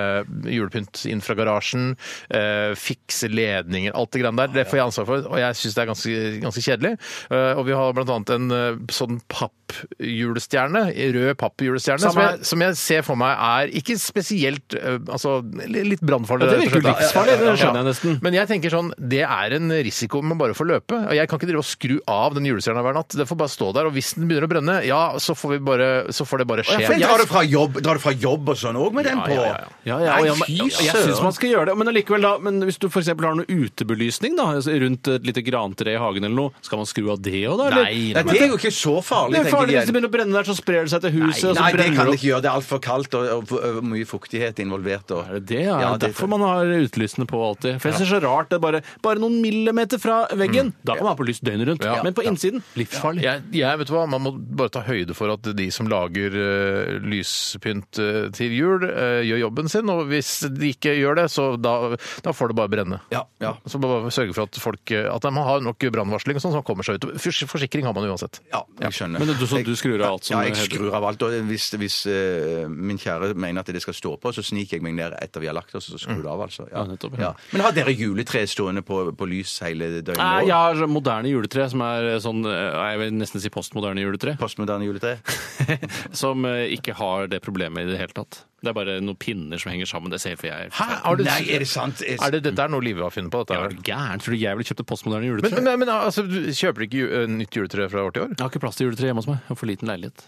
Speaker 1: julepynt inn fra garasjen, eh, fikse ledninger, alt det grann der. Det får jeg ansvar for, og jeg syns det er ganske, ganske kjedelig. Eh, Og vi har blant annet en eh, sånn pappjulestjerne, rød pappjulestjerne, som jeg, som jeg ser for meg er ikke spesielt eh, Altså li- litt brannfarlig.
Speaker 3: Ja, det
Speaker 1: rett og
Speaker 3: virker jo
Speaker 1: slett, da.
Speaker 3: livsfarlig, det skjønner jeg nesten.
Speaker 1: Men jeg tenker sånn, det er en risiko man bare får løpe. Og jeg kan ikke drive og skru av den julestjerna hver natt. Det får bare stå der. Og hvis den begynner å brenne, ja, så får, vi bare, så får det bare skje.
Speaker 2: Men drar du fra jobb, drar du fra jobb og sånn òg med den på?
Speaker 1: ja, ja.
Speaker 3: Ja, ja, og
Speaker 2: Nei,
Speaker 3: jeg,
Speaker 2: fy
Speaker 3: jeg, jeg syns man skal gjøre det. Men allikevel da, men hvis du f.eks. har noe utebelysning da, altså rundt et lite grantre i hagen eller noe, skal man skru av det òg, da? eller?
Speaker 1: Nei,
Speaker 2: Nei, det er jo ikke så farlig,
Speaker 3: Det er
Speaker 2: tenker
Speaker 3: farlig
Speaker 2: jeg.
Speaker 3: hvis det begynner å brenne der, så sprer det seg til huset. og så
Speaker 2: Nei, det
Speaker 3: brenner
Speaker 2: kan det
Speaker 3: opp.
Speaker 2: ikke gjøre. Det er altfor kaldt og, og, og mye fuktighet involvert. Og.
Speaker 3: Er det det? Ja,
Speaker 2: Ja,
Speaker 3: det er derfor man har utelysene på alltid. For jeg synes det er så rart det er bare, bare noen millimeter fra veggen. Mm. Da kan man ha på lys døgnet rundt.
Speaker 1: Ja.
Speaker 3: Men på innsiden livsfarlig.
Speaker 1: Jeg, jeg vet du hva, Man må bare ta høyde for at de som lager eh, lyspynt eh, til jul, eh, gjør jobben sin. Og hvis de ikke gjør det, så da, da får det bare brenne.
Speaker 2: Ja, ja.
Speaker 1: Så bare sørge for at folk eh, at man har nok brannvarsling og sånn, så man kommer seg ut. Fors- Forsikring har man uansett.
Speaker 2: Ja, jeg skjønner.
Speaker 3: Men det er du- så du skrur av alt som
Speaker 2: Ja, jeg
Speaker 3: heter-
Speaker 2: skrur av alt. Og hvis, hvis eh, min kjære mener at det skal stå på, så sniker jeg meg ned etter vi har lagt oss, og så skrur det av, altså. Ja.
Speaker 3: Ja, nettopp, ja.
Speaker 2: Ja. Men har dere juletre stående på, på lys hele døgnet?
Speaker 3: Nei,
Speaker 1: Ah,
Speaker 2: også?
Speaker 3: jeg har sånn moderne juletre, som er sånn eh, Jeg vil nesten si postmoderne juletre.
Speaker 2: Postmoderne juletre?
Speaker 3: Som eh, ikke har det problemet i det hele tatt. Det er bare noen pinner som henger sammen. Det ser for jeg
Speaker 1: Har du-
Speaker 2: Nei, er det sant? Er-
Speaker 1: Er det, dette er noe Live har funnet på? Dette,
Speaker 3: Jeg
Speaker 1: her?
Speaker 3: er gæren. Tror du jeg ville kjøpt et postmoderne juletre?
Speaker 1: men, men, men altså, du kjøper du ikke ju- eh, nytt juletre fra år til år?
Speaker 3: jeg har ikke plass til juletre hjemme hos meg. Jeg har for liten leilighet.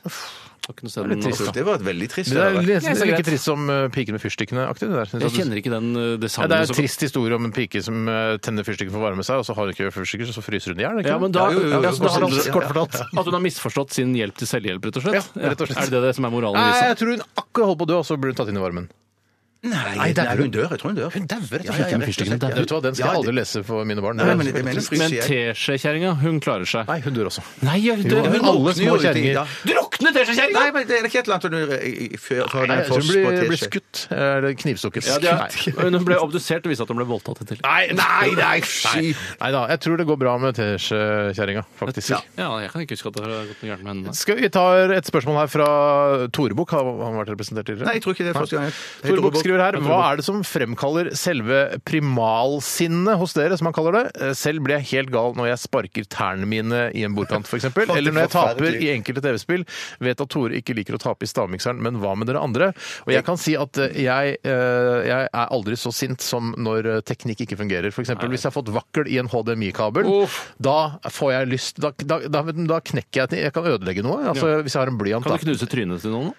Speaker 3: Har ikke noe sted den-
Speaker 2: Uff, Det var et veldig trist.
Speaker 1: Men det er
Speaker 2: eller?
Speaker 1: nesten
Speaker 3: Ja, så greit.
Speaker 1: like trist som eh, Piken med fyrstikkene-aktig. det der, synes
Speaker 3: Jeg
Speaker 1: jeg.
Speaker 3: kjenner ikke den eh,
Speaker 1: Ja,
Speaker 3: designen.
Speaker 1: det er
Speaker 3: så
Speaker 1: en
Speaker 3: godt.
Speaker 1: trist historie om en pike som eh, tenner fyrstikker for å varme seg, og så har hun ikke fyrstikker, så fryser hun i hjel.
Speaker 3: Ja, men da,
Speaker 2: Ja, jo, jo, jo.
Speaker 3: ja, så da har han,
Speaker 2: Kort fortalt.
Speaker 1: Kort fortalt.
Speaker 3: At hun har misforstått sin hjelp til selvhjelp, rett og slett?
Speaker 1: Ja, rett og slett.
Speaker 3: Er det det som er moralen i
Speaker 1: Nei,
Speaker 3: visa?
Speaker 1: jeg tror hun akkurat holdt på å dø, og så ble hun tatt inn i varmen.
Speaker 2: Nei,
Speaker 1: Nei, det er-
Speaker 2: nei, hun dør. Jeg tror hun dør.
Speaker 1: Hun dauer, rett
Speaker 2: Ja,
Speaker 1: og
Speaker 2: ja, ja,
Speaker 1: slett.
Speaker 2: rett og slett, ja.
Speaker 1: Vet du hva, Den skal
Speaker 2: Ja,
Speaker 1: jeg aldri
Speaker 2: det-
Speaker 1: lese for mine barn.
Speaker 2: Nei, men jeg mener,
Speaker 3: Men
Speaker 2: fryser jeg.
Speaker 3: teskjekjerringa, hun klarer seg.
Speaker 1: Nei, hun dør også.
Speaker 3: Nei, hun,
Speaker 1: Jo,
Speaker 3: alle
Speaker 1: hun alle
Speaker 2: Nå
Speaker 1: små
Speaker 2: er det ting,
Speaker 1: kjerringer.
Speaker 2: da.
Speaker 3: drukner teskjekjerringa!
Speaker 2: Nei, men det er ikke et eller annet hun gjør i- i-
Speaker 1: Nei,
Speaker 2: før før den
Speaker 1: jeg tror
Speaker 2: foss
Speaker 1: hun
Speaker 2: på
Speaker 1: blir, blir
Speaker 2: teskje.
Speaker 1: skutt. eh, Eller knivstukket.
Speaker 3: Ja, det er,
Speaker 1: Nei.
Speaker 3: men hun ble obdusert og viste at hun ble voldtatt etter.
Speaker 1: Nei, nei, nei,
Speaker 2: fy.
Speaker 1: Nei da, jeg tror det går bra med Tesje-kjerringa, faktisk.
Speaker 3: Ja, jeg kan ikke huske at det har gått noe gærent med henne.
Speaker 1: Skal vi ta et spørsmål her fra Tore Bukk. Har han vært representert tidligere?
Speaker 2: Nei, jeg tror ikke det er første gang. jeg- Hei,
Speaker 1: Tore Bukk skriver her
Speaker 2: Ja, Tore
Speaker 1: Hva
Speaker 2: Bukk.
Speaker 1: er det som fremkaller selve primalsinnet hos dere, som han kaller det? Eh, Selv blir jeg helt gal når jeg sparker tærne mine i en bordkant, f.eks. Eller når jeg taper i enkelte TV-spill. Vet at Tore ikke liker å tape i stavmikseren, men hva med dere andre? Og jeg kan si at eh, jeg, eh, jeg er aldri så sint som når eh, teknikk ikke fungerer. F.eks. hvis jeg har fått vakkel i en HDMI-kabel, da får jeg lyst da, da, da, da knekker jeg til Jeg kan ødelegge noe. Altså, Hvis jeg har en blyant.
Speaker 3: Kan
Speaker 1: da.
Speaker 3: du knuse trynet til noen?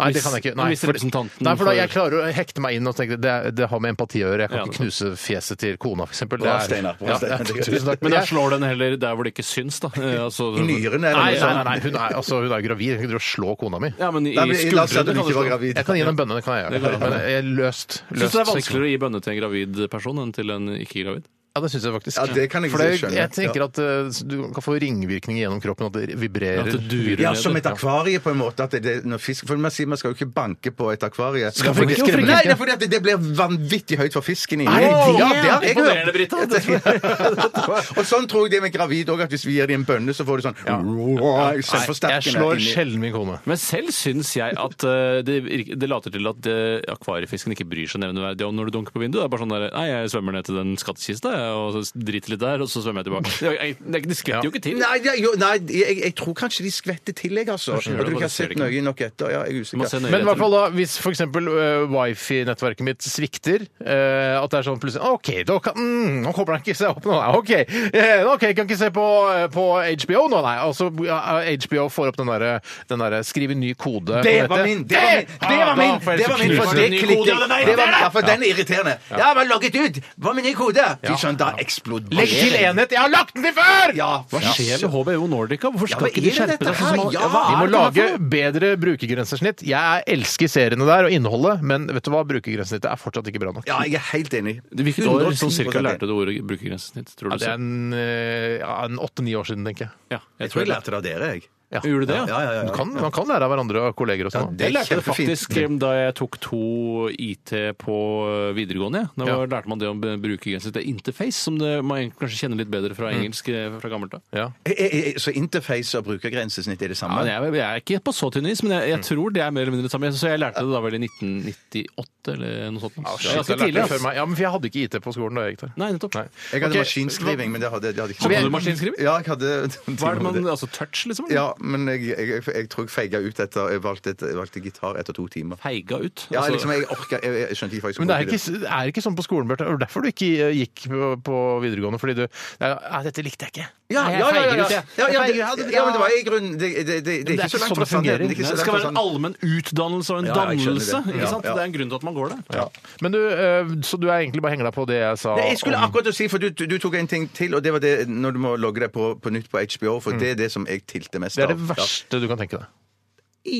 Speaker 1: Nei, det kan jeg ikke. Nei,
Speaker 3: hvis
Speaker 1: for-
Speaker 3: representanten
Speaker 1: Nei, for da
Speaker 3: får-
Speaker 1: jeg klarer å hekte meg inn og tenke det, det har med empati å gjøre. Jeg kan
Speaker 3: Ja,
Speaker 1: ikke
Speaker 3: det-
Speaker 1: knuse fjeset til kona, for eksempel. Det
Speaker 2: Bra,
Speaker 1: er-
Speaker 2: Steinar. Bra,
Speaker 1: Ja,
Speaker 2: Steinar.
Speaker 1: ja, tusen takk.
Speaker 3: Men da
Speaker 1: Jeg-
Speaker 3: slår den heller der hvor det ikke syns, da. Eh, Altså,
Speaker 2: I nyrene eller
Speaker 1: Nei, nei, nei,
Speaker 2: noe sånt.
Speaker 1: nei, hun er altså, hun er gravid. Jeg kan ikke drive og slå kona mi.
Speaker 3: Ja, men i
Speaker 2: Nei, men La oss si at
Speaker 3: skuldrene
Speaker 2: hun
Speaker 3: kan du
Speaker 2: ikke var
Speaker 3: slå.
Speaker 2: gravid.
Speaker 1: Jeg kan gi dem bønne, det kan jeg gjøre. Men jeg er løst. løst
Speaker 3: Syns du det er vanskeligere å gi bønne til en gravid person enn til en ikke-gravid?
Speaker 1: Ja, det syns jeg faktisk.
Speaker 2: Ja, det kan jeg
Speaker 1: for det,
Speaker 2: skjønne.
Speaker 1: jeg tenker at eh, du kan få ringvirkninger gjennom kroppen, at det vibrerer.
Speaker 3: At det durer
Speaker 2: Ja,
Speaker 3: ned,
Speaker 2: som et
Speaker 3: ja.
Speaker 2: akvarie, på en måte. At det- det, når fisk, for man sier man skal jo ikke banke på et akvarie.
Speaker 1: Skal man ikke? Hvorfor ikke?
Speaker 2: Nei, det er fordi at det, det blir vanvittig høyt for fisken inni.
Speaker 1: Er det det?
Speaker 2: Ja, det har jeg
Speaker 3: Imponerende,
Speaker 2: hørt.
Speaker 3: Brita.
Speaker 2: Og sånn tror jeg det er med gravid òg, at hvis vi gir dem en bønne, så får de sånn
Speaker 1: Nei, jeg
Speaker 2: selvforsterkende
Speaker 1: slår
Speaker 2: inni.
Speaker 1: sjelden min kone.
Speaker 3: Men selv syns jeg at eh, det, virker- det later til at eh, akvariefisken ikke bryr seg nevneverdig om når du dunker på vinduet. Det er bare sånn der Nei, jeg svømmer ned til den skattkista, jeg, og så driter litt der, og så svømmer jeg tilbake. Det, er- jeg, det skvetter jo ikke til.
Speaker 2: Nei, ja, jo, nei jeg, jeg tror kanskje de skvetter til, jeg, altså. Jeg
Speaker 3: Kanskje de gjør
Speaker 2: tror
Speaker 3: det, bare
Speaker 2: ikke jeg har
Speaker 3: ser det
Speaker 2: sett
Speaker 3: ikke.
Speaker 2: nøye nok etter. Ja, jeg er
Speaker 3: Du må se
Speaker 2: usikker.
Speaker 3: nøye
Speaker 1: Men i
Speaker 3: etter.
Speaker 1: hvert fall da, hvis f.eks. Uh, wifi-nettverket mitt svikter, eh, at det er sånn plutselig OK, da kan, mm, nå kommer han ikke seg opp nå, nei. OK, eh, ok, jeg kan ikke se på, eh, på HBO nå, nei. Altså, ja, HBO får opp den derre den der, Skriv en ny kode. på
Speaker 2: Det var
Speaker 1: nettet. Eh,
Speaker 2: min! Det var min! Det
Speaker 1: Ja, da får jeg
Speaker 2: var min! Det var min,
Speaker 1: knuse
Speaker 2: for
Speaker 1: den.
Speaker 2: det klikker jeg. Det var, ja, for den er irriterende. Ja, men logget ut! Hva med ny kode? Fy søren, da eksploderer
Speaker 1: Legg til enhet! Jeg har lagt den til før!
Speaker 2: Ja,
Speaker 3: Hva skjer med HBO Nordica? Hvorfor skal
Speaker 2: men
Speaker 3: ikke de
Speaker 2: er det
Speaker 3: skjerpe
Speaker 2: dette
Speaker 3: seg? sånn som
Speaker 2: her?
Speaker 3: alle-
Speaker 2: Ja,
Speaker 3: hva
Speaker 1: De må
Speaker 3: er det her
Speaker 1: lage
Speaker 3: for noe?
Speaker 1: bedre brukergrensesnitt. Jeg elsker seriene der og innholdet, men vet du hva? brukergrensesnittet er fortsatt ikke bra nok.
Speaker 2: Ja, jeg er helt enig.
Speaker 3: Hvilket år sånn
Speaker 2: 110%
Speaker 3: cirka lærte du ordet brukergrensesnitt? Tror
Speaker 1: Ja,
Speaker 3: du
Speaker 1: det er en, eh, ja, en åtte-ni år siden, tenker jeg.
Speaker 3: Ja,
Speaker 2: Jeg tror jeg lærte det av dere, jeg.
Speaker 1: Ja.
Speaker 3: Gjorde du det?
Speaker 2: Ja, ja, ja,
Speaker 1: Man
Speaker 2: ja.
Speaker 1: kan, man kan lære av hverandre og kolleger og sånn.
Speaker 3: Jeg lærte det
Speaker 2: kjempefint.
Speaker 3: faktisk eh, da jeg tok to IT på eh, videregående. Da var- lærte man det å b- bruke genser til interface, som det, man egentlig kanskje kjenner litt bedre
Speaker 2: Mm.
Speaker 3: fra engelsk eh, fra gammelt av.
Speaker 1: Ja.
Speaker 2: Eh, eh, eh, Så interface og brukergrensesnitt er det samme?
Speaker 3: Men jeg, jeg er ikke på så tynn is, men jeg,
Speaker 2: Mm.
Speaker 3: jeg tror det er mer eller mindre det samme. Så jeg lærte det da vel i 1998 eller noe
Speaker 2: Ah,
Speaker 3: sånt.
Speaker 1: Ja,
Speaker 3: Det var ganske
Speaker 1: shit, jeg lærte det
Speaker 3: tidlig,
Speaker 1: før
Speaker 3: ass.
Speaker 1: meg. Ja, men for jeg hadde ikke IT på skolen da jeg gikk der.
Speaker 3: Nei, nettopp.
Speaker 1: Nei.
Speaker 2: Jeg hadde
Speaker 1: Ok,
Speaker 2: maskinskriving, men det hadde, det hadde ikke
Speaker 3: Hadde du maskinskriving?
Speaker 2: Ja, jeg hadde
Speaker 3: Hva er det man, altså touch, liksom? eller?
Speaker 2: Ja, men jeg, jeg, jeg, jeg tror jeg feiga ut etter Jeg valgte, et, jeg valgte gitar etter to timer.
Speaker 3: Feiga ut?
Speaker 2: Ja,
Speaker 3: altså-
Speaker 2: liksom, jeg orka Jeg, jeg skjønte ikke faktisk
Speaker 1: Men det er ikke, det er ikke sånn på skolen, Bjarte. Det var derfor du ikke eh, gikk på, på videregående. Fordi du Nei, ja, dette likte jeg ikke.
Speaker 2: Ja,
Speaker 1: Nei,
Speaker 2: ja,
Speaker 1: jeg
Speaker 2: ja, ja,
Speaker 1: feiger
Speaker 2: ja,
Speaker 1: ut, jeg.
Speaker 2: ja, ja,
Speaker 1: Jeg
Speaker 2: det,
Speaker 1: feiger ut,
Speaker 2: ja, men det var i grunnen Det, det, det, det, er ikke så langt fra
Speaker 1: sånn det fungerer.
Speaker 2: sannheten. Det er ikke så
Speaker 3: det
Speaker 2: langt
Speaker 3: skal
Speaker 2: fra
Speaker 3: være en
Speaker 2: sannheten.
Speaker 3: allmenn utdannelse og en
Speaker 2: Ja, jeg skjønner det.
Speaker 3: dannelse.
Speaker 2: Ja,
Speaker 3: ikke sant?
Speaker 2: ja.
Speaker 3: Det er en grunn til at man går der.
Speaker 1: Men du, eh, så du er egentlig bare henger deg på det jeg sa?
Speaker 2: Nei, jeg skulle
Speaker 1: om-
Speaker 2: akkurat å si, for du, du tok en ting til, og det var det når du må logge deg på, på nytt på HBO, for det er Mm. det som jeg tilter mest
Speaker 1: det er
Speaker 2: av.
Speaker 1: det verste du kan tenke deg.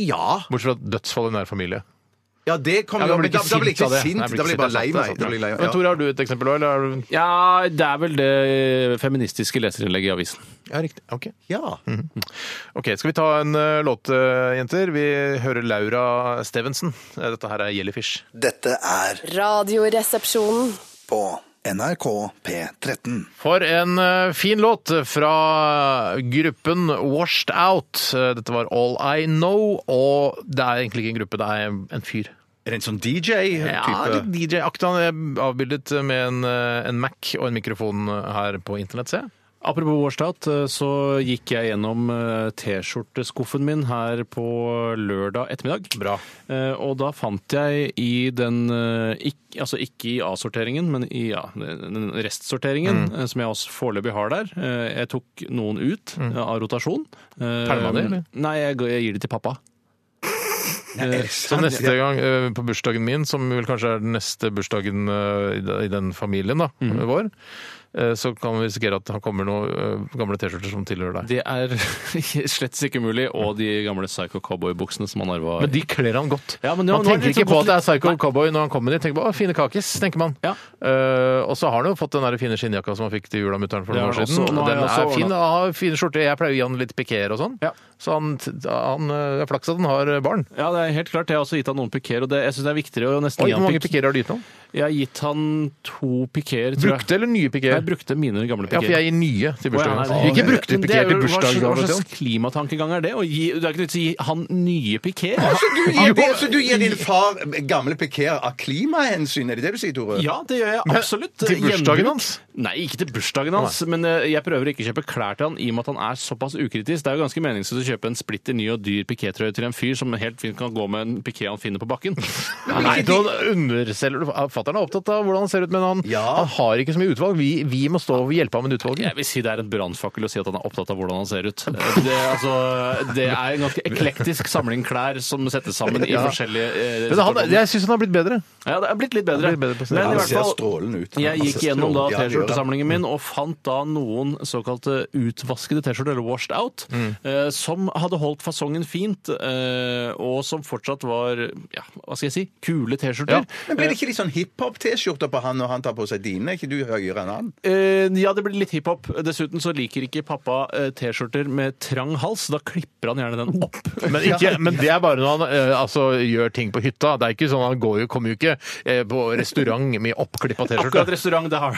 Speaker 2: Ja.
Speaker 1: Bortsett fra dødsfall i nær familie.
Speaker 2: Ja, det kom
Speaker 1: Ja,
Speaker 2: jo
Speaker 1: da blir
Speaker 2: men
Speaker 1: ikke
Speaker 2: Da da blir jeg
Speaker 1: sint av
Speaker 2: ikke
Speaker 1: det.
Speaker 2: sint,
Speaker 1: Nei,
Speaker 2: da blir jeg bare lei
Speaker 1: sint. Det er
Speaker 2: meg.
Speaker 1: sant, det er sant,
Speaker 2: Da blir jeg lei meg,
Speaker 1: Men
Speaker 2: ja.
Speaker 1: Tore, har du et eksempel òg, eller? er du-
Speaker 3: Ja, det er vel det feministiske leserinnlegget i avisen.
Speaker 1: Ja, riktig. Ok. Mhm.
Speaker 2: Ja.
Speaker 1: Ok, Skal vi ta en eh, låt, eh, jenter? Vi hører Laura Stevenson. Eh, Dette her er 'Jellyfish'.
Speaker 5: Dette er
Speaker 6: Radioresepsjonen.
Speaker 5: på NRK P13.
Speaker 1: For en eh, fin låt fra gruppen Washed Out. Eh, Dette var All I Know, og det er egentlig ikke en gruppe, det er en fyr.
Speaker 2: Er det en sånn DJ-type?
Speaker 1: Ja, litt DJ-aktig. Han er avbildet med en, eh, en Mac og en mikrofon her på internett, ser jeg.
Speaker 3: Apropos Warstad, så gikk jeg gjennom eh, T-skjorteskuffen min her på lørdag ettermiddag.
Speaker 1: Bra.
Speaker 3: Eh, Og da fant jeg i den eh, ikk- Altså ikke i A-sorteringen, men i ja, den restsorteringen
Speaker 1: Mm.
Speaker 3: eh, som jeg også foreløpig har der. Eh, Jeg tok noen ut
Speaker 1: Mm.
Speaker 3: eh, av rotasjon. Eh,
Speaker 1: Pælma de, eller?
Speaker 3: Nei, jeg g- jeg gir de til pappa.
Speaker 2: sånn-
Speaker 1: Så neste gang eh, på bursdagen min, som vel kanskje er den neste bursdagen eh, i de- i den familien da, vår, eh, så kan vi risikere at han kommer noen eh, gamle T-skjorter som tilhører deg.
Speaker 3: Det er slett ikke umulig. Og de gamle Psycho Cowboy-buksene som han arva.
Speaker 1: Men de kler han godt.
Speaker 3: Ja, men det var-
Speaker 1: man
Speaker 3: nå er det liksom
Speaker 1: tenker ikke på
Speaker 3: gått
Speaker 1: at det er
Speaker 3: litt-
Speaker 1: Psycho
Speaker 3: Nei.
Speaker 1: Cowboy når han kommer dit. Tenker på, å, fine kakis, tenker man.
Speaker 3: Ja.
Speaker 1: Eh, og så har han jo fått den der fine skinnjakka som han fikk til jul av mutter'n for
Speaker 3: Det har
Speaker 1: noen år
Speaker 3: han
Speaker 1: siden.
Speaker 3: også, og nå har
Speaker 1: den
Speaker 3: jeg også
Speaker 1: er fin.
Speaker 3: ordnet.
Speaker 1: og har fine skjorter. Jeg pleier å gi han litt pikéer og sånn.
Speaker 3: Ja.
Speaker 1: Så han, han eh, det er flaks at han har barn.
Speaker 3: Ja, det er helt klart. Jeg har også gitt han noen pikéer, og det, jeg syns det er viktigere å nesten
Speaker 1: Oi,
Speaker 3: gi
Speaker 1: hvor
Speaker 3: han
Speaker 1: mange
Speaker 3: pik-
Speaker 1: pikéer har du gitt ham?
Speaker 3: Jeg har gitt han to pikéer, tror jeg.
Speaker 1: Brukte eller nye pikéer?
Speaker 3: Jeg brukte mine gamle
Speaker 1: Ja,
Speaker 3: pikéer.
Speaker 1: for jeg gir nye til bursdagen.
Speaker 3: Å, ja,
Speaker 1: hans.
Speaker 3: nei,
Speaker 1: ikke brukte
Speaker 3: Men det er
Speaker 1: pikéer til
Speaker 3: jo- Hva
Speaker 1: bursdagsgave
Speaker 3: slags-
Speaker 1: til
Speaker 3: hva
Speaker 1: han.
Speaker 3: slags
Speaker 1: sånn.
Speaker 3: klimatankegang er det? Å gi, det er ikke nødt til å gi han nye pikéer.
Speaker 2: Du gir, det, så du gir din far gamle pikeer av klimahensyn, er det det du sier, Tore?
Speaker 3: Ja, det gjør jeg absolutt.
Speaker 1: til bursdagen
Speaker 3: Gjenbruk.
Speaker 1: hans?
Speaker 3: Nei, ikke til bursdagen hans. Men eh, jeg prøver å ikke kjøpe klær til han i og med at han er såpass ukritisk. Det er jo ganske meningsløst å kjøpe en splitter ny og dyr pikétrøye til en fyr som helt fint kan gå med en piké han finner på bakken.
Speaker 1: Ja, Nei, da underselger du Fatter'n er opptatt av hvordan han ser ut, men han,
Speaker 2: Ja.
Speaker 1: han har ikke så mye utvalg. Vi, vi må stå og hjelpe ham med
Speaker 3: Jeg
Speaker 1: utvalget.
Speaker 3: vil si det er en brannfakkel å si at han er opptatt av hvordan han ser ut. Det, altså, det er en ganske eklektisk samling klær som settes sammen i forskjellige eh,
Speaker 1: Men han,
Speaker 3: situasjoner.
Speaker 1: jeg syns han har blitt bedre.
Speaker 3: Ja, det er blitt litt bedre.
Speaker 1: Det blir bedre på siden.
Speaker 3: Men
Speaker 2: Han
Speaker 3: i hvert
Speaker 2: ser
Speaker 3: fall,
Speaker 2: strålende ut.
Speaker 3: jeg
Speaker 2: Han
Speaker 3: gikk
Speaker 2: ser
Speaker 3: gjennom da
Speaker 2: strålende- Ja, det gjør han.
Speaker 3: T-skjortesamlingen min og fant da noen såkalte utvaskede T-skjorter, eller washed out,
Speaker 2: Mm.
Speaker 3: eh, som hadde holdt fasongen fint, eh, og som fortsatt var, ja, hva skal jeg si, kule T-skjorter.
Speaker 2: Men blir det ikke litt sånn hiphop-T-skjorter på han når han tar på seg dine? Er ikke du høyere enn han?
Speaker 3: Eh, ja, det blir litt hiphop. Dessuten så liker ikke pappa eh, T-skjorter med trang hals. Da klipper han gjerne den opp.
Speaker 1: Men, ikke, men det er bare når han eh, altså, gjør ting på hytta. Det er ikke sånn Han går jo, kommer jo ikke eh, på restaurant med oppklippa
Speaker 3: Akkurat
Speaker 1: T-skjorte.
Speaker 3: restaurant, det har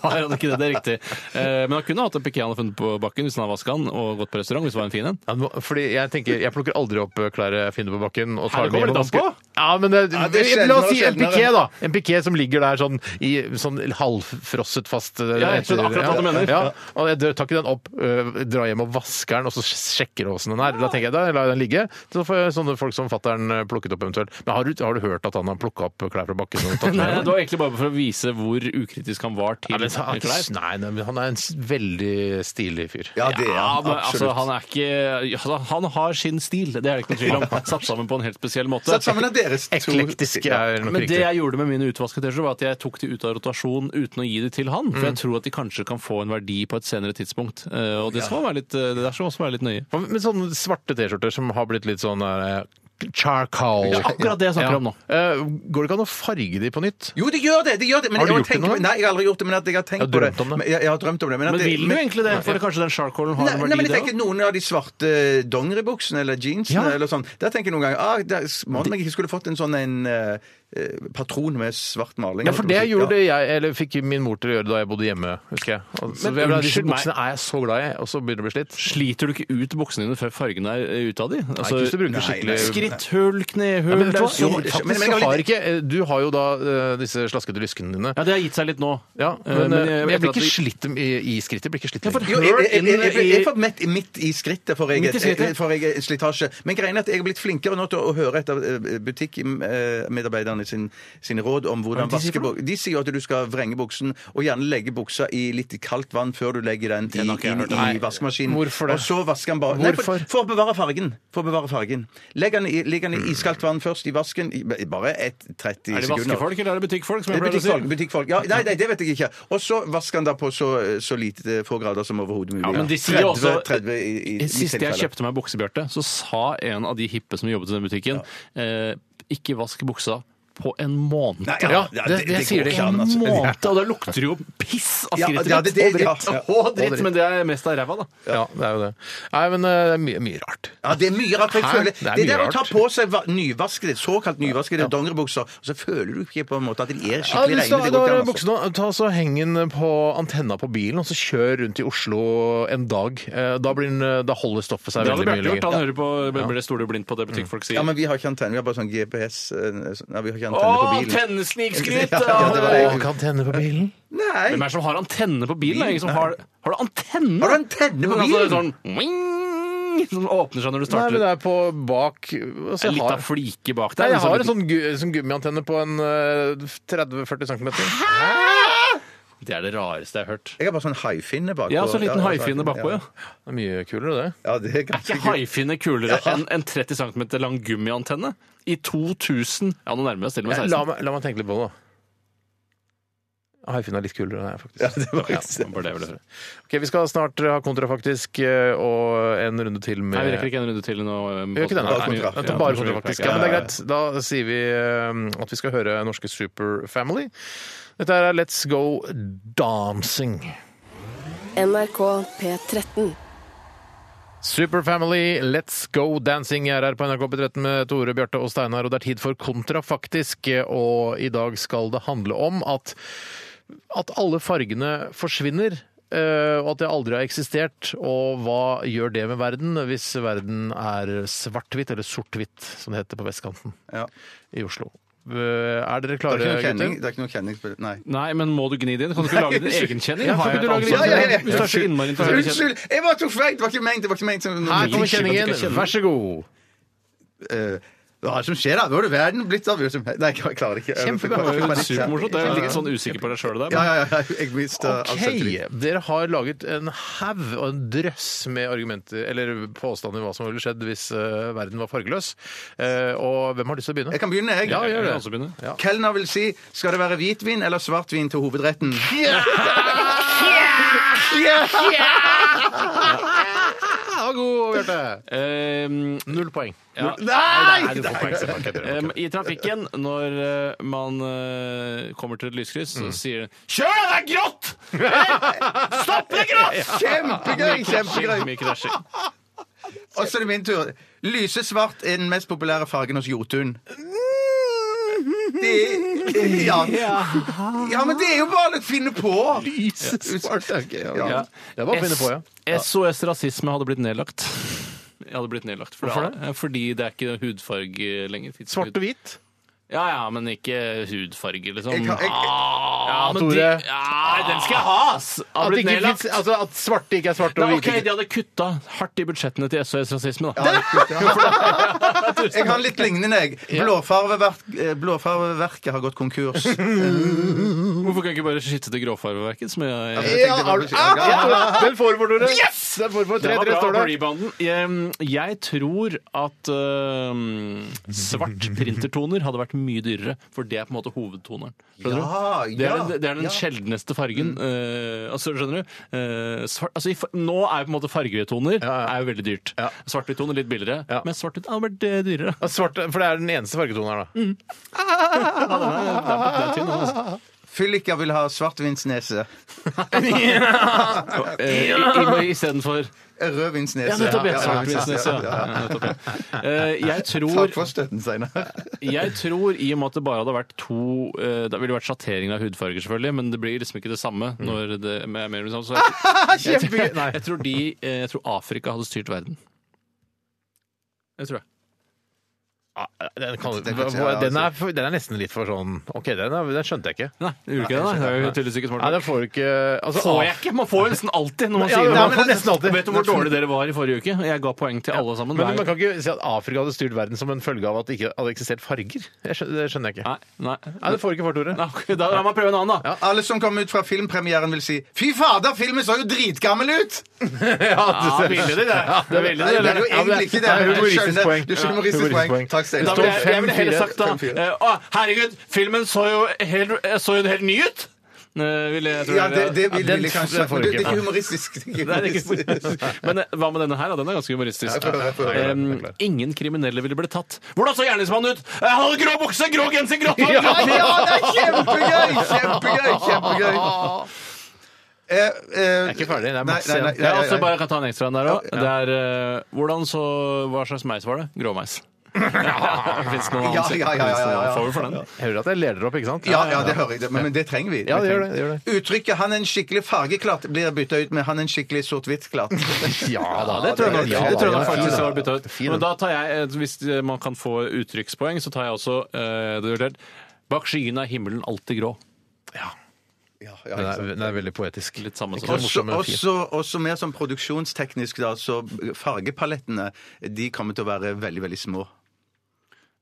Speaker 3: har han ikke det. Det er riktig. Eh, men han kunne hatt en piké han hadde funnet på bakken hvis han hadde vaska den, og gått på restaurant hvis det var en fin en.
Speaker 1: Ja, nå- Fordi jeg tenker, jeg plukker aldri opp eh, klær jeg finner på bakken.
Speaker 3: Her
Speaker 1: og tar dem
Speaker 3: kommer
Speaker 1: hjem og
Speaker 3: det an
Speaker 1: vasker.
Speaker 3: på.
Speaker 1: Ja, men det,
Speaker 2: Ja, det er
Speaker 1: La oss si
Speaker 2: sjeldnere
Speaker 1: en
Speaker 2: og
Speaker 1: piké,
Speaker 2: sjeldnere.
Speaker 1: da. En piké som ligger der sånn, i, sånn halvfrosset fast. eh,
Speaker 3: Ja, jeg skjønner
Speaker 1: etter-
Speaker 3: akkurat hva du
Speaker 1: ja,
Speaker 3: mener.
Speaker 1: Ja, og jeg drar- tar ikke den opp, øh, drar hjem og vasker den, og så sjekker åssen den er. Da tenker jeg, da lar jeg den ligge. Så får jeg sånne folk som fattern eh, plukket opp eventuelt. Men har du, har du hørt at han har plukka opp klær fra bakken? Og tatt
Speaker 3: Nei,
Speaker 1: med?
Speaker 3: Eh, det var egentlig bare for å vise hvor ukritisk han var til
Speaker 1: Nei, men han,
Speaker 3: klær.
Speaker 1: nei, nei, men han er en s- veldig stilig fyr.
Speaker 2: Ja, det er
Speaker 3: Ja,
Speaker 2: han.
Speaker 3: men altså,
Speaker 2: Absolutt.
Speaker 3: han er ikke altså, Han har sin stil, det er det ikke noe tvil om. Satt sammen på en helt spesiell måte.
Speaker 2: Satt sammen av deres to-
Speaker 1: Eklektisk er nok
Speaker 3: Men det
Speaker 1: riktig.
Speaker 3: jeg gjorde med mine utvaskede T-skjorter, var at jeg tok de ut av rotasjon uten å gi de til han. For
Speaker 2: Mm.
Speaker 3: jeg tror at de kanskje kan få en verdi på et senere tidspunkt. Eh, Og det skal, være litt, eh, det der skal også være litt nøye.
Speaker 1: Hva med sånne svarte T-skjorter som har blitt litt sånn eh, charcoal.
Speaker 3: Ja, akkurat det jeg snakker om nå.
Speaker 1: Eh, Går det ikke an å farge de på nytt?
Speaker 2: Jo, det gjør det! det, gjør det. Men
Speaker 1: Har du
Speaker 2: jeg
Speaker 1: gjort det
Speaker 2: tenker-
Speaker 1: noen gang?
Speaker 2: Nei, jeg har aldri gjort det, men at jeg har tenkt
Speaker 1: Jeg har
Speaker 2: på det.
Speaker 1: drømt om det.
Speaker 2: Men Jeg, jeg har drømt om det. Men, at
Speaker 3: Men
Speaker 2: det-
Speaker 3: vil du
Speaker 2: men-
Speaker 3: egentlig det? For kanskje den charcoalen har
Speaker 2: Nei,
Speaker 3: en
Speaker 2: nei, men
Speaker 3: verdi,
Speaker 2: jeg
Speaker 3: det
Speaker 2: tenker Noen av de svarte dongeribuksene eller jeansene
Speaker 1: Ja.
Speaker 2: eller sånn, der tenker jeg noen ganger ah, der, Måten jeg ikke skulle fått en sånn en eh, eh, patron med svart maling.
Speaker 1: Ja, for det
Speaker 2: Ja.
Speaker 1: gjorde jeg, eller fikk min mor til å gjøre da jeg bodde hjemme, husker jeg. Og Så
Speaker 3: Men
Speaker 1: jeg ble, disse
Speaker 3: unnskyld meg.
Speaker 1: buksene er jeg så glad i, og så begynner det å bli slitt.
Speaker 3: Sliter du ikke ut buksene dine før fargen er eh, ute av de?
Speaker 1: Nei, ikke hvis du bruker skikkelig-
Speaker 3: Skritthull,
Speaker 1: Altså- Ja,
Speaker 3: knehull
Speaker 1: men vet du hva?
Speaker 3: det er
Speaker 1: Jo,
Speaker 3: jo-
Speaker 2: men-
Speaker 1: faktisk
Speaker 2: men-
Speaker 1: så har ikke eh, Du har jo da eh, disse slaskete lyskene dine.
Speaker 3: Ja, det har gitt seg litt nå.
Speaker 1: Ja,
Speaker 3: Eh,
Speaker 1: men, eh, jeg blir
Speaker 3: etter
Speaker 1: ikke
Speaker 3: at vi-
Speaker 1: slitt i, i skrittet. Blir ikke slitt lenger.
Speaker 2: Jo, jeg, jeg, jeg, jeg, jeg, jeg får midt, midt i skrittet for jeg,
Speaker 3: Midt i skrittet?
Speaker 2: for jeg slitasje. Men greien er at jeg er blitt flinkere nå til å høre etter eh, butikkmedarbeiderne sin, sine råd om hvordan
Speaker 3: Hva er det de sier
Speaker 2: vaske
Speaker 3: for noe?
Speaker 2: buksen. De sier jo at du skal vrenge buksen, og gjerne legge buksa i litt kaldt vann før du legger den i,
Speaker 3: har ikke jeg
Speaker 2: inn
Speaker 3: hørt.
Speaker 2: i vaskemaskinen.
Speaker 1: Hvorfor det?
Speaker 2: Og så vasker den bare Nei, for,
Speaker 1: Hvorfor?
Speaker 2: for å bevare fargen. For å bevare fargen. Legg den i, legg den i iskaldt vann først i vasken. i- Bare et 30
Speaker 3: Er det
Speaker 2: sekunder.
Speaker 3: vaskefolk eller er det butikkfolk? som
Speaker 2: Det
Speaker 3: jeg
Speaker 2: er
Speaker 3: pleier å si?
Speaker 2: butikkfolk. butikkfolk. Ja, nei, nei, det vet jeg ikke. Og så vasker han da på så, så lite eh, få grader som overhodet mulig.
Speaker 3: Ja, men de sier jo også-
Speaker 2: 30 i, i, i
Speaker 3: Sist jeg
Speaker 2: tilfelle.
Speaker 3: kjøpte meg buksebjørte, så sa en av de hippe som jobbet i den butikken, eh, ikke vask buksa på en måned.
Speaker 2: Nei,
Speaker 1: Ja, det,
Speaker 2: ja, det-
Speaker 1: det
Speaker 2: det
Speaker 1: sier
Speaker 2: går
Speaker 1: de.
Speaker 2: ikke an, altså.
Speaker 1: Måte.
Speaker 3: måned, og da lukter det jo piss av
Speaker 2: Ja,
Speaker 3: skrittet
Speaker 2: ja, det- det-
Speaker 3: ditt. og
Speaker 2: ja,
Speaker 3: dritt.
Speaker 2: ja.
Speaker 3: Og dritt, men det er mest av ræva, da.
Speaker 1: Ja, det er jo det. Nei, men eh, det er mye, mye rart.
Speaker 2: Ja, det er mye rart. for Jeg
Speaker 1: Hæ?
Speaker 2: føler,
Speaker 1: Det er
Speaker 2: det,
Speaker 1: mye
Speaker 2: der å ta
Speaker 1: rart.
Speaker 2: på seg va- nyvaskede, såkalt nyvaskede dongeribukser, og så føler du ikke på en måte at de er
Speaker 1: Ja,
Speaker 2: skikkelig
Speaker 1: hvis du
Speaker 2: reine.
Speaker 1: har
Speaker 2: det går ikke an,
Speaker 1: da
Speaker 2: altså.
Speaker 1: buksene, ta så Heng den på antenna på bilen, og så kjør rundt i Oslo en dag. Eh, Da, blir den, eh, da holder stoffet seg
Speaker 3: Det hadde
Speaker 1: veldig
Speaker 3: Bjarte
Speaker 1: mye
Speaker 3: gjort.
Speaker 1: lenger.
Speaker 3: Han hører på, ble, ble stoler blind på det butikkfolk sier.
Speaker 2: Ja, men vi har ikke antenne. Vi har bare sånn GPS eh, Nei, vi har ikke antenne på
Speaker 3: Å,
Speaker 2: bilen.
Speaker 3: tennesnikskryt!
Speaker 2: Ja, ja, det var det.
Speaker 1: Å, kan tenne på bilen.
Speaker 2: Nei!
Speaker 3: Hvem er det som har antenne på bilen? Det er ingen som har, har du antenne?
Speaker 2: Har du antenne på
Speaker 3: Altså,
Speaker 2: bilen?
Speaker 3: Sånn, wing, som åpner seg når du
Speaker 1: Nei,
Speaker 3: starter.
Speaker 1: men det er på bak altså,
Speaker 3: det er
Speaker 1: jeg
Speaker 3: litt
Speaker 1: har-
Speaker 3: av flike bak liksom.
Speaker 1: Nei,
Speaker 3: der.
Speaker 1: jeg har en sånn, gu, sånn gummiantenne på en eh, 30-40 cm.
Speaker 3: Det er det rareste jeg har hørt.
Speaker 2: Jeg har bare sånn haifinne bakpå.
Speaker 3: Ja, så en liten haifinne bakpå, ja.
Speaker 1: Det er mye kulere, det.
Speaker 2: Ja, det er
Speaker 3: Er
Speaker 2: ganske
Speaker 3: ikke haifinne kulere enn en 30 cm lang gummiantenne? I 2000 Ja, nå nærmer vi oss til og med
Speaker 1: Eh, la,
Speaker 3: 16.
Speaker 1: meg, la meg tenke litt på det, da. Haifinn er litt kulere enn jeg, faktisk.
Speaker 2: Ja, det var ikke
Speaker 3: Ja, bare det, bare det.
Speaker 1: Ok, Vi skal snart ha kontrafaktisk eh, og en runde til med
Speaker 3: Nei, vi rekker ikke en runde til nå. um,
Speaker 1: Vi gjør ikke det,
Speaker 2: Bare
Speaker 1: nei.
Speaker 2: kontra.
Speaker 1: Dette er bare kontrafaktisk. Ja, men det er greit. Da sier vi eh, at vi skal høre norske Superfamily. Dette er Let's Go Dancing.
Speaker 6: NRK P13.
Speaker 1: Superfamily, Let's Go Dancing er her på NRK P13 med Tore, Bjarte og Steinar, og det er tid for kontrafaktisk, og i dag skal det handle om at, at alle fargene forsvinner, eh, og at det aldri har eksistert, og hva gjør det med verden hvis verden er svart-hvitt, eller sort-hvitt, som det heter på vestkanten
Speaker 2: Ja.
Speaker 1: i Oslo. Eh, Er dere
Speaker 2: Det er
Speaker 1: klare,
Speaker 2: ikke noe kjenning.
Speaker 1: gutter?
Speaker 2: Det er ikke noe kjenning. på det. Nei.
Speaker 3: Nei, men må du gni det inn? Kan du ikke lage din egen kjenning?
Speaker 1: Ja, kan
Speaker 3: Har jeg et
Speaker 1: ikke du lage din-
Speaker 3: ansvar?
Speaker 1: Ja, ja, ja, ja.
Speaker 3: Hvis du er så innmari interessert i kjenning.
Speaker 2: Unnskyld! Jeg bare tok feil! Det var ikke ment! Det var ikke ment som
Speaker 1: Her kommer
Speaker 3: Ikke at du
Speaker 1: kjenningen,
Speaker 3: ikke kjenner.
Speaker 1: vær så god.
Speaker 2: Eh, Hva er det som skjer, da? Nå er det verden blitt av. Nei, jeg klarer ikke. Jeg
Speaker 3: Det
Speaker 2: fikk panikk,
Speaker 3: var
Speaker 2: jeg
Speaker 3: jo
Speaker 2: fikk panikk.
Speaker 3: Supermorsomt. Jeg er litt sånn usikker på deg sjøl der.
Speaker 2: Ja,
Speaker 3: men-
Speaker 2: ja, ja. Jeg mista all
Speaker 1: Ok,
Speaker 2: selvtillit.
Speaker 1: dere har laget en haug og en drøss med argumenter, eller påstander om hva som ville skjedd hvis eh, verden var fargeløs. Eh, og hvem har lyst til å begynne?
Speaker 2: Jeg kan begynne, jeg.
Speaker 1: Ja, gjør
Speaker 3: Jeg
Speaker 1: det.
Speaker 3: kan også begynne.
Speaker 1: Ja.
Speaker 2: Kelner vil si skal det være hvitvin eller svartvin til hovedretten?
Speaker 1: Ja, god, Bjarte!
Speaker 3: Ehm,
Speaker 1: Null poeng.
Speaker 3: ja.
Speaker 2: Nei!
Speaker 3: Nei, du får poeng, Stefan, kødder du? Ehm, I trafikken, når eh, man eh, kommer til et lyskryss, så sier den Kjør, det er grått! Hey, Stopp, det er grått!
Speaker 2: Kjempegøy!
Speaker 3: Krasjing,
Speaker 2: kjempegøy
Speaker 3: mye krasjing.
Speaker 2: Og så er det min tur. Lysesvart er den mest populære fargen hos Jotun. Det, ja. ja, men det er jo bare å finne på! Lysesvart.
Speaker 1: Ja. Det var å finne på, ja.
Speaker 3: S- SOS Rasisme hadde blitt nedlagt. Jeg hadde blitt nedlagt. For
Speaker 1: Hvorfor
Speaker 3: det? Fordi det er ikke hudfarge lenger. Fins
Speaker 1: Svart
Speaker 3: ikke
Speaker 1: og hvit.
Speaker 3: hud- Ja, ja, men ikke hudfarge, liksom.
Speaker 2: Jeg kan- jeg-
Speaker 3: ja, men
Speaker 1: Tore.
Speaker 3: de, ja, den skal jeg ha! ass! Hadde
Speaker 1: At,
Speaker 3: blitt
Speaker 1: ikke
Speaker 3: nedlagt.
Speaker 1: finnes, altså, at svarte ikke er svarte
Speaker 3: Nei,
Speaker 1: og
Speaker 3: ok,
Speaker 1: hvite
Speaker 3: De hadde kutta hardt i budsjettene til SOS Rasisme. da.
Speaker 2: Jeg har litt lignende, jeg. Blåfarveverk, eh, blåfarveverket har gått konkurs.
Speaker 3: Hvorfor kan jeg ikke bare skifte til gråfarveverket, som jeg
Speaker 1: Ja, har du- Ah, Tore! Den får du for, Tore. Yes! Den får du for
Speaker 3: Det var
Speaker 1: 3-3,
Speaker 3: bra
Speaker 1: står
Speaker 3: på
Speaker 1: det.
Speaker 3: rebounden. Jeg, jeg tror at øhm, svart printertoner hadde vært mye dyrere, for det er på en måte hovedtoneren. Skjønner du?
Speaker 2: Ja,
Speaker 3: det, er,
Speaker 2: ja,
Speaker 3: den- det er den
Speaker 2: ja.
Speaker 3: sjeldneste fargen. øh, altså, skjønner du? Eh, svart, altså, i, fa- nå er jo på en måte fargetoner
Speaker 1: Ja, ja.
Speaker 3: er jo veldig dyrt.
Speaker 1: Ja.
Speaker 3: Svart-hvitt-toner litt billigere,
Speaker 1: Ja.
Speaker 3: men svart-hvitt hadde vært eh, dyrere.
Speaker 1: Ja, Svart, for det er den eneste fargetonen her, da.
Speaker 3: Det er tynn, altså.
Speaker 2: Fylliker vil ha svartvinsnese.
Speaker 3: Eh, Istedenfor
Speaker 2: Rødvinsnese.
Speaker 3: Ja, nettopp. Ja,
Speaker 2: Ja, ja, ja,
Speaker 3: svart-hvitt-nese,
Speaker 2: ja,
Speaker 3: ja.
Speaker 2: ja.
Speaker 3: Ja, nettopp, ja. Eh, Jeg tror
Speaker 2: Takk for støtten, Steinar.
Speaker 3: Jeg tror, i og med at det bare hadde vært to eh, Det ville vært sjattering av hudfarger, selvfølgelig, men det blir liksom ikke det samme når det er mer eller mindre samme. Så jeg,
Speaker 1: Kjempegøy! Nei.
Speaker 3: jeg, tror de, eh, jeg tror Afrika hadde styrt verden. Det tror jeg.
Speaker 1: Den, kan,
Speaker 2: Den kan- ja,
Speaker 1: den, er, for- den er nesten litt for sånn OK, den, er, den skjønte jeg ikke.
Speaker 3: Nei, det gjorde ikke det. Nei. Det er jo tydeligvis ikke smart.
Speaker 1: Nei, den får du ikke altså,
Speaker 3: Får
Speaker 1: ah,
Speaker 3: jeg ikke! Man får jo nesten alltid når man
Speaker 1: Ja,
Speaker 3: sier det.
Speaker 1: men
Speaker 3: Man
Speaker 1: man
Speaker 3: får
Speaker 1: får nesten alltid.
Speaker 3: Vet du hvor dårlig dere var i forrige uke? Jeg ga poeng til alle sammen.
Speaker 1: Men man
Speaker 3: Hver-
Speaker 1: kan ikke si at Afrika hadde styrt verden som en følge av at det ikke hadde eksistert farger. Jeg skjønner, det skjønner jeg ikke.
Speaker 3: Nei, nei.
Speaker 1: Nei, det får du ikke for, Tore.
Speaker 3: Nei, ok, Da la meg prøve en annen, da.
Speaker 2: Alle som kom ut fra filmpremieren, vil si 'Fy fader, filmen så jo dritgammel ut!'
Speaker 1: Ja,
Speaker 3: Ja, veldig Ah, det. Det er veldig
Speaker 2: Nei, det
Speaker 3: det.
Speaker 2: er jo egentlig ikke det.
Speaker 1: Nei,
Speaker 2: Jeg
Speaker 1: humoristisk
Speaker 2: skjønner.
Speaker 1: poeng.
Speaker 2: Du skjønner
Speaker 1: Ja,
Speaker 2: humoristisk
Speaker 1: humoristisk
Speaker 2: poeng.
Speaker 1: poeng.
Speaker 2: Takk, Steinar.
Speaker 3: Da
Speaker 1: Det
Speaker 3: ville
Speaker 1: står
Speaker 3: jeg, jeg ville heller
Speaker 1: 5-4.
Speaker 3: sagt da
Speaker 2: Fem-fire.
Speaker 3: eh, Å, herregud, filmen så jo helt, eh, så jo helt ny ut! Eh, ville jeg, tror
Speaker 2: Ja,
Speaker 3: jeg-
Speaker 2: det, det vil,
Speaker 1: Ja, den-
Speaker 2: vil jeg kanskje
Speaker 1: den
Speaker 2: sagt,
Speaker 1: får
Speaker 2: men
Speaker 1: du
Speaker 2: det, det
Speaker 1: ikke.
Speaker 2: er ikke humoristisk. Det
Speaker 3: Nei,
Speaker 2: er
Speaker 3: det er
Speaker 2: ikke humoristisk.
Speaker 3: ikke Men eh, hva med denne her? da? Den er ganske humoristisk.
Speaker 2: Ja, jeg får høre, jeg får høre,
Speaker 1: jeg får
Speaker 3: Eh,
Speaker 1: høre.
Speaker 3: ingen kriminelle ville blitt tatt. Hvordan så gjerningsmannen ut? Jeg hadde grå bukse, grå genser, grått hår!
Speaker 2: Ja,
Speaker 3: grå-
Speaker 2: ja, det er kjempegøy! Kjempegøy! kjempegøy. Eh,
Speaker 1: er
Speaker 2: eh,
Speaker 1: ikke ferdig, det er masse
Speaker 2: nei, nei,
Speaker 1: igjen.
Speaker 2: nei,
Speaker 3: Ja, altså,
Speaker 2: nei, nei.
Speaker 3: bare jeg kan ta en ekstra en der òg. Det er eh, Hvordan så Hva slags meis var det? Gråmeis. Fins det noen
Speaker 2: Ja,
Speaker 3: annen?
Speaker 2: ja, ja, ja, ja, ja.
Speaker 3: Får vi for den?
Speaker 1: Jeg hører at jeg leder opp, ikke sant?
Speaker 2: Ja, ja, det hører jeg. det- Men, men det trenger vi.
Speaker 1: Ja, det gjør det, det gjør
Speaker 2: Uttrykket 'han er en skikkelig fargeklatt' blir bytta ut med 'han er en skikkelig sort-hvitt-klatt'.
Speaker 1: Ja
Speaker 3: Ja,
Speaker 1: da,
Speaker 3: det tror jeg nok,
Speaker 2: Ja,
Speaker 3: det tror jeg
Speaker 2: ja,
Speaker 3: nok
Speaker 2: ja,
Speaker 3: faktisk
Speaker 2: ja.
Speaker 3: var bytta ut. Men da tar jeg, eh, Hvis eh, man kan få uttrykkspoeng, så tar jeg også eh, det er det. Bak skyene er himmelen alltid grå.
Speaker 2: Ja, ja,
Speaker 1: Den
Speaker 2: ikke
Speaker 1: er,
Speaker 2: sant.
Speaker 1: den er veldig poetisk.
Speaker 3: Litt samme
Speaker 1: Ikke
Speaker 3: som-
Speaker 1: så morsom, men fin.
Speaker 2: Også, også mer sånn produksjonsteknisk, da, så fargepalettene de kommer til å være veldig, veldig små.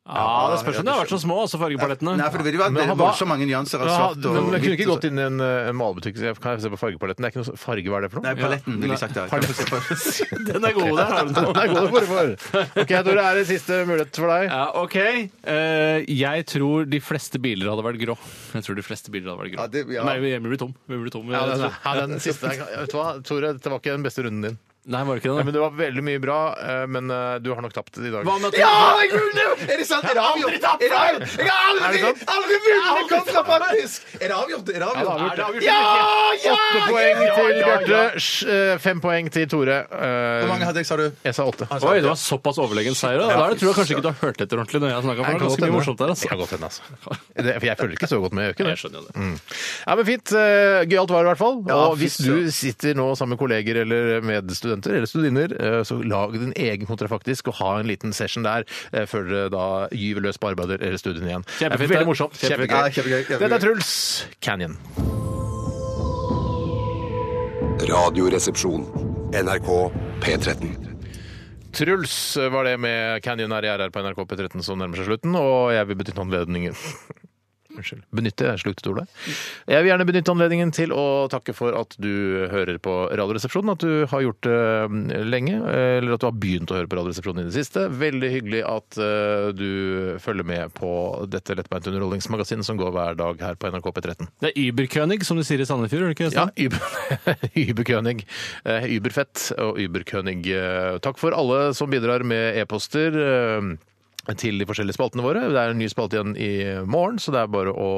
Speaker 3: Ja, Ah, Det spørs om de har vært så små, altså fargepalettene.
Speaker 2: Nei, for det vil jo være
Speaker 1: Men
Speaker 2: veldig
Speaker 1: han var-
Speaker 2: voldsomt mange nyanser av
Speaker 1: Ja,
Speaker 2: svart og
Speaker 1: men jeg kunne ikke
Speaker 2: og
Speaker 1: gått inn i en eh, malebutikk så jeg kan se på fargepaletten. Det er ikke noe så- farge, hva er det for
Speaker 2: så- Nei,
Speaker 1: noe?
Speaker 2: paletten, ville jeg sagt. Ja. Kan få se på-
Speaker 3: Den er god, der har du
Speaker 1: Den
Speaker 3: den.
Speaker 1: er god for, for. Ok, Tore, er det siste mulighet for deg?
Speaker 3: Ja, OK. Eh, jeg tror de fleste biler hadde vært grå. Jeg tror de fleste biler hadde vært grå.
Speaker 2: Ja, det- ja.
Speaker 3: Nei, vi blir tom. Vi blir tom.
Speaker 1: Ja,
Speaker 3: jeg
Speaker 1: den,
Speaker 3: tror.
Speaker 1: ja, den siste. Jeg kan- Vet du hva, Tore, dette var ikke den beste runden din.
Speaker 3: Nei, var det ikke
Speaker 1: Ja,
Speaker 3: det?
Speaker 1: men Det var veldig mye bra, eh, men eh, du har nok tapt i dag.
Speaker 3: Hva med at
Speaker 2: Ja, jeg vunnet! Er det sant? Er det avgjort? Er det avgjort? Jeg
Speaker 1: Er
Speaker 2: har aldri,
Speaker 1: det sant?
Speaker 2: aldri vunnet med kontrafaktisk! Er det avgjort? Er det
Speaker 3: Er det
Speaker 2: avgjort?
Speaker 3: avgjort?
Speaker 2: Ja! ja!
Speaker 1: Åtte poeng til Bjarte, sj- eh, fem poeng til Tore. Eh,
Speaker 2: Hvor mange hadde jeg, sa du?
Speaker 1: Jeg sa åtte.
Speaker 3: Oi, Altså, det var såpass overlegen seier. Da, da er det, tror jeg kanskje ikke du har hørt etter ordentlig når jeg har snakka. Det er ganske mye morsomt der,
Speaker 1: Det
Speaker 3: altså.
Speaker 1: kan godt hende, altså. Det, for jeg følger ikke så godt med. Jeg gjør ikke det.
Speaker 3: Jeg skjønner jo det.
Speaker 1: Ja, men Fint. eh, Gøyalt var det i hvert fall.
Speaker 2: Ja,
Speaker 1: og
Speaker 2: fy
Speaker 1: hvis du sitter nå sammen med kolleger eller medstudenter eller studiner, eh, så lag din egen kontrafaktisk og ha en liten session der eh, før dere da gyver løs på arbeidet eller studiene igjen.
Speaker 3: Kjempefint,
Speaker 1: Det er
Speaker 3: det.
Speaker 1: Veldig morsomt.
Speaker 3: Kjempefint.
Speaker 2: Ja, kjempegøy, kjempegøy.
Speaker 1: Dette er Truls Canyon.
Speaker 4: Radioresepsjon. NRK P13.
Speaker 1: Truls var det med Canyon her i RR på NRK P13 som nærmer seg slutten, og jeg vil benytte anledningen Unnskyld. Benytte, jeg slukte ordet. Jeg vil gjerne benytte anledningen til å takke for at du hører på Radioresepsjonen, at du har gjort det eh, lenge, eller at du har begynt å høre på Radioresepsjonen i det siste. Veldig hyggelig at eh, du følger med på dette lettbeinte underholdningsmagasinet som går hver dag her på NRK P13.
Speaker 3: Det er Überkönig, som de sier i Sandefjord, er det ikke?
Speaker 1: Ja,
Speaker 3: Øystein?
Speaker 1: Überkönig. Überfett og Überkönig. Eh, Takk for alle som bidrar med e-poster. eh, til de forskjellige spaltene våre. Det er en ny spalte igjen i morgen, så det er bare å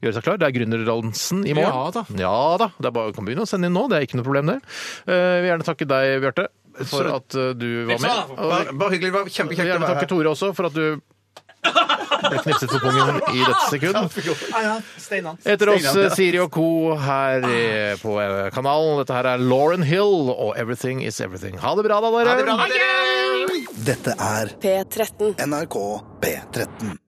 Speaker 1: gjøre seg klar. Det er Gründerdansen i morgen.
Speaker 3: Ja da.
Speaker 1: Ja da, Det er bare å komme begynne å sende inn nå, det er ikke noe problem det. Eh, Jeg vil gjerne takke deg, Bjarte, for
Speaker 2: Så-
Speaker 1: at eh, du var
Speaker 3: Ikke sant?
Speaker 1: med. Og
Speaker 2: Bare, bare hyggelig. det var
Speaker 1: jeg vil
Speaker 2: Kjempekjekt å
Speaker 1: gjerne
Speaker 2: være
Speaker 1: takke
Speaker 2: her.
Speaker 1: Tore også for at du ble knipset på pungen i dette sekund. Etter oss eh, Siri og co. her i- på eh, kanalen. Dette her er Lauren Hill og 'Everything Is Everything'. Ha det bra, da, dere.
Speaker 2: Ha det bra, dere!
Speaker 5: Dette er
Speaker 6: P13.
Speaker 5: NRK P13.